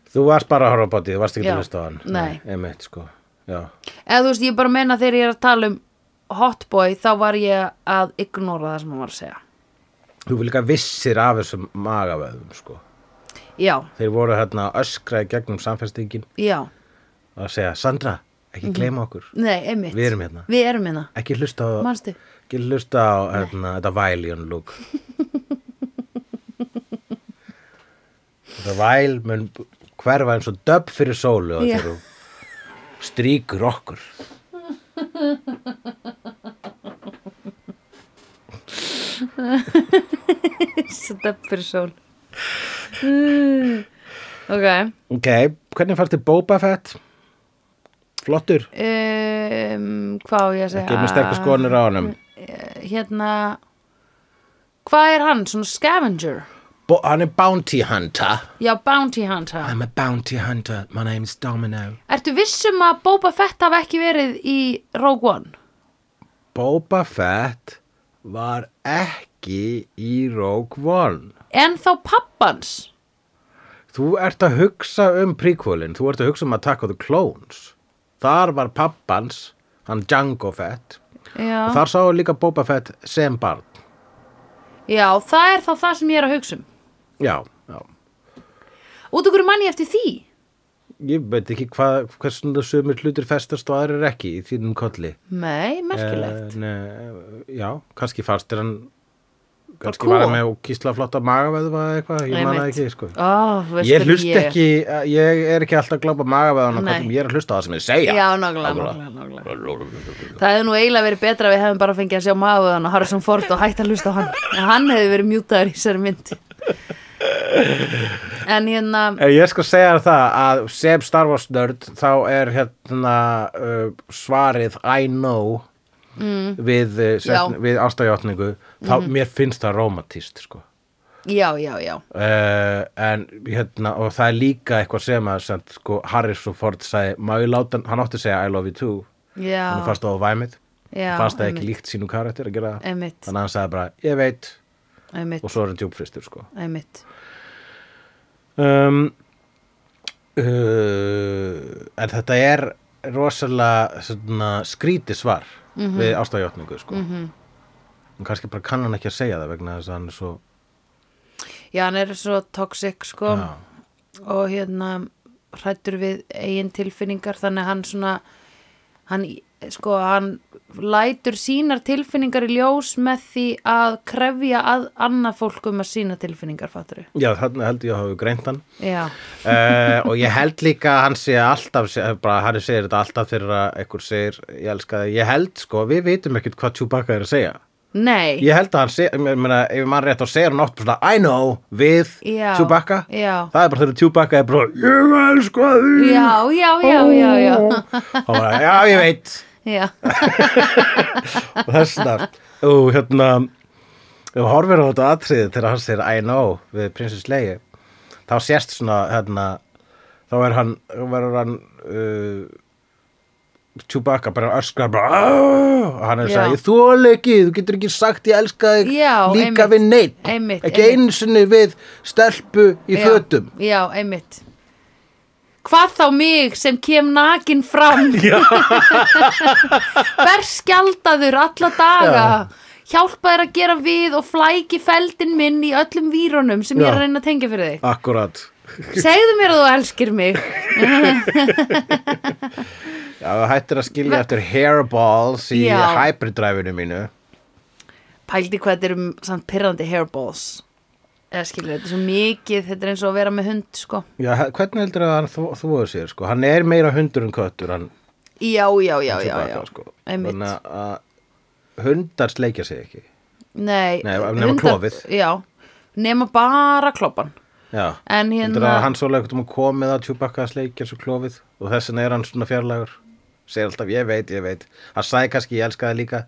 Speaker 2: þú
Speaker 3: Þú varst bara að horfa á bótið, þú varst ekki
Speaker 2: Já.
Speaker 3: að hlusta á hann.
Speaker 2: Nei.
Speaker 3: Einmitt, sko. Já.
Speaker 2: Eða þú veist, ég bara meina þegar ég er að tala um hotboy, þá var ég að ignora það sem hann var að segja.
Speaker 3: Þú vil líka vissir af þessum magavöðum, sko.
Speaker 2: Já,
Speaker 3: Þeir voru hérna að öskra í gegnum samfestingin
Speaker 2: já,
Speaker 3: og að segja, Sandra,
Speaker 2: Mhm.
Speaker 3: ekki gleyma okkur.
Speaker 2: nei, einmitt.
Speaker 3: Við erum hérna.
Speaker 2: Við erum hérna,
Speaker 3: Ekki hlusta á...
Speaker 2: manstu?
Speaker 3: Ekki hlusta á hérna, þetta væl í hann lúk Þetta væl mun hverfa eins og döpp fyrir sólu og
Speaker 2: Já.
Speaker 3: þegar þú strýkur okkur
Speaker 2: Stöpp fyrir sól. Mm, ok,
Speaker 3: Ok, hvernig fannst þér Boba Fett? Flottur,
Speaker 2: um, hvað á ég að segja?
Speaker 3: ekki með sterkur skonur á honum
Speaker 2: Hérna, hvað er hann, svona scavenger?
Speaker 3: Bo Hann er Bounty Hunter
Speaker 2: Já, bounty hunter.
Speaker 3: I'm a Bounty Hunter, my name is Domino
Speaker 2: Ertu vissum að Boba Fett hafi ekki verið í Rogue One?
Speaker 3: Boba Fett var ekki í Rogue One
Speaker 2: En þá pappans?
Speaker 3: Þú ert að hugsa um prequelin, þú ert að hugsa um Attack of the Clones. Þar var pappans, hann Django Fett,
Speaker 2: Já.
Speaker 3: og þar sáu líka Boba Fett sem barn.
Speaker 2: Já, það er þá það sem ég er að hugsa um.
Speaker 3: Já, já.
Speaker 2: Út okkur manni eftir því.
Speaker 3: Ég veit ekki hvað, hversum það sömur hlutir festast og aðrir ekki í þínum kolli.
Speaker 2: Nei, merkilegt.
Speaker 3: En, eh, já, kannski fannst þér hann, kannski
Speaker 2: cool.
Speaker 3: var hann með kísla flotta magaveðva eða eitthvað, ég manna
Speaker 2: Einmitt.
Speaker 3: ekki, sko.
Speaker 2: Ó, veistu
Speaker 3: Ég hlust ekki, eh, ég er ekki alltaf að glápa magaveðan og
Speaker 2: Nei.
Speaker 3: hvernig ég er að hlusta á það sem ég segja.
Speaker 2: Já, nákvæmlega, nákvæmlega, nákvæmlega. Það hefði nú eiginlega verið betra að við hefðum bara fengið að sjá maðurðan og Harrison Ford og hætt að hlusta á hann. En hann hefði verið mjútaður í þessari mynd. en hérna
Speaker 3: Ef Eh, ég skal segja þér það að sem Star Wars nörd þá er hérna uh, svarið I know mm. við, uh, setn,
Speaker 2: Já. Mhm.
Speaker 3: við ástæðjátningu þá mér finnst það romantist sko.
Speaker 2: já, já, já,
Speaker 3: uh, en hérna og það er líka eitthvað sem að sem, sko, Harrison Ford sagði "Má ég láta hann hann átti að segja I love you too
Speaker 2: já
Speaker 3: hann fannst það á væmið
Speaker 2: Já,
Speaker 3: fannst það ekki
Speaker 2: einmitt.
Speaker 3: líkt sínum karakter að gera það
Speaker 2: Einmitt.
Speaker 3: þannig að hann sagði bara ég veit
Speaker 2: einmitt,
Speaker 3: og svo er hann djúpfristur sko.
Speaker 2: einmitt
Speaker 3: um, uh, Eh, en þetta er rosalega svona, skríti svar
Speaker 2: Mhm.
Speaker 3: við ástæðjátningu sko. en kannski bara kann hann ekki að segja það vegna þess að hann er svo
Speaker 2: já, hann er svo toxic sko
Speaker 3: já,
Speaker 2: og hérna hrættur við eigin tilfinningar þannig að hann svona hann, sko, hann lætur sínar tilfinningar í ljós með því að krefja að annað fólk um að sína tilfinningar fatturu
Speaker 3: já þarna held ég að hafa greint hann
Speaker 2: já,
Speaker 3: uh, og ég held líka að hann sé alltaf sé- bara hann segir þetta alltaf þegar að einhver segir ég elska það, ég held sko við vitum ekkert hvað Chewbacca er að segja
Speaker 2: nei
Speaker 3: ég held að hann sé, ég meina, ef mann rétt á segir hann oft bara svona, I know, við
Speaker 2: Já,
Speaker 3: Chewbacca,
Speaker 2: já.
Speaker 3: það er bara þegar Chewbacca er bara, ég elska því
Speaker 2: já, já, já, já, já
Speaker 3: og bara, já ég veit
Speaker 2: já,
Speaker 3: og þess vegna og hérna og horfir á þetta atriði þegar hann segir I know við prinsins Leia þá sést svona hérna þá er hann, verður hann uh, Chewbacca bara öskra bara, "Ah!" og hann er að
Speaker 2: Já.
Speaker 3: segja ég þóla ekki, þú getur ekki sagt ég elska þig
Speaker 2: Já,
Speaker 3: líka
Speaker 2: einmitt.
Speaker 3: við neitt
Speaker 2: Einmitt,
Speaker 3: ekki
Speaker 2: einmitt.
Speaker 3: einu sinni við stelpu í
Speaker 2: já,
Speaker 3: fötum
Speaker 2: já, einmitt hvað þá mig sem kem nakin fram berskjaldaður alla daga hjálpa þér að gera við og flæki feldin minn í öllum vírunum sem ég er
Speaker 3: Já.
Speaker 2: að reyna að tengja fyrir þig
Speaker 3: akkurat
Speaker 2: segðu mér að þú elskir mig
Speaker 3: já, það hættir að skilja eftir hairballs í
Speaker 2: Já.
Speaker 3: hybrid-dræfinu mínu
Speaker 2: pældi hvað þetta eru samt pyrrandi hairballs eða skilur þetta er svo mikið þetta er eins og að vera með hund sko
Speaker 3: Já, he- hvernig heldur að hann þvo- þvoðu sér sko? Hann er meira hundur en köttur hann
Speaker 2: já, já, já, já,
Speaker 3: Chewbacca,
Speaker 2: já.
Speaker 3: Sko.
Speaker 2: Einmitt.
Speaker 3: Þannig að hundar sleikja sig ekki
Speaker 2: nei,
Speaker 3: Nei, nema klofið.
Speaker 2: já, nema bara kloppan
Speaker 3: Já,
Speaker 2: En hérna-
Speaker 3: heldur að hann svolega eitthvað komið að Chewbacca að sleikja svo klofið og þess vegna er hann svona fjarlægur segir alltaf, ég veit, ég veit hann sagði kannski, ég elska það líka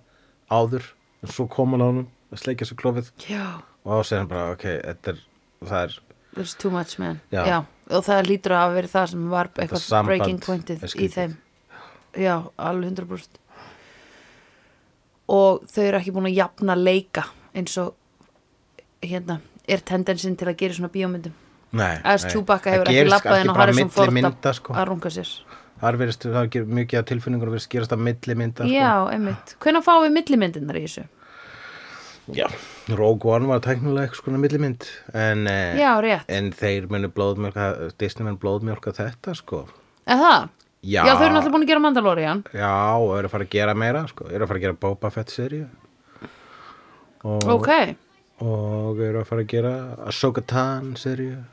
Speaker 3: áður en svo kom hann á hann að sleikja svo klofið
Speaker 2: já,
Speaker 3: og þá segir hann bara, ok, þetta er það er,
Speaker 2: there's too much man
Speaker 3: Já.
Speaker 2: og það lítur að hafa verið það sem var eitthvað
Speaker 3: samband
Speaker 2: breaking
Speaker 3: er
Speaker 2: pointið í
Speaker 3: skrítið.
Speaker 2: þeim já, alveg 100% og þau eru ekki búin að jafna leika eins og hérna, er tendensin til að gera í svona bíómyndum
Speaker 3: nei,
Speaker 2: as
Speaker 3: nei.
Speaker 2: Chewbacca
Speaker 3: Það
Speaker 2: hefur ekki
Speaker 3: gerist
Speaker 2: labbað
Speaker 3: kannski
Speaker 2: inn og
Speaker 3: bara
Speaker 2: Harrison
Speaker 3: milli
Speaker 2: Ford
Speaker 3: mynda,
Speaker 2: að-
Speaker 3: sko.
Speaker 2: að runga sér
Speaker 3: þar verist, það er mikið af tilfinningur verið skýrast að milli mynda sko.
Speaker 2: já, einmitt, hvenær fáum við millimyndirnar í þessu?
Speaker 3: Já, Rogue One var tæknilega eitthvað svona millimynd en, eh,
Speaker 2: já, rétt,
Speaker 3: en þeir munu blóðmjölka Disney munu blóðmjölka þetta sko
Speaker 2: eða það?
Speaker 3: Já.
Speaker 2: þau eru náttúrulega búin að gera Mandalorian
Speaker 3: Já, og eru að fara að gera meira sko eru að fara að gera Boba Fett seríu og,
Speaker 2: ok,
Speaker 3: og eru að fara að gera Ahsoka Tan seríu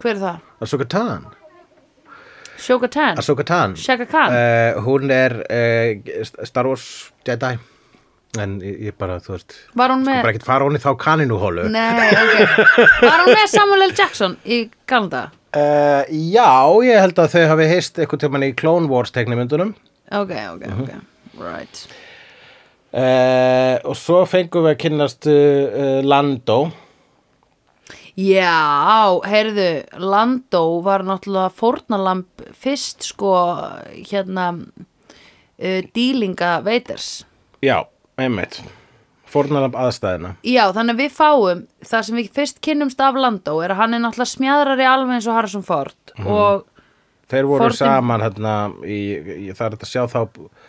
Speaker 2: hver er það?
Speaker 3: Ahsoka Tan?
Speaker 2: Shoka Tan?
Speaker 3: Ahsoka Tan
Speaker 2: Shaka Khan?
Speaker 3: Eh, Hún er uh, Star Wars Jedi en ég ég bara, þú veist
Speaker 2: var hún
Speaker 3: sko
Speaker 2: með
Speaker 3: bara ekkert fara hún í þá kaninuhólu
Speaker 2: Nei, ok Var hún með Samuel L. Jackson í Kanada?
Speaker 3: Uh, já, ég held að þau hafi heist eitthvað tímann í Clone Wars teknimyndunum
Speaker 2: Ok, ok, ok
Speaker 3: Mhm.
Speaker 2: Right
Speaker 3: uh, og svo fengum við að kynnast uh, uh, Lando
Speaker 2: Já, heyrðu, Lando var náttúrulega fórnalamb fyrst sko hérna uh, dýlinga veiters
Speaker 3: Já, einmitt Fórnalamb aðstæðina
Speaker 2: Já, þannig að við fáum það sem við fyrst kynnumst af Lando er að hann er náttúrulega smjadrari alveg eins og Harrison Ford
Speaker 3: Mhm.
Speaker 2: og
Speaker 3: Þeir voru
Speaker 2: Fortin-
Speaker 3: saman hérna í, í, það er þetta að sjá þá b-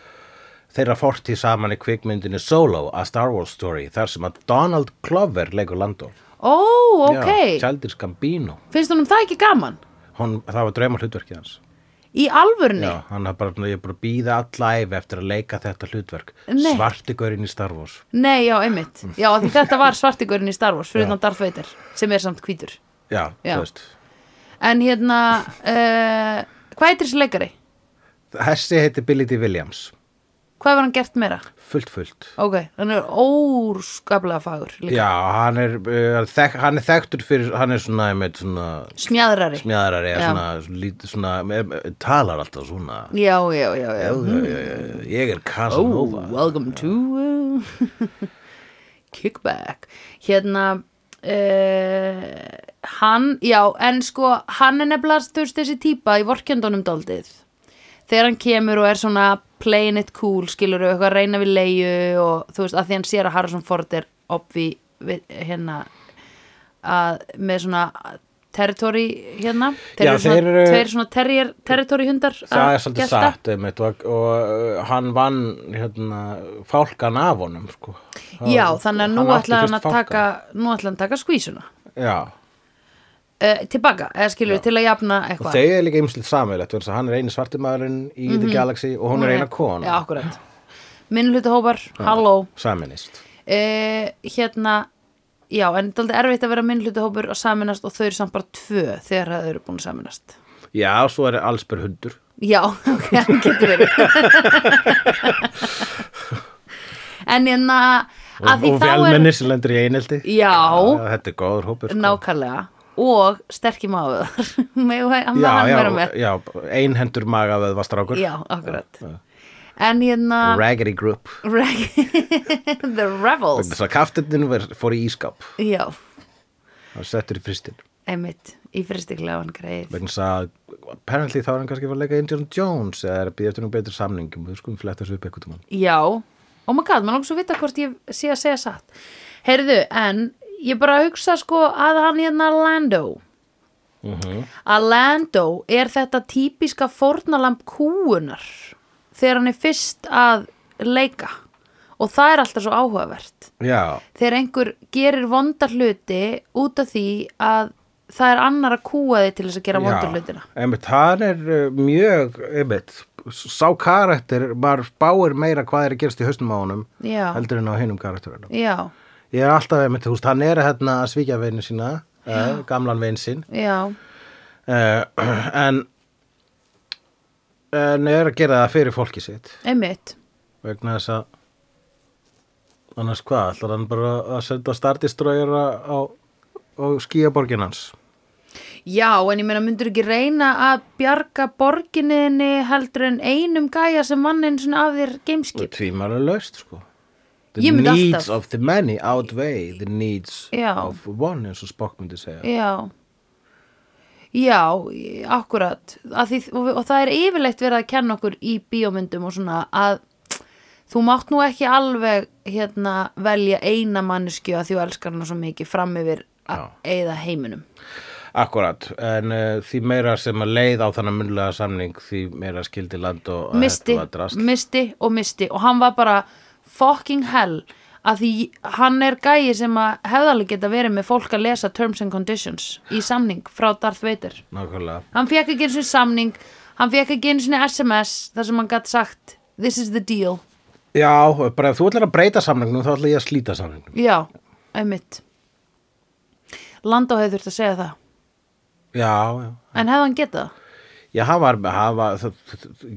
Speaker 3: þeirra fortíð saman í kvikmyndinu Solo, a Star Wars story þar sem að Donald Glover leikur Lando
Speaker 2: ó, ok,
Speaker 3: Já, Childish Gambino
Speaker 2: finnst hún um það ekki gaman?
Speaker 3: Hún, það var drauma hlutverkið hans
Speaker 2: Í alvörni?
Speaker 3: Já, hann er bara, ég er bara að býða allæfi eftir að leika þetta hlutverk
Speaker 2: Nei.
Speaker 3: Svartigurinn í Star Wars
Speaker 2: Nei, já, einmitt. Já, af því þetta var svartigurinn í Star Wars, fyrir utan Darth Vader, sem er samt hvítur.
Speaker 3: Já,
Speaker 2: Já.
Speaker 3: þú veist
Speaker 2: En hérna, uh, hvað heitir þessi leikari?
Speaker 3: Hessi heiti Billy D. Williams
Speaker 2: Hvað hefur hann gert meira?
Speaker 3: fullt fullt
Speaker 2: Ok, hann er óskaplega fagur líka.
Speaker 3: Já, hann er, uh, þek, hann er þekktur fyrir, hann er svona, einmitt, svona
Speaker 2: Smjæðrari.
Speaker 3: smjæðrari,
Speaker 2: Já.
Speaker 3: eða svona, lít, svona er, talar alltaf svona
Speaker 2: Já, já, já, já.
Speaker 3: uh, ég er Casanova
Speaker 2: Oh, welcome to uh, kickback hérna uh, hann, já, en sko hann er nefnilega, þú veist, þessi típa í vorkjöndunum daldið þegar hann kemur og er svona playing it cool skilur og eitthvað að reyna við leiðu og þú veist, að því hann sér að Harrison Ford er obvi, við, hérna að með svona territory hérna þeir
Speaker 3: Já,
Speaker 2: eru svona,
Speaker 3: þeir eru-
Speaker 2: tveir svona terrier, territory hundar
Speaker 3: það
Speaker 2: að
Speaker 3: er svolítið
Speaker 2: gelta.
Speaker 3: satt einmitt, og, og uh, hann vann hérna, fálkan af honum sko. Það
Speaker 2: Já,
Speaker 3: var-
Speaker 2: þannig að nú ætla
Speaker 3: átti
Speaker 2: hann
Speaker 3: fyrst
Speaker 2: að taka nú ætla hann að taka skvísuna
Speaker 3: fálkan. já,
Speaker 2: uh, tilbaka, eða skilur, til að jafna
Speaker 3: og
Speaker 2: eitthvað
Speaker 3: þau er líka ymslið samveilegt vegna þess að hann er eini svarti maðurinn í
Speaker 2: Mhm.
Speaker 3: The Galaxy og hún er eina
Speaker 2: Já,
Speaker 3: kona
Speaker 2: akkurat Minnhlutahópar, halló
Speaker 3: saminist
Speaker 2: uh, Hérna, já, en þetta er erfitt að vera minnhlutahópar og saminast og þau eru samt bara tvö þegar þau eru búin að saminast
Speaker 3: já, svo er allsbyr hundur
Speaker 2: Já, ok, hann getur verið En hérna að því
Speaker 3: og
Speaker 2: þá er-
Speaker 3: velmennir sem lendur í einelti
Speaker 2: Já,
Speaker 3: þetta er góður hópur sko.
Speaker 2: nákvæmlega og sterkir maður með hann
Speaker 3: já,
Speaker 2: hann
Speaker 3: já,
Speaker 2: vera með
Speaker 3: já, einhendur magaðað var strákur
Speaker 2: Já, akkurat En hérna
Speaker 3: Raggedy Group
Speaker 2: Reg The Rebels
Speaker 3: þess að kaftinnin var- fór í ískap
Speaker 2: Já,
Speaker 3: og settur í fristin
Speaker 2: einmitt Í fristiklegan greið
Speaker 3: vegna þess að apparently þá er hann kannski að fara að leika Indiana Jones eða er að býja eftir nú betur samningum við skulum fletta þessu upp eitthvað mann
Speaker 2: Já, oh my god, maður langt svo vita hvort ég sé að segja satt Heyrðu, en ég bara hugsa sko að hann hérna Lando Að Lando er þetta típiska fórnalamb kúunar þegar hann er fyrst að leika og það er alltaf svo áhugavert
Speaker 3: já,
Speaker 2: þegar einhver gerir vondar hluti út af því að það er annar að kúa þig til þess að gera vondar hlutina
Speaker 3: einmitt, hann er uh, mjög einmitt, s- sá karakter maður spáir meira hvað er að gerast í hausnum á honum
Speaker 2: Já.
Speaker 3: heldur en á hinum karakterunum
Speaker 2: já,
Speaker 3: ég er alltaf einmitt, þú veist, hann er hérna að svíkja veinu sína uh, gamlan vein sinn
Speaker 2: já,
Speaker 3: uh, en en er að gera það fyrir fólki sitt
Speaker 2: einmitt
Speaker 3: vegna þess að annars hvað, ætlar hann bara að senda startistrójar á, á skíaborgin hans
Speaker 2: já, en ég meina myndur ekki reyna að bjarga borginniðinni heldur en einum gæja sem vann einu svona af þér
Speaker 3: og
Speaker 2: gameskip
Speaker 3: tvímælu laust sko The
Speaker 2: Ég myndi
Speaker 3: needs
Speaker 2: alltaf-
Speaker 3: of the many outweigh the needs
Speaker 2: Já.
Speaker 3: of one eins og Spock myndi segja
Speaker 2: já já, akkurat Að því, og, og það er yfirleitt verið að kenna okkur í bíómyndum og svona að þú mátt nú ekki alveg hérna, velja eina mannesku að þú elskar hana svo mikið fram yfir að eyða heiminum
Speaker 3: Akkurat, en uh, því meira sem að leið á þannig munlega samning því meira skildi land og að
Speaker 2: misti,
Speaker 3: þetta var drast
Speaker 2: misti og misti og hann var bara fucking hell að því hann er gæi sem að hefðalega geta verið með fólk að lesa Terms and Conditions í samning frá Darth Vader
Speaker 3: Nákvæmlega
Speaker 2: hann fekk ekki eins og samning hann fekk ekki eins og SMS þar sem hann gatt sagt this is the deal
Speaker 3: Já, bara ef þú ætlar að breyta samningnum þá ætla ég að slíta samningnum
Speaker 2: já, einmitt Landó hefði þurft að segja það
Speaker 3: Já, já
Speaker 2: en hefði hann getað það?
Speaker 3: Já, hann var, hann var það,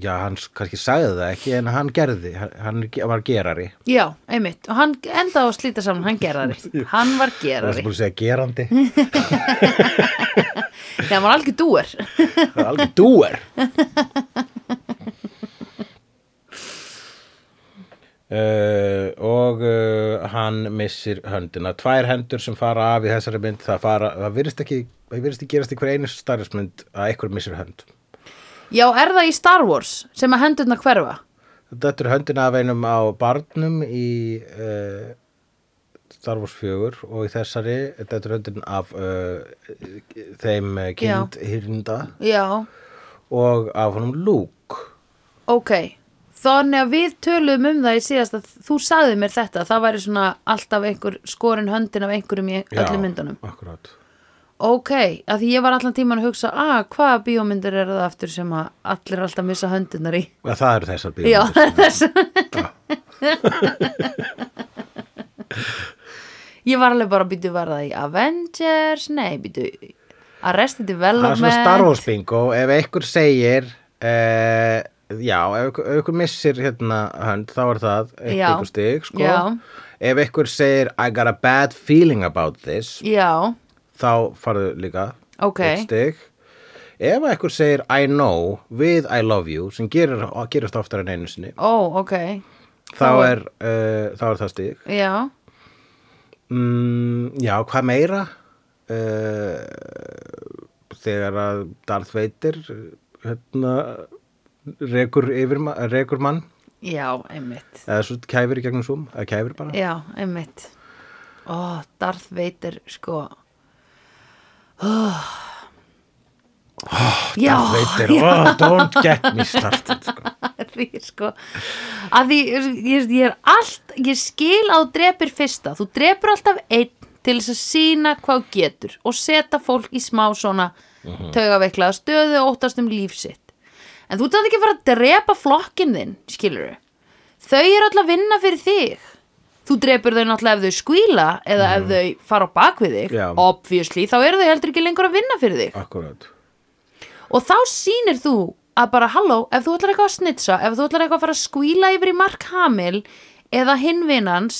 Speaker 3: já, hann s- kannski sagði það ekki, en hann gerði, hann- hann ge- var gerari.
Speaker 2: já, einmitt, og hann endaði á að slíta saman hann gerðari, hann var
Speaker 3: Það er sem
Speaker 2: gerðari
Speaker 3: búin að segja gerandi,
Speaker 2: þegar hann var algjör dúer
Speaker 3: það er alveg dúer. Uh, og uh, hann missir höndina tvær hendur sem fara af í þessari mynd það, fara, það virðist ekki það virðist ekki gerast í hver einu starfsmynd að einhver missir hönd
Speaker 2: Já, er það í Star Wars sem að hendurna hverfa?
Speaker 3: þetta er höndina af einum á barnum í uh, Star Wars 4 og í þessari þetta er höndin af uh, þeim eh, kind hýrinda
Speaker 2: Já,
Speaker 3: og af honum Luke
Speaker 2: ok. Þannig að við töluðum um það í síðast að þú sagði mér þetta, það væri svona alltaf einhver skorin höndin af einhverjum í öllum myndunum.
Speaker 3: akkurát
Speaker 2: Ok, að því ég var allan tíman að hugsa, að hvaða bíómyndir er það aftur sem að allir alltaf missa höndunar í?
Speaker 3: Ja, það eru þessar bíómyndir.
Speaker 2: Já, það er þess. ég var alveg bara að býtu var það í Avengers, nei, býtu Arrested
Speaker 3: Það
Speaker 2: Development.
Speaker 3: er svona Star Wars bingo. Ef einhver segir uh, já, ef ykkur- ef ykkur missir hérna hönd, þá er það eitt
Speaker 2: Já.
Speaker 3: ykkur stig, sko
Speaker 2: Já.
Speaker 3: ef ykkur segir I got a bad feeling about this
Speaker 2: Já,
Speaker 3: þá farðu líka
Speaker 2: Ok.
Speaker 3: eitt stig ef ykkur segir I know with I love you sem gerir, gerist oftar en einu sinni
Speaker 2: ó, ok
Speaker 3: þá
Speaker 2: Þá
Speaker 3: er, uh, þá er það stig
Speaker 2: Já,
Speaker 3: mm, já, hvað meira uh, þegar að Darth Vader hérna rekur, yfir, ma- rekur mann
Speaker 2: já, einmitt
Speaker 3: eða svo kæfir í gegnum Zoom eða kæfir bara
Speaker 2: Já, einmitt Ó, Darth Vader, sko oh. Já,
Speaker 3: Darth Vader, oh, don't get me started sko.
Speaker 2: því, sko að því, ég, ég er allt ég skil að þú drepir fyrsta þú drepur alltaf einn til þess að sína hvað þú getur og setja fólk í smá svona taugaveiklaða stöðu og óttast um líf sitt en þú þarf ekki að fara að drepa flokkin þinn skilur þau þau eru alltaf að vinna fyrir þig þú drepur þau náttúrulega ef þau skvíla eða ef þau fara á bak við þig
Speaker 3: Já.
Speaker 2: obviously, þá eru þau heldur ekki lengur að vinna fyrir þig
Speaker 3: akkurát
Speaker 2: og þá sýnir þú að bara halló, ef þú ætlar eitthvað að snitsa ef þú ætlar eitthvað að fara að skvíla yfir í Mark Hamill eða hinvinans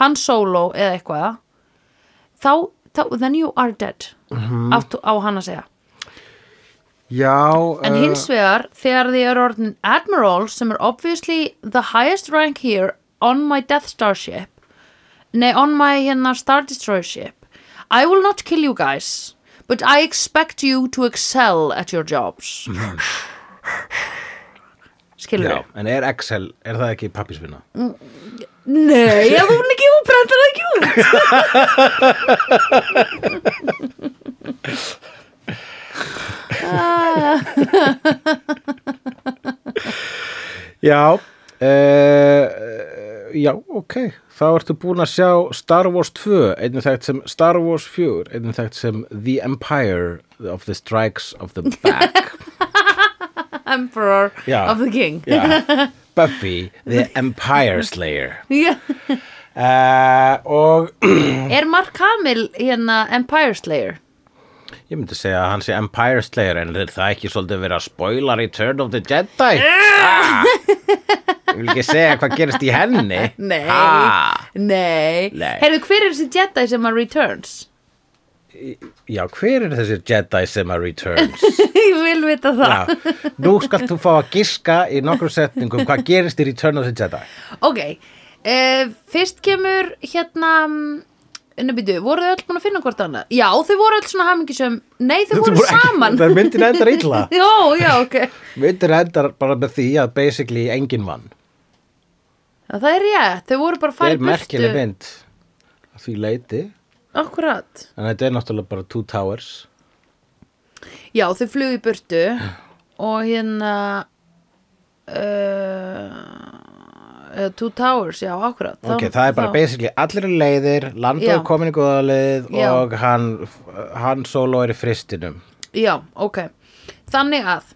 Speaker 2: hann solo eða eitthvað þá, þá then you are dead áttu á hann að segja
Speaker 3: já,
Speaker 2: en
Speaker 3: eh,
Speaker 2: hins vegar þegar þið eru orðin Admiral sem er obviously the highest rank here on my Death Star ship nei on my hérna Star Destroyer ship I will not kill you guys but I expect you to excel at your jobs skilur
Speaker 3: já, en er Excel, er það ekki pappisvinna?
Speaker 2: nei, ef hún ekki hún brendur það ekki út
Speaker 3: Já uh, Já, ok Þá ertu búin að sjá Star Wars 2 einnig þekkt sem Star Wars 4 einnig þekkt sem The Empire of the Strikes of the Back
Speaker 2: Emperor
Speaker 3: Já.
Speaker 2: of the King
Speaker 3: Já. Buffy, The Empire Slayer
Speaker 2: Já.
Speaker 3: uh, og
Speaker 2: er Mark Hamill hérna Empire Slayer
Speaker 3: ég myndi segja að hann sé Empire Slayer en er það ekki svolítið verið að spoila Return of the Jedi ah! Ég vil ekki segja hvað gerist í henni
Speaker 2: Nei,
Speaker 3: ha!
Speaker 2: nei.
Speaker 3: Nei.
Speaker 2: Heyrðu, hver er þessi Jedi sem að Returns?
Speaker 3: Já, hver er þessi Jedi sem að Returns?
Speaker 2: Ég vil vita það
Speaker 3: Já, nú skalt þú fá að giska í nokkrum setningum hvað gerist í Return of the Jedi
Speaker 2: Ok, uh, fyrst kemur hérna Nefnbyttu, voru þau öll búin að finna hvort annað? Já, þau voru öll svona hamingisum Nei, þau voru saman
Speaker 3: Það myndir endar illa
Speaker 2: Jó, já, ok
Speaker 3: Myndir endar bara með því að basically engin vann
Speaker 2: Já, Það er rétt, þau voru bara að
Speaker 3: Það
Speaker 2: fara í
Speaker 3: er merkileg mynd að því leiti
Speaker 2: Akkurat
Speaker 3: en þetta er náttúrulega bara Two Towers
Speaker 2: Já, þau flug í burtu og hérna uh, uh, Two Towers, já, akkurat
Speaker 3: Ok, það er bara basically allir eru leiðir Lando
Speaker 2: Já.
Speaker 3: er komin í góðalið
Speaker 2: Já.
Speaker 3: og hann, hann solo er í fristinum
Speaker 2: Já, ok. Þannig að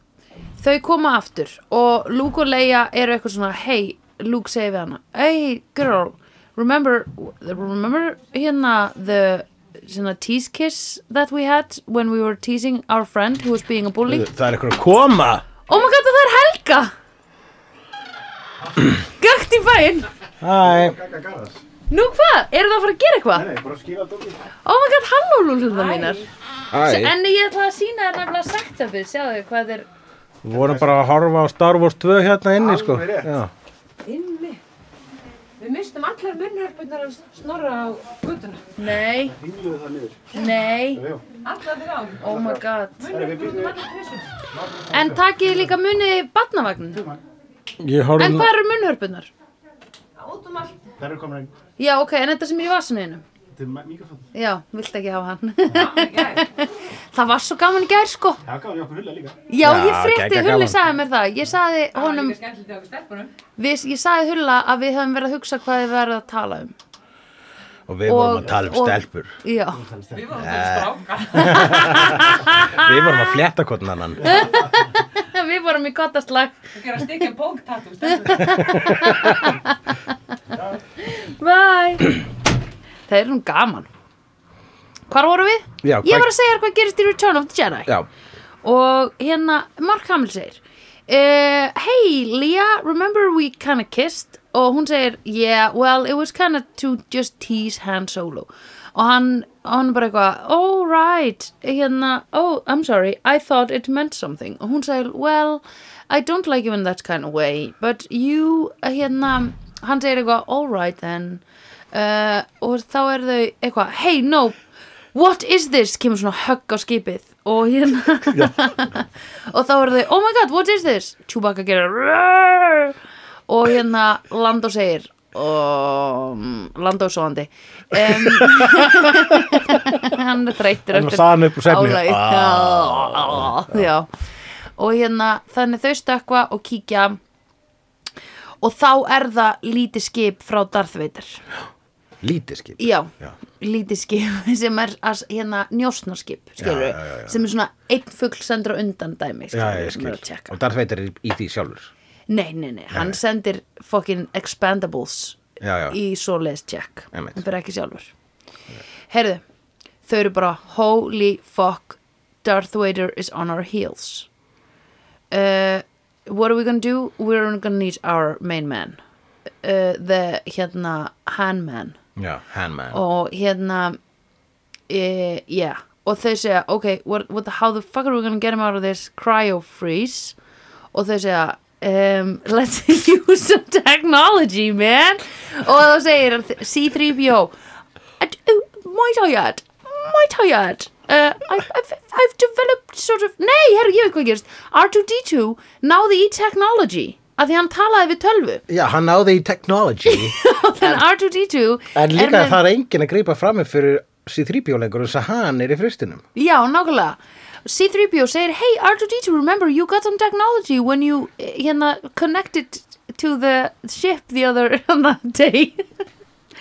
Speaker 2: þau koma aftur og Luke og Leia eru eitthvað svona Hey, Luke segir við hana Hey, girl, remember remember hérna the svona tease kiss that we had when we were teasing our friend who was being a bully
Speaker 3: Það er eitthvað að koma
Speaker 2: Oh my god, það er Helga! Gakt í bæinn!
Speaker 3: Hæ,
Speaker 2: Nú hvað? Eru það að fara að gera eitthvað? Nei, bara skýra dótið Oh my god, halló lúlunda mínar
Speaker 3: hæ
Speaker 2: En ég ætla að sína þér nefnilega setupið Sjáðu hvað þeir
Speaker 3: Við vorum bara að horfa á Star Wars 2 hérna inni sko. Já.
Speaker 6: Inni. Við mistum allar munnhörpunar að snorra á guttuna.
Speaker 2: Nei Nei
Speaker 6: Allar þér á.
Speaker 2: Oh my god
Speaker 6: Munnhörpunar allar trissum.
Speaker 2: En takið líka munið í batnavagnin
Speaker 3: Ég horfði
Speaker 2: En hvað eru munnhörpunar?
Speaker 6: Út um allt.
Speaker 7: Það eru komin
Speaker 2: Já, ok, en þetta sem er í vasinuðinu
Speaker 7: til mikrofón.
Speaker 2: Já, vilt ekki hafa hann Það var svo gaman í gær sko
Speaker 7: Það gaf ég okkur hulla líka.
Speaker 2: Já,
Speaker 3: Já,
Speaker 2: ég frétti,
Speaker 3: geggjað
Speaker 2: Hulli
Speaker 3: gaman.
Speaker 2: sagði mér það Ég sagði honum,
Speaker 6: Líka skemmtilegt hjá okkur stelpunum.
Speaker 2: við, ég sagði Hulla að við höfum verið að hugsa hvað við verðum að tala um
Speaker 3: Og við
Speaker 2: Og-
Speaker 3: vorum að tala um
Speaker 2: og-
Speaker 3: stelpur.
Speaker 2: Já,
Speaker 6: Við vorum til stráka.
Speaker 3: Við vorum að flétta hvort annan.
Speaker 2: við vorum í gottaslag
Speaker 6: Við gera stikkin póktatú stelpunum.
Speaker 2: Bye Það er nú gaman Hvar vorum við?
Speaker 3: Já,
Speaker 2: ég
Speaker 3: hvað-
Speaker 2: var að segja þér hvað gerist í Return of the Jedi
Speaker 3: Já,
Speaker 2: og hérna Mark Hamill segir uh, hey Leah, remember we kind of kissed og hún segir, yeah, well it was kind of to just tease Han Solo og hann, og hann bara eitthvað oh right, hérna oh, I'm sorry, I thought it meant something og hún segir, well I don't like you in that kind of way but you, hérna hann segir eitthvað, all right then uh, og þá er þau eitthvað hey no, what is this kemur svona högg á skipið og hérna og þá eru þau, oh my god, what is this? Chewbacca gerir "Roar!" og hérna Lando segir um, Lando svoandi um, hann er þreyttur
Speaker 3: Hann var saðan upp úr svefni. Ah.
Speaker 2: álagið. já, já. og hérna þannig þau stökkva og kíkja og þá er það lítið skip frá Darth Vader
Speaker 3: Lítið skip
Speaker 2: já,
Speaker 3: Já.
Speaker 2: lítið skip sem er að, hérna njósnarskip skilur,
Speaker 3: Já, já, já, já.
Speaker 2: sem er svona einn fugl sendur á undan dæmi
Speaker 3: Já, ég
Speaker 2: skilurðu, sem er
Speaker 3: skil
Speaker 2: að tjekka.
Speaker 3: Og Darth Vader er í- í því sjálfur
Speaker 2: nei, nei, nei, hann sendir fucking expandables
Speaker 3: Já, já.
Speaker 2: í svoleiðis tjekk
Speaker 3: Einmitt.
Speaker 2: hann fyrir ekki sjálfur heyrðu, þau eru bara holy fuck, Darth Vader is on our heels uh, what are we gonna do? we're gonna need our main man uh, the hérna hand man
Speaker 3: Já, Handman
Speaker 2: og hérna e, yeah og þau segja, ok, what, what the, how the fuck are we gonna get him out of this cryo freeze og þau segja um, let's use some technology man og þá segir C-3PO "And, uh, my tired my tired Uh, I've, I've, I've developed sort of Nei, herru, ég veit hvað gerst R2-D2 náði í technology af því hann talaði við tölvu
Speaker 1: Já, hann náði í technology
Speaker 2: Þannig R2-D2
Speaker 3: En
Speaker 2: er
Speaker 3: líka
Speaker 2: með-
Speaker 3: það er enginn að grípa fram með fyrir C-3PO lengur þess að hann er í fristinum
Speaker 2: Já, nákvæmlega. C-3PO segir, hey R2-D2, remember you got some technology when you eh, hérna, connected to the ship the other on that day.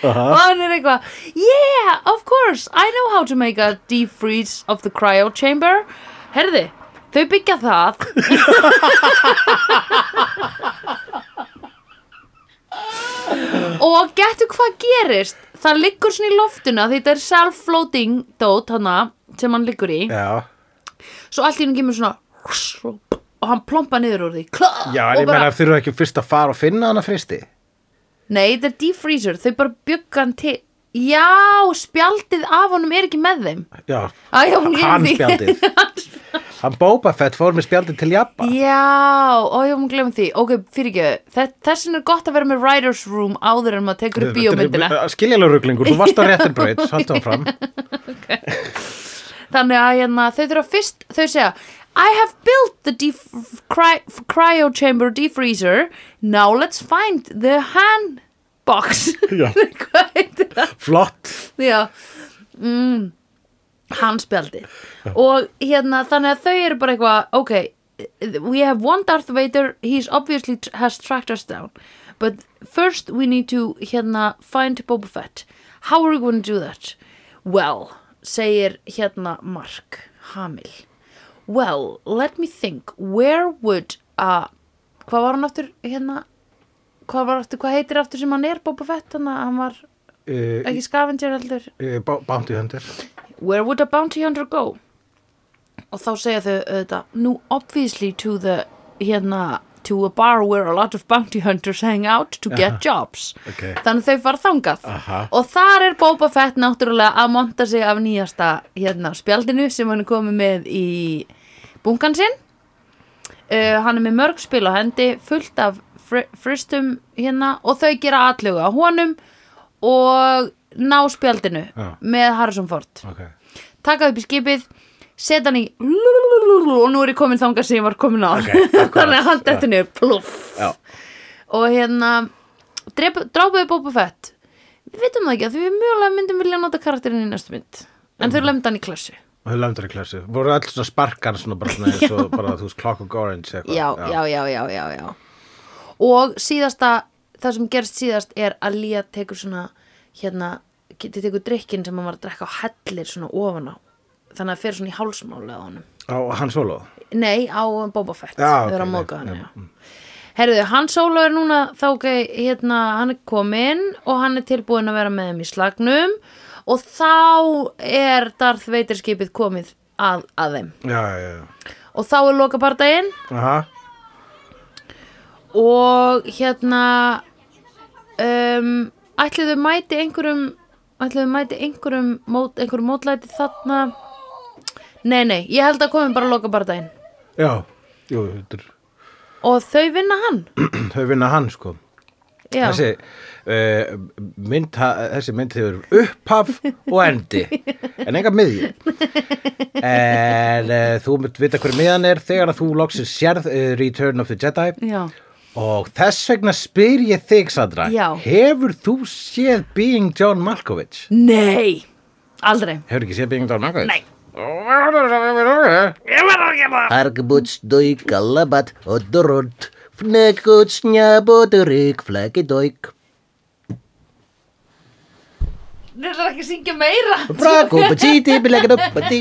Speaker 2: Og hann er eitthvað, yeah, of course, I know how to make a deep freeze of the cryo chamber. Herði, þau byggja það. Og getur hvað gerist? Það liggur svona í loftuna því þetta er self-floating dót hana sem hann liggur í.
Speaker 3: Já,
Speaker 2: Svo allt í hennu kemur svona og hann plompa niður úr því. Klá,
Speaker 3: já en
Speaker 2: og
Speaker 3: ég meina þurfa ekki fyrst að fara og finna hann að fristi
Speaker 2: Nei, þetta er defreezer. Þau bara byggja hann til. Já, spjaldið af honum er ekki með þeim.
Speaker 3: Já,
Speaker 2: Æ, já, hún gleymdi
Speaker 3: hann
Speaker 2: því.
Speaker 3: spjaldið Hann Boba Fett fór með spjaldið til Jabba
Speaker 2: Já, og ég hún glemum því. Ok, fyrir ekki, þessin er gott að vera með writer's room áður en maður tekur upp bíómyndina.
Speaker 3: Skiljalega ruglingur, þú varst á réttin braut Haldan fram
Speaker 2: Þannig að hérna, þau þurfa fyrst, þau segja I have built the def- cry cryo chamber defreezer now let's find the hand box
Speaker 3: Já.
Speaker 2: hvað heitir það?
Speaker 3: Flott
Speaker 2: Já mm, handspjaldi og hérna þannig að þau eru bara eitthvað ok, we have one Darth Vader he's obviously tr- has tracked us down but first we need to hérna find Boba Fett how are we going to do that? well, segir hérna Mark Hamill well, let me think where would a hvað var hann aftur hérna hvað var aftur, hvað heitir aftur sem hann er Boba Fett, hann, hann var
Speaker 3: uh,
Speaker 2: ekki skafindir heldur
Speaker 3: uh, Bounty Hunter
Speaker 2: Where would a bounty hunter go? Og þá segja þau auðvitað Nú obviously to the hérna to a bar where a lot of bounty hunters hang out to get jobs
Speaker 3: ok.
Speaker 2: þannig þau fara þangað
Speaker 3: Aha.
Speaker 2: og þar er Boba Fett náttúrulega að monta sig af nýjasta hérna spjaldinu sem hann er komið með í bunkan sinn uh, hann er með mörg spil á hendi fullt af fri fristum hérna og þau gera atlögu á honum og ná spjaldinu
Speaker 3: Já.
Speaker 2: með Harrison Ford
Speaker 3: okay.
Speaker 2: taka upp í skipið setja hann í og nú er ég komin þangað sem ég var komin á þannig að hann dettur niður pluff
Speaker 3: Já.
Speaker 2: og hérna drep- drápuðu Boba Fett við veitum það ekki að því við mjögulega myndum vilja nota karakterinn í næstu mynd en þau lemda hann í klassu
Speaker 3: Og þau landur í klassu. Voru alls svona sparkar svona bara svona eins og bara þú veist Clockwork Orange eitthvað.
Speaker 2: já, já, já, já, já, já og síðasta það sem gerst síðast er að Lía tekur svona hérna, þið tekur drikkin sem hann var að drekka á hellir svona ofan á þannig að fer svona í hálsmáli á honum
Speaker 3: Á hann solo.
Speaker 2: Nei, á Boba Fett
Speaker 3: Já, ok,
Speaker 2: Þau eru að
Speaker 3: nei,
Speaker 2: móka hann,
Speaker 3: já,
Speaker 2: já Herðu, hann sólu er núna þá ok, hérna, hann er kominn og hann er tilbúinn að vera með þeim í slagnum og þá er Darth Vader skipið komið að, að þeim
Speaker 3: Já, já, já.
Speaker 2: og þá er loka bardaginn
Speaker 3: Aha.
Speaker 2: og hérna um, ætliðu mæti einhverjum ætliðu mæti einhverjum mót, einhverjum mótlæti þarna nei nei, ég held að komum bara að loka bara daginn
Speaker 3: Já, jú, þetta er
Speaker 2: og þau vinna hann
Speaker 3: þau vinna hann sko
Speaker 2: já,
Speaker 3: þessi, uh, mynd, ha- þessi mynd hefur upphaf og endi en enga miðju en uh, þú mynd vita hver miðan er þegar að þú loksir sérð uh, Return of the Jedi
Speaker 2: já.
Speaker 3: og þess vegna spyr ég þig Sandra
Speaker 2: Já.
Speaker 3: hefur þú séð Being John Malkovich?
Speaker 2: nei, aldrei
Speaker 3: Hefur ekki séð Being John Malkovich? Nei Ég
Speaker 1: Arkbutsdojk, alabat, odorot, fnekutsnjaboturik, flækidojk.
Speaker 2: Þeir eru ekki að syngja meira
Speaker 1: Brakupatíti, bilagadopati.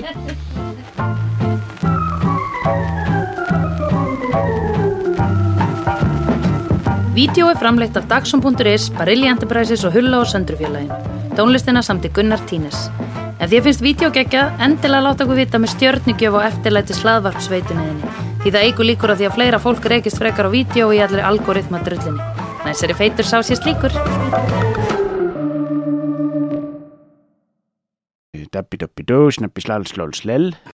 Speaker 2: Vídeó er framleitt af Dagsum.is, Barilli Enterprises og Hulla og Söndrufjörlægin. Tónlistina samt í Gunnar Tínes. Ef því finnst vídeo geggja, endilega láta okkur vita með stjörnigjöf og eftirlæti slaðvarpsveituninni. Því það eigur líkur að því að fleira fólk reykist frekar á vídeo í allri algoritma drullinni. Næsari feitur sá sér slíkur.
Speaker 8: Dabbi dabbi dó, snabbi slal slól slel